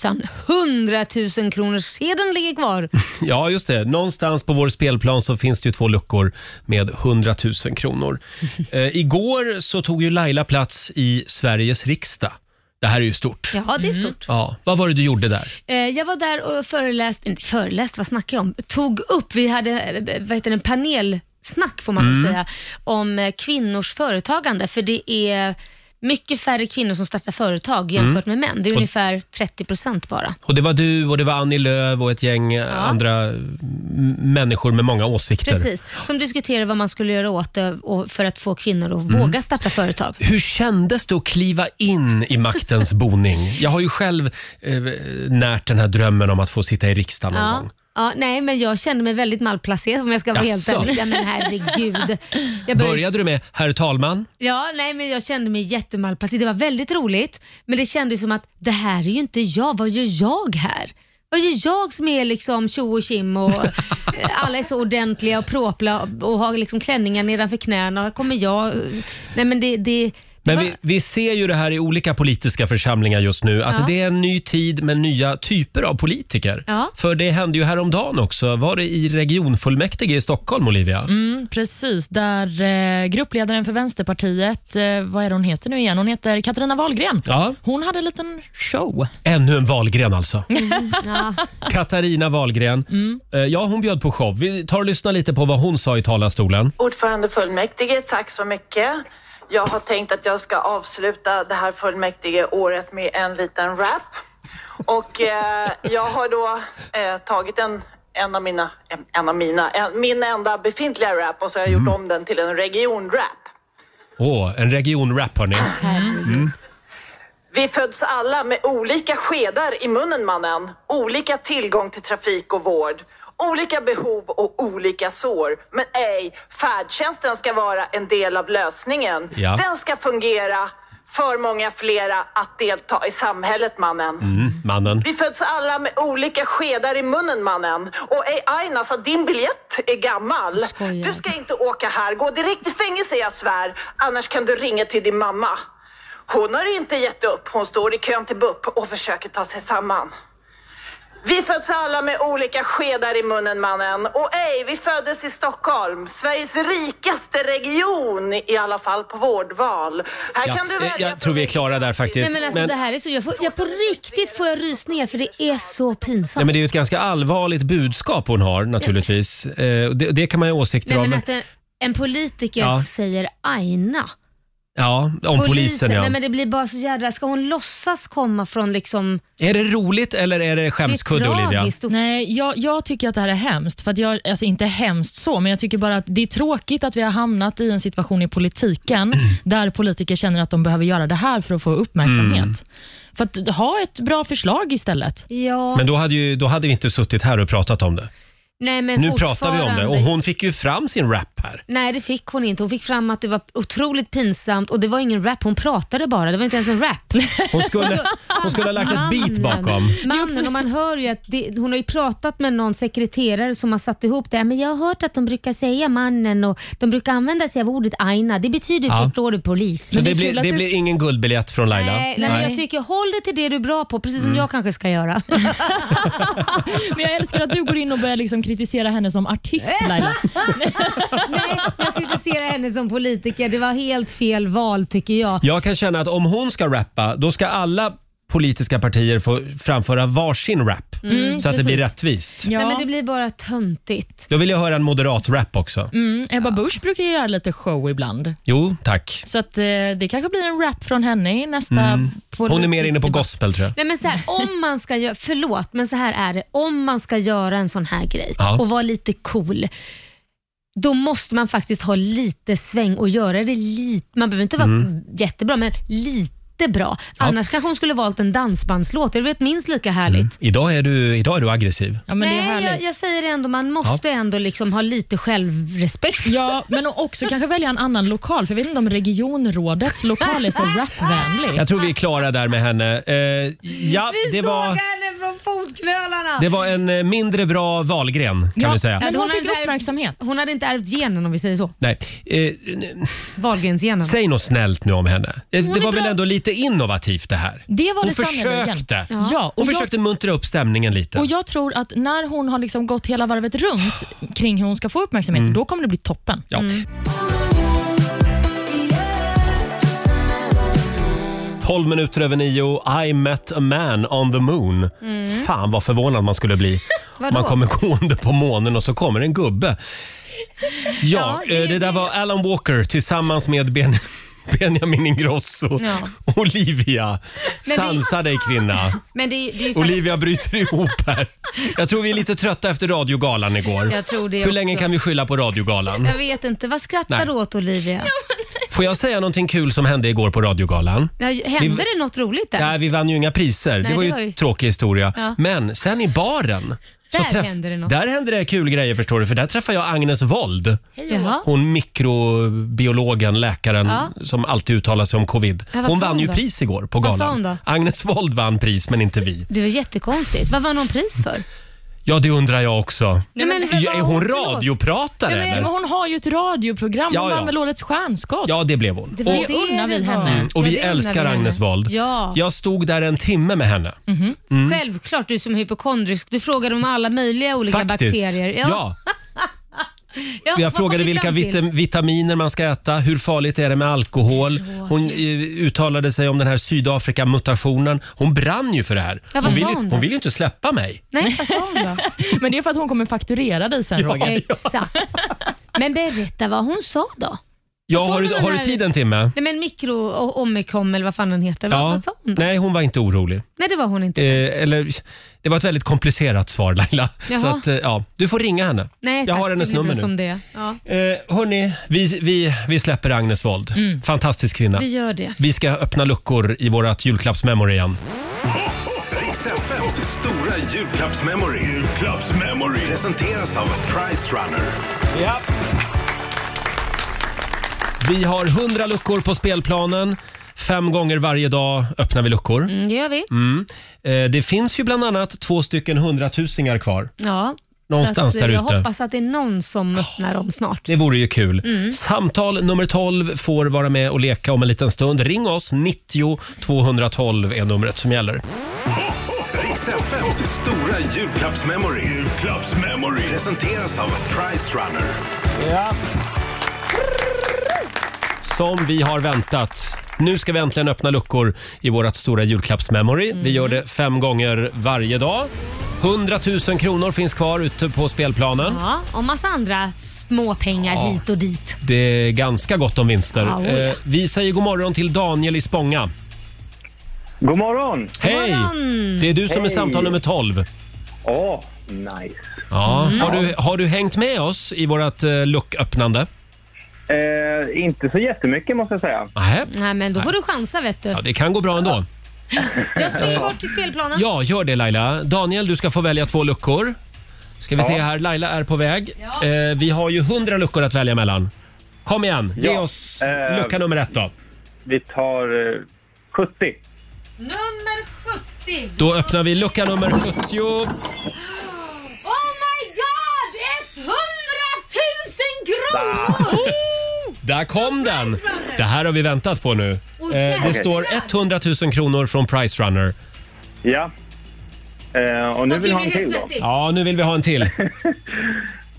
Speaker 2: 100 000 kronors sedeln ligger kvar.
Speaker 1: Ja, just det. Någonstans på vår spelplan så finns det ju två luckor med 100 000 kronor. Eh, igår så tog ju Laila plats i Sveriges riksdag. Det här är ju stort.
Speaker 2: Ja, det är stort.
Speaker 1: Ja, vad var det du gjorde där?
Speaker 2: Eh, Jag var där och föreläste, inte föreläste, vad snackar jag om? Tog upp, vi hade eh, vad heter det, en panelsnack får man väl
Speaker 6: Mm.
Speaker 2: säga, om eh, kvinnors företagande. För det är mycket färre kvinnor som startar företag jämfört
Speaker 1: Mm.
Speaker 2: med män. Det är
Speaker 1: Och-
Speaker 2: ungefär 30 procent bara.
Speaker 1: Och det var du och det var Annie Lööf och ett gäng eh, andra m- människor med många åsikter.
Speaker 2: Precis, som diskuterade vad man skulle göra åt det och för att få kvinnor att
Speaker 1: Mm.
Speaker 2: våga starta företag.
Speaker 1: Hur kändes det att kliva in i maktens boning? Jag har ju själv eh, närt den här drömmen om att få sitta i riksdagen någon gång.
Speaker 2: Ja. Ja, nej, men jag kände mig väldigt malplacerad om jag ska vara helt
Speaker 1: Jaså?
Speaker 2: ärlig. Ja, men herregud. Jag
Speaker 1: Började du med “Herr talman”?
Speaker 2: Ja, nej men jag kände mig jättemalplacerad. Det var väldigt roligt, men det kändes som att det här är ju inte jag. Vad gör jag här? Vad gör jag som är liksom tjo och tjim och eh, alla är så ordentliga och propla och har liksom klänningar nedanför knäna. Här kommer jag. Nej men det, det, det
Speaker 1: Men
Speaker 2: var-
Speaker 1: vi, vi ser ju det här i olika politiska församlingar just nu, att
Speaker 2: Ja.
Speaker 1: det är en ny tid med nya typer av politiker.
Speaker 5: Ja.
Speaker 1: För det hände ju häromdagen också. Var det i regionfullmäktige i Stockholm, Olivia?
Speaker 5: Mm, precis, där eh, gruppledaren för Vänsterpartiet, eh, vad är det hon heter nu igen? Hon heter Katarina Wahlgren.
Speaker 1: Ja.
Speaker 5: Hon hade en liten show.
Speaker 1: Ännu en Wahlgren alltså.
Speaker 5: ja.
Speaker 1: Katarina Wahlgren.
Speaker 2: Mm.
Speaker 1: Eh, Ja, hon bjöd på show. Vi tar och lyssnar lite på vad hon sa i talarstolen.
Speaker 10: Ordförande fullmäktige, tack så mycket. Jag har tänkt att jag ska avsluta det här fullmäktige året med en liten rap. Och eh, jag har då eh, tagit en en av mina, en, en av mina, en, min enda befintliga rap och så har jag gjort
Speaker 1: Mm.
Speaker 10: om den till en regionrap.
Speaker 1: Åh, en regionrap hörni. Mm.
Speaker 10: Vi föds alla med olika skedar i munnen mannen, olika tillgång till trafik och vård, olika behov och olika sår. Men ej, färdtjänsten ska vara en del av lösningen.
Speaker 6: Ja.
Speaker 10: Den ska fungera för många flera att delta i samhället mannen.
Speaker 1: Mm, mannen.
Speaker 10: Vi föds alla med olika skedar i munnen mannen. Och ej Aina, så din biljett är gammal.
Speaker 6: Skojar.
Speaker 10: Du ska inte åka här, gå direkt i fängelse jag svär. Annars kan du ringa till din mamma. Hon har inte gett upp, hon står i kön till BUP och försöker ta sig samman. Vi föds alla med olika skedar i munnen mannen. Och ej, vi föddes i Stockholm, Sveriges rikaste region, i alla fall på vårdval. Här
Speaker 1: Ja,
Speaker 10: kan du
Speaker 1: eh,
Speaker 10: välja
Speaker 1: jag tror vi är klara där faktiskt.
Speaker 2: Nej, men alltså, det här är så, jag får, jag på riktigt får jag rysningar för det är så pinsamt.
Speaker 1: Nej, men det är ju ett ganska allvarligt budskap hon har naturligtvis. Eh, och det, det kan man ju ha åsikter
Speaker 2: Nej, men
Speaker 1: om.
Speaker 2: att en, en politiker
Speaker 1: Ja.
Speaker 2: säger aina.
Speaker 1: ja, om polisen, ja.
Speaker 2: Nej, men det blir bara så jädra... Ska hon låtsas komma från liksom...
Speaker 1: Är det roligt eller är det skämskudde Olivia?
Speaker 5: Nej, jag, jag tycker att det här är hemskt. För att jag, alltså inte hemskt så, men jag tycker bara att det är tråkigt att vi har hamnat i en situation i
Speaker 1: Mm.
Speaker 5: politiken där politiker känner att de behöver göra det här för att få uppmärksamhet.
Speaker 1: Mm.
Speaker 5: För att ha ett bra förslag istället.
Speaker 2: Ja.
Speaker 1: Men då hade, ju, då hade vi inte suttit här och pratat om det.
Speaker 2: Nej, men
Speaker 1: nu pratar vi om det och
Speaker 2: fortfarande-
Speaker 1: hon fick ju fram sin rap här.
Speaker 2: Nej, det fick hon inte. Hon fick fram att det var otroligt pinsamt och det var ingen rap. Hon pratade bara. Det var inte ens en rap.
Speaker 1: Hon skulle, hon skulle ha lagt ett beat bakom.
Speaker 2: Mannen, och man hör ju att det, hon har ju pratat med någon sekreterare som har satt ihop det. Men jag har hört att de brukar säga mannen och de brukar använda sig av ordet aina. Det betyder ju,
Speaker 1: Ja.
Speaker 2: förstår du, polis.
Speaker 1: Så det, blir, det blir ingen guldbiljett från Laila.
Speaker 2: Nej, nej, men jag tycker håll dig till det du är bra på, precis som
Speaker 1: Mm.
Speaker 2: jag kanske ska göra.
Speaker 5: Men jag älskar att du går in och börjar liksom kritisera henne som artist Laila.
Speaker 2: nej, jag kritiserar henne som politiker. Det var helt fel val tycker jag.
Speaker 1: Jag kan känna att om hon ska rappa, då ska alla politiska partier få framföra varsin rap.
Speaker 2: Mm,
Speaker 1: så att det blir
Speaker 2: precis.
Speaker 1: rättvist.
Speaker 2: Nej, men det blir bara töntigt.
Speaker 1: Då vill jag höra en moderat rap också.
Speaker 5: Mm, Ebba Busch brukar ju göra lite show ibland.
Speaker 1: Jo, tack.
Speaker 5: Så att, eh, det kanske blir en rap från henne i nästa...
Speaker 1: Mm. Hon är mer inne på
Speaker 5: debatt.
Speaker 1: gospel tror jag.
Speaker 2: Nej, men så här, om man ska göra, förlåt, men så här är det. Om man ska göra en sån här grej
Speaker 1: Ja.
Speaker 2: och vara lite cool, då måste man faktiskt ha lite sväng och göra det lite, man behöver inte vara
Speaker 6: Mm.
Speaker 2: jättebra, men lite bra.
Speaker 1: Ja.
Speaker 2: Annars kanske hon skulle valt en dansbandslåt. Det hade varit minst lika härligt.
Speaker 1: Idag är du, idag Mm. är du aggressiv.
Speaker 2: Nej, jag, jag säger det ändå, man måste ändå liksom ha lite självrespekt.
Speaker 5: Ja, men också kanske välja en annan lokal, för jag vet inte om regionrådets lokal är så rapvänlig.
Speaker 1: Jag tror vi är klara där med henne. Eh, ja, det var,
Speaker 2: henne från fotknölarna.
Speaker 1: det var en eh, mindre bra valgren kan vi säga.
Speaker 2: hon, fick uppmärksamhet. Hon hade inte ärvt genen om vi säger så.
Speaker 1: Nej. Eh,
Speaker 2: Wahlgrensgenen.
Speaker 1: säg något snällt nu om henne. Eh,
Speaker 2: Hon
Speaker 1: Det
Speaker 2: är
Speaker 1: var
Speaker 2: bra.
Speaker 1: väl ändå lite innovativt det här?
Speaker 5: Det var
Speaker 1: Hon
Speaker 5: det sannerligen.
Speaker 1: försökte.
Speaker 5: Ja. Ja, och
Speaker 1: Hon
Speaker 5: jag-
Speaker 1: försökte muntra upp stämningen lite.
Speaker 5: Och Jag tror att när hon har liksom gått hela varvet runt kring hur hon ska få uppmärksamhet,
Speaker 1: Mm.
Speaker 5: då kommer det bli toppen.
Speaker 1: Ja.
Speaker 5: Mm.
Speaker 1: 12 minuter över nio, I met a man on the moon.
Speaker 6: Mm.
Speaker 1: Fan vad förvånad man skulle bli.
Speaker 6: Vadå?
Speaker 1: man kommer gående på månen och så kommer en gubbe. Ja,
Speaker 6: Ja,
Speaker 1: eh, det, där var Alan Walker tillsammans med ben, Benjamin Ingrosso.
Speaker 2: Ja.
Speaker 1: Olivia,
Speaker 2: Men vi-
Speaker 1: sansa dig kvinna.
Speaker 2: Men det, är- det är ju fan-
Speaker 1: Olivia bryter ihop här. Jag tror vi är lite trötta efter radiogalan igår.
Speaker 2: Jag tror det
Speaker 1: Hur
Speaker 2: också.
Speaker 1: länge kan vi skylla på radiogalan?
Speaker 2: Jag vet inte. Vad skrattar
Speaker 1: Nej.
Speaker 2: du åt Olivia?
Speaker 1: Får jag säga någonting kul som hände igår på radiogalan?
Speaker 2: Nej, Hände
Speaker 1: Vi-
Speaker 2: det något roligt där?
Speaker 1: Nej, vi vann ju inga priser.
Speaker 2: Nej,
Speaker 1: det var
Speaker 2: det
Speaker 1: ju
Speaker 2: var ju-
Speaker 1: en tråkig historia.
Speaker 2: Ja.
Speaker 1: Men sen i baren.
Speaker 2: Där hände det något.
Speaker 1: Där hände det kul grejer förstår du, för där träffade jag Agnes Wold.
Speaker 2: Jaha.
Speaker 1: Hon mikrobiologen, läkaren
Speaker 2: Ja.
Speaker 1: som alltid uttalar sig om covid.
Speaker 2: Ja, vad
Speaker 1: hon
Speaker 2: sa
Speaker 1: vann
Speaker 2: hon
Speaker 1: ju
Speaker 2: då?
Speaker 1: pris igår på
Speaker 2: Vad
Speaker 1: galan.
Speaker 2: sa hon då?
Speaker 1: Agnes Wold vann pris, men inte vi.
Speaker 2: Det var jättekonstigt. Vad vann hon pris för?
Speaker 1: Ja, det undrar jag också.
Speaker 5: Nej, men vad var
Speaker 1: är
Speaker 5: hon
Speaker 1: hon
Speaker 5: för något?
Speaker 1: radiopratare
Speaker 5: men,
Speaker 1: eller?
Speaker 5: men hon har ju ett radioprogram.
Speaker 1: Ja,
Speaker 5: Hon
Speaker 1: ja.
Speaker 5: vann väl Årets stjärnskott?
Speaker 1: Ja, det blev hon.
Speaker 5: Det var det unnar vi henne.
Speaker 1: Mm, Och vi älskar Agnes Wold.
Speaker 2: Ja.
Speaker 1: Jag stod där en timme med henne.
Speaker 2: Mhm.
Speaker 1: Mm.
Speaker 2: Självklart, du som är hypokondrisk. Du frågade om alla möjliga olika
Speaker 1: Faktiskt.
Speaker 2: bakterier.
Speaker 1: Ja.
Speaker 2: Ja, vad
Speaker 1: Jag
Speaker 2: kom
Speaker 1: frågade
Speaker 2: vi
Speaker 1: vilka
Speaker 2: fram till?
Speaker 1: vit- vitaminer man ska äta, hur farligt är det med alkohol. Hon eh, uttalade sig om den här Sydafrika-mutationen. Hon brann ju för det här.
Speaker 5: Ja, vad
Speaker 1: hon, vill,
Speaker 5: sa
Speaker 1: ju-
Speaker 5: hon då?
Speaker 1: hon vill ju inte släppa mig.
Speaker 2: Nej, vad sa hon då?
Speaker 5: men det är för att hon kommer fakturera dig sen, Roger.
Speaker 2: Exakt. Men berätta vad hon sa då.
Speaker 1: Ja,
Speaker 2: Så
Speaker 1: har,
Speaker 2: hon
Speaker 1: du-
Speaker 2: den
Speaker 1: har du
Speaker 2: här-
Speaker 1: tid en timme?
Speaker 2: Nej, men mikro och omicom eller vad fan den heter. Vad, vad sa hon?
Speaker 1: Nej, hon var inte orolig.
Speaker 2: Nej, det var hon inte.
Speaker 1: Eh, eller, det var ett väldigt komplicerat svar Laila.
Speaker 2: Jaha.
Speaker 1: Så att, eh, ja, du får ringa henne.
Speaker 2: Nej,
Speaker 1: Jag
Speaker 2: tack,
Speaker 1: har hennes
Speaker 2: det blir bra
Speaker 1: nummer
Speaker 2: som
Speaker 1: nu.
Speaker 2: det är. ja.
Speaker 1: Eh, hörni, vi, vi, vi släpper Agnes Wold.
Speaker 2: Mm.
Speaker 1: Fantastisk kvinna.
Speaker 2: Vi gör det.
Speaker 1: Vi ska öppna luckor i vårt julklappsmemory igen.
Speaker 7: Riks FMs stora julklappsmemory. Julklappsmemory. Presenteras av Price Runner.
Speaker 1: Ja. Vi har 100 luckor på spelplanen. Fem gånger varje dag öppnar vi luckor.
Speaker 2: Mm, det gör vi.
Speaker 1: Mm. Eh, det finns ju bland annat två stycken hundratusingar kvar.
Speaker 2: Ja.
Speaker 1: Någonstans
Speaker 2: så att, eh,
Speaker 1: där
Speaker 2: Jag
Speaker 1: ute.
Speaker 2: hoppas att det är någon som öppnar dem snart.
Speaker 1: Det vore ju kul.
Speaker 2: Mm.
Speaker 1: Samtal nummer 12 får vara med och leka om en liten stund. Ring oss, 90 212 är numret som gäller.
Speaker 7: Riks FMs stora julklappsmemory. Julklappsmemory. Presenteras av Price Runner.
Speaker 1: Ja. Som vi har väntat. Nu ska vi äntligen öppna luckor i vårt stora julklappsmemory. Vi gör
Speaker 2: Mm.
Speaker 1: det fem gånger varje dag. 100 000 kronor finns kvar ute på spelplanen.
Speaker 2: Ja, och massa andra småpengar
Speaker 1: Ja.
Speaker 2: hit och dit.
Speaker 1: Det är ganska gott om vinster.
Speaker 2: Ja, oja.
Speaker 1: Eh, Vi säger god morgon till Daniel i Spånga. God morgon! Hej!
Speaker 6: God morgon.
Speaker 1: Det är du som är
Speaker 6: Hej.
Speaker 1: samtal nummer 12.
Speaker 6: Åh, nice.
Speaker 1: Ja.
Speaker 6: Mm.
Speaker 1: Har, du, har du hängt med oss i vårt eh, lucköppnande?
Speaker 6: Eh, inte så jättemycket måste jag säga.
Speaker 1: Nej.
Speaker 2: Nej, men då får du chansa vet du.
Speaker 1: Ja, det kan gå bra ändå.
Speaker 2: Jag springer bort till spelplanen.
Speaker 1: Ja, gör det Laila. Daniel, du ska få välja två luckor. Ska vi
Speaker 6: Ja.
Speaker 1: se här, Laila är på väg. Eh, vi har ju hundra luckor att välja mellan. Kom igen, ge
Speaker 6: Ja.
Speaker 1: oss
Speaker 6: Eh,
Speaker 1: lucka nummer ett då.
Speaker 6: Vi tar eh, 70.
Speaker 2: Nummer 70.
Speaker 1: Då öppnar vi lucka nummer 70.
Speaker 2: Oh my god! 100 000 kronor!
Speaker 1: Där kom den! Det här har vi väntat på nu.
Speaker 2: Åh,
Speaker 1: Eh,
Speaker 2: jävlar.
Speaker 1: det står 100 000 kronor från Price Runner. Ja. och nu
Speaker 6: Okej, vill ha Eh, nu en är jag till då. svettig.
Speaker 1: Ja, nu vill vi ha en till.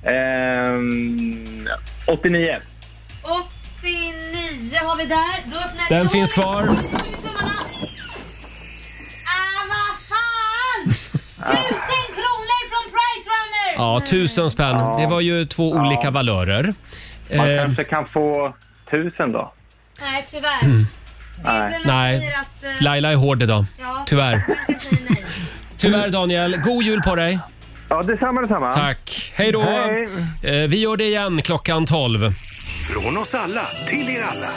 Speaker 6: Ehm, 89.
Speaker 2: 89 har vi där. Då öppnar
Speaker 1: Den
Speaker 2: då
Speaker 1: finns
Speaker 2: har vi-
Speaker 1: kvar.
Speaker 2: Tummarna. Ah, vad fan! Tusen kronor från Price Runner!
Speaker 1: Ja, tusen spänn. Det var ju två olika valörer.
Speaker 6: Man
Speaker 1: Eh,
Speaker 6: kanske kan få 1000 då.
Speaker 2: Nej, tyvärr.
Speaker 1: Mm. Nej.
Speaker 2: säger att, eh,
Speaker 1: Laila är hård idag.
Speaker 2: Ja,
Speaker 1: Tyvärr.
Speaker 2: jag säger nej.
Speaker 1: Tyvärr Daniel. God jul på dig. Ja, detsamma, detsamma. Tack. Hej då.
Speaker 7: Hej.
Speaker 1: Eh, Vi gör det igen klockan 12.
Speaker 7: Från oss alla till er alla.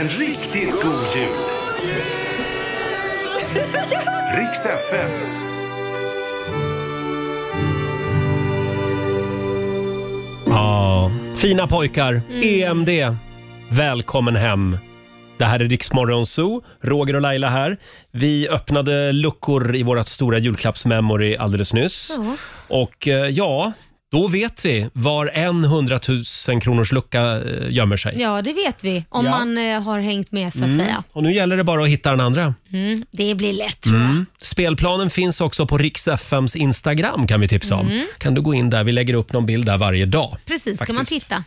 Speaker 7: En riktigt god jul. Riks FM.
Speaker 1: Ja, fina pojkar.
Speaker 6: Mm.
Speaker 1: EMD. Välkommen hem. Det här är Riksmorgon Zoo. Roger och Laila här. Vi öppnade luckor i vårt stora julklappsmemory alldeles nyss.
Speaker 6: Ja.
Speaker 1: Och eh, ja, då vet vi var en 100 000 kronors lucka eh, gömmer sig.
Speaker 2: Ja, det vet vi. Om
Speaker 1: Ja.
Speaker 2: man eh, har hängt med så att
Speaker 1: Mm.
Speaker 2: säga.
Speaker 1: Och nu gäller det bara att hitta den andra.
Speaker 2: Mm, det blir lätt.
Speaker 1: Mm. Spelplanen finns också på Rix FMs Instagram kan vi tipsa om.
Speaker 2: Mm.
Speaker 1: Kan du gå in där? Vi lägger upp någon bild där varje dag.
Speaker 2: Precis, kan man
Speaker 1: faktiskt.
Speaker 2: titta.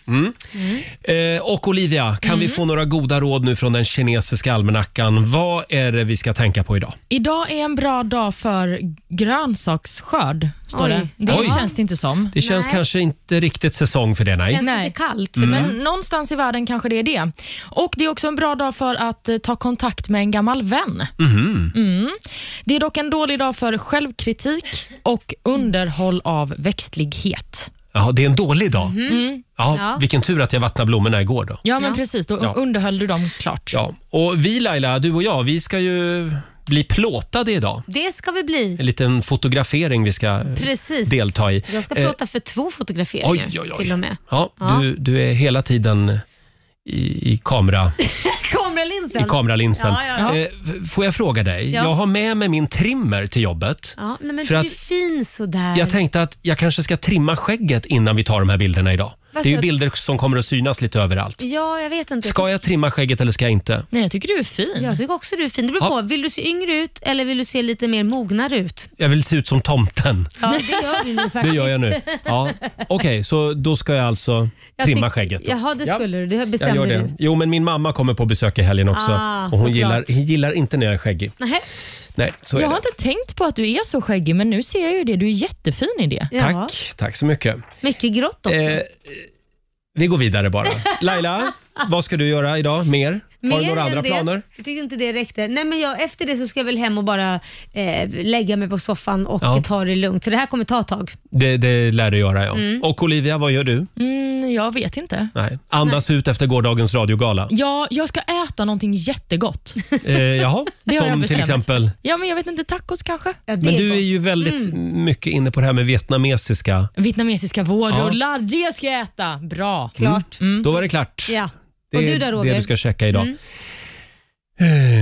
Speaker 1: Mm. Eh, och Olivia, kan
Speaker 2: Mm.
Speaker 1: vi få några goda råd nu från den kinesiska almanackan? Vad är det vi ska tänka på idag?
Speaker 5: Idag är en bra dag för grönsaksskörd, står
Speaker 1: Oj.
Speaker 5: det. Det
Speaker 1: Oj.
Speaker 5: känns det inte som.
Speaker 1: Det känns kanske inte riktigt säsong för det, nej.
Speaker 5: kallt.
Speaker 1: Mm.
Speaker 5: Men någonstans i världen kanske det är det. Och Det är också en bra dag för att eh, ta kontakt med en gammal vän.
Speaker 6: Mhm.
Speaker 1: Mm-hmm.
Speaker 5: Mm. Det är dock en dålig dag för självkritik och underhåll av växtlighet.
Speaker 1: Jaha, det är en dålig dag.
Speaker 2: Mm-hmm.
Speaker 5: Mm.
Speaker 1: Ja,
Speaker 5: Ja.
Speaker 1: Vilken tur att jag vattnade blommorna igår då.
Speaker 5: Ja, men precis. Då
Speaker 1: Ja.
Speaker 5: underhöll du dem klart.
Speaker 1: Ja. Och vi Laila, du och jag, vi ska ju bli plåtade idag.
Speaker 2: Det ska vi bli.
Speaker 1: En liten fotografering vi ska eh,
Speaker 2: Precis.
Speaker 1: delta i.
Speaker 2: Jag ska
Speaker 1: Eh,
Speaker 2: plåta för två fotograferingar
Speaker 1: Oj, oj, oj.
Speaker 2: till och med.
Speaker 1: Ja,
Speaker 2: Ja.
Speaker 1: Du, du är hela tiden i, i, kamera,
Speaker 2: Kameralinsen.
Speaker 1: i kameralinsen.
Speaker 2: Ja, ja, ja.
Speaker 1: Eh, f- får jag fråga dig?
Speaker 2: Ja.
Speaker 1: Jag har med mig min trimmer till jobbet.
Speaker 2: ja, nej, men
Speaker 1: för
Speaker 2: du är
Speaker 1: att-
Speaker 2: fin sådär.
Speaker 1: Jag tänkte att jag kanske ska trimma skägget innan vi tar de här bilderna idag.
Speaker 2: Vad
Speaker 1: Det är
Speaker 2: sa
Speaker 1: ju
Speaker 2: du?
Speaker 1: bilder som kommer att synas lite överallt.
Speaker 2: Ja, jag vet inte.
Speaker 1: Ska jag trimma skägget eller ska jag inte?
Speaker 5: Nej, jag tycker du är fin.
Speaker 2: Jag tycker också du är fin. Det beror på. Vill du se yngre ut eller vill du se lite mer mognare ut?
Speaker 1: Jag vill se ut som tomten.
Speaker 2: Ja, det gör du nu
Speaker 1: Det
Speaker 2: faktiskt.
Speaker 1: gör jag nu. Ja. Okej, så då ska jag alltså
Speaker 2: Jag
Speaker 1: trimma
Speaker 2: tyck-
Speaker 1: skägget. Då.
Speaker 2: Jaha, det skulle du. Det
Speaker 1: Jag gör
Speaker 2: bestämde
Speaker 1: det.
Speaker 2: du.
Speaker 1: Jo, men min mamma kommer på besök i helgen också.
Speaker 5: Ah,
Speaker 1: och hon
Speaker 5: såklart.
Speaker 1: gillar, hon gillar inte när jag är skäggig.
Speaker 2: Nej.
Speaker 1: Nej, så är
Speaker 5: jag
Speaker 1: det.
Speaker 5: har inte tänkt på att du är så skäggig, men nu ser jag ju det. Du är jättefin i det.
Speaker 1: Tack, tack så mycket.
Speaker 2: Mycket grått också.
Speaker 1: Eh, vi går vidare bara. Laila, Vad ska du göra idag mer? Har du
Speaker 2: Mer
Speaker 1: några
Speaker 2: än
Speaker 1: andra
Speaker 2: det,
Speaker 1: planer?
Speaker 2: Jag tyckte inte det räckte. Nej, men jag, efter det så ska jag väl hem och bara eh, lägga mig på soffan och
Speaker 1: Ja.
Speaker 2: ta det lugnt. För det här kommer ta ett tag.
Speaker 1: Det, det lär du göra, ja.
Speaker 2: Mm.
Speaker 1: Och Olivia, vad gör du?
Speaker 5: Mm, jag vet inte.
Speaker 1: Nej. Andas ut efter gårdagens radiogala.
Speaker 5: Ja, jag ska äta någonting jättegott.
Speaker 1: Eh, jaha,
Speaker 5: Det har jag
Speaker 1: som till
Speaker 5: bestämt.
Speaker 1: exempel?
Speaker 5: Ja, men jag vet inte, tacos kanske?
Speaker 1: Men du är ju väldigt mycket inne på det här med vietnamesiska. Mm.
Speaker 5: Vietnamesiska vårrullar, det ska jag äta. Bra.
Speaker 1: Mm. Då var det klart.
Speaker 5: Ja.
Speaker 1: Det
Speaker 5: Och
Speaker 1: är
Speaker 5: du då, Roger?
Speaker 1: det du ska checka idag.
Speaker 5: Mm.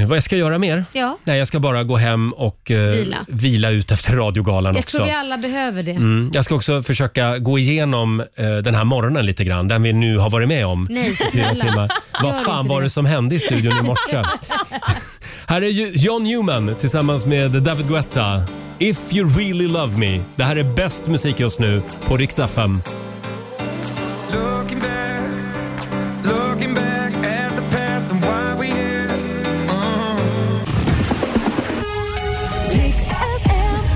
Speaker 1: Eh, Vad jag ska göra mer?
Speaker 2: Ja.
Speaker 1: Nej, jag ska bara gå hem och eh,
Speaker 2: Vila.
Speaker 1: vila ut efter radiogalan
Speaker 2: Jag
Speaker 1: också.
Speaker 2: tror vi alla behöver det.
Speaker 1: Mm. Jag ska också försöka gå igenom eh, den här morgonen lite grann, den vi nu har varit med om
Speaker 2: Nej,
Speaker 1: i fyra
Speaker 2: snälla.
Speaker 1: timmar.
Speaker 2: Gör
Speaker 1: Vad fan
Speaker 2: inte
Speaker 1: var
Speaker 2: det.
Speaker 1: det som hände i studion i morse? här är ju John Newman tillsammans med David Guetta. If you really love me. Det här är bäst musik just nu på Rix FM.
Speaker 6: Looking back, looking back at the past and why we here.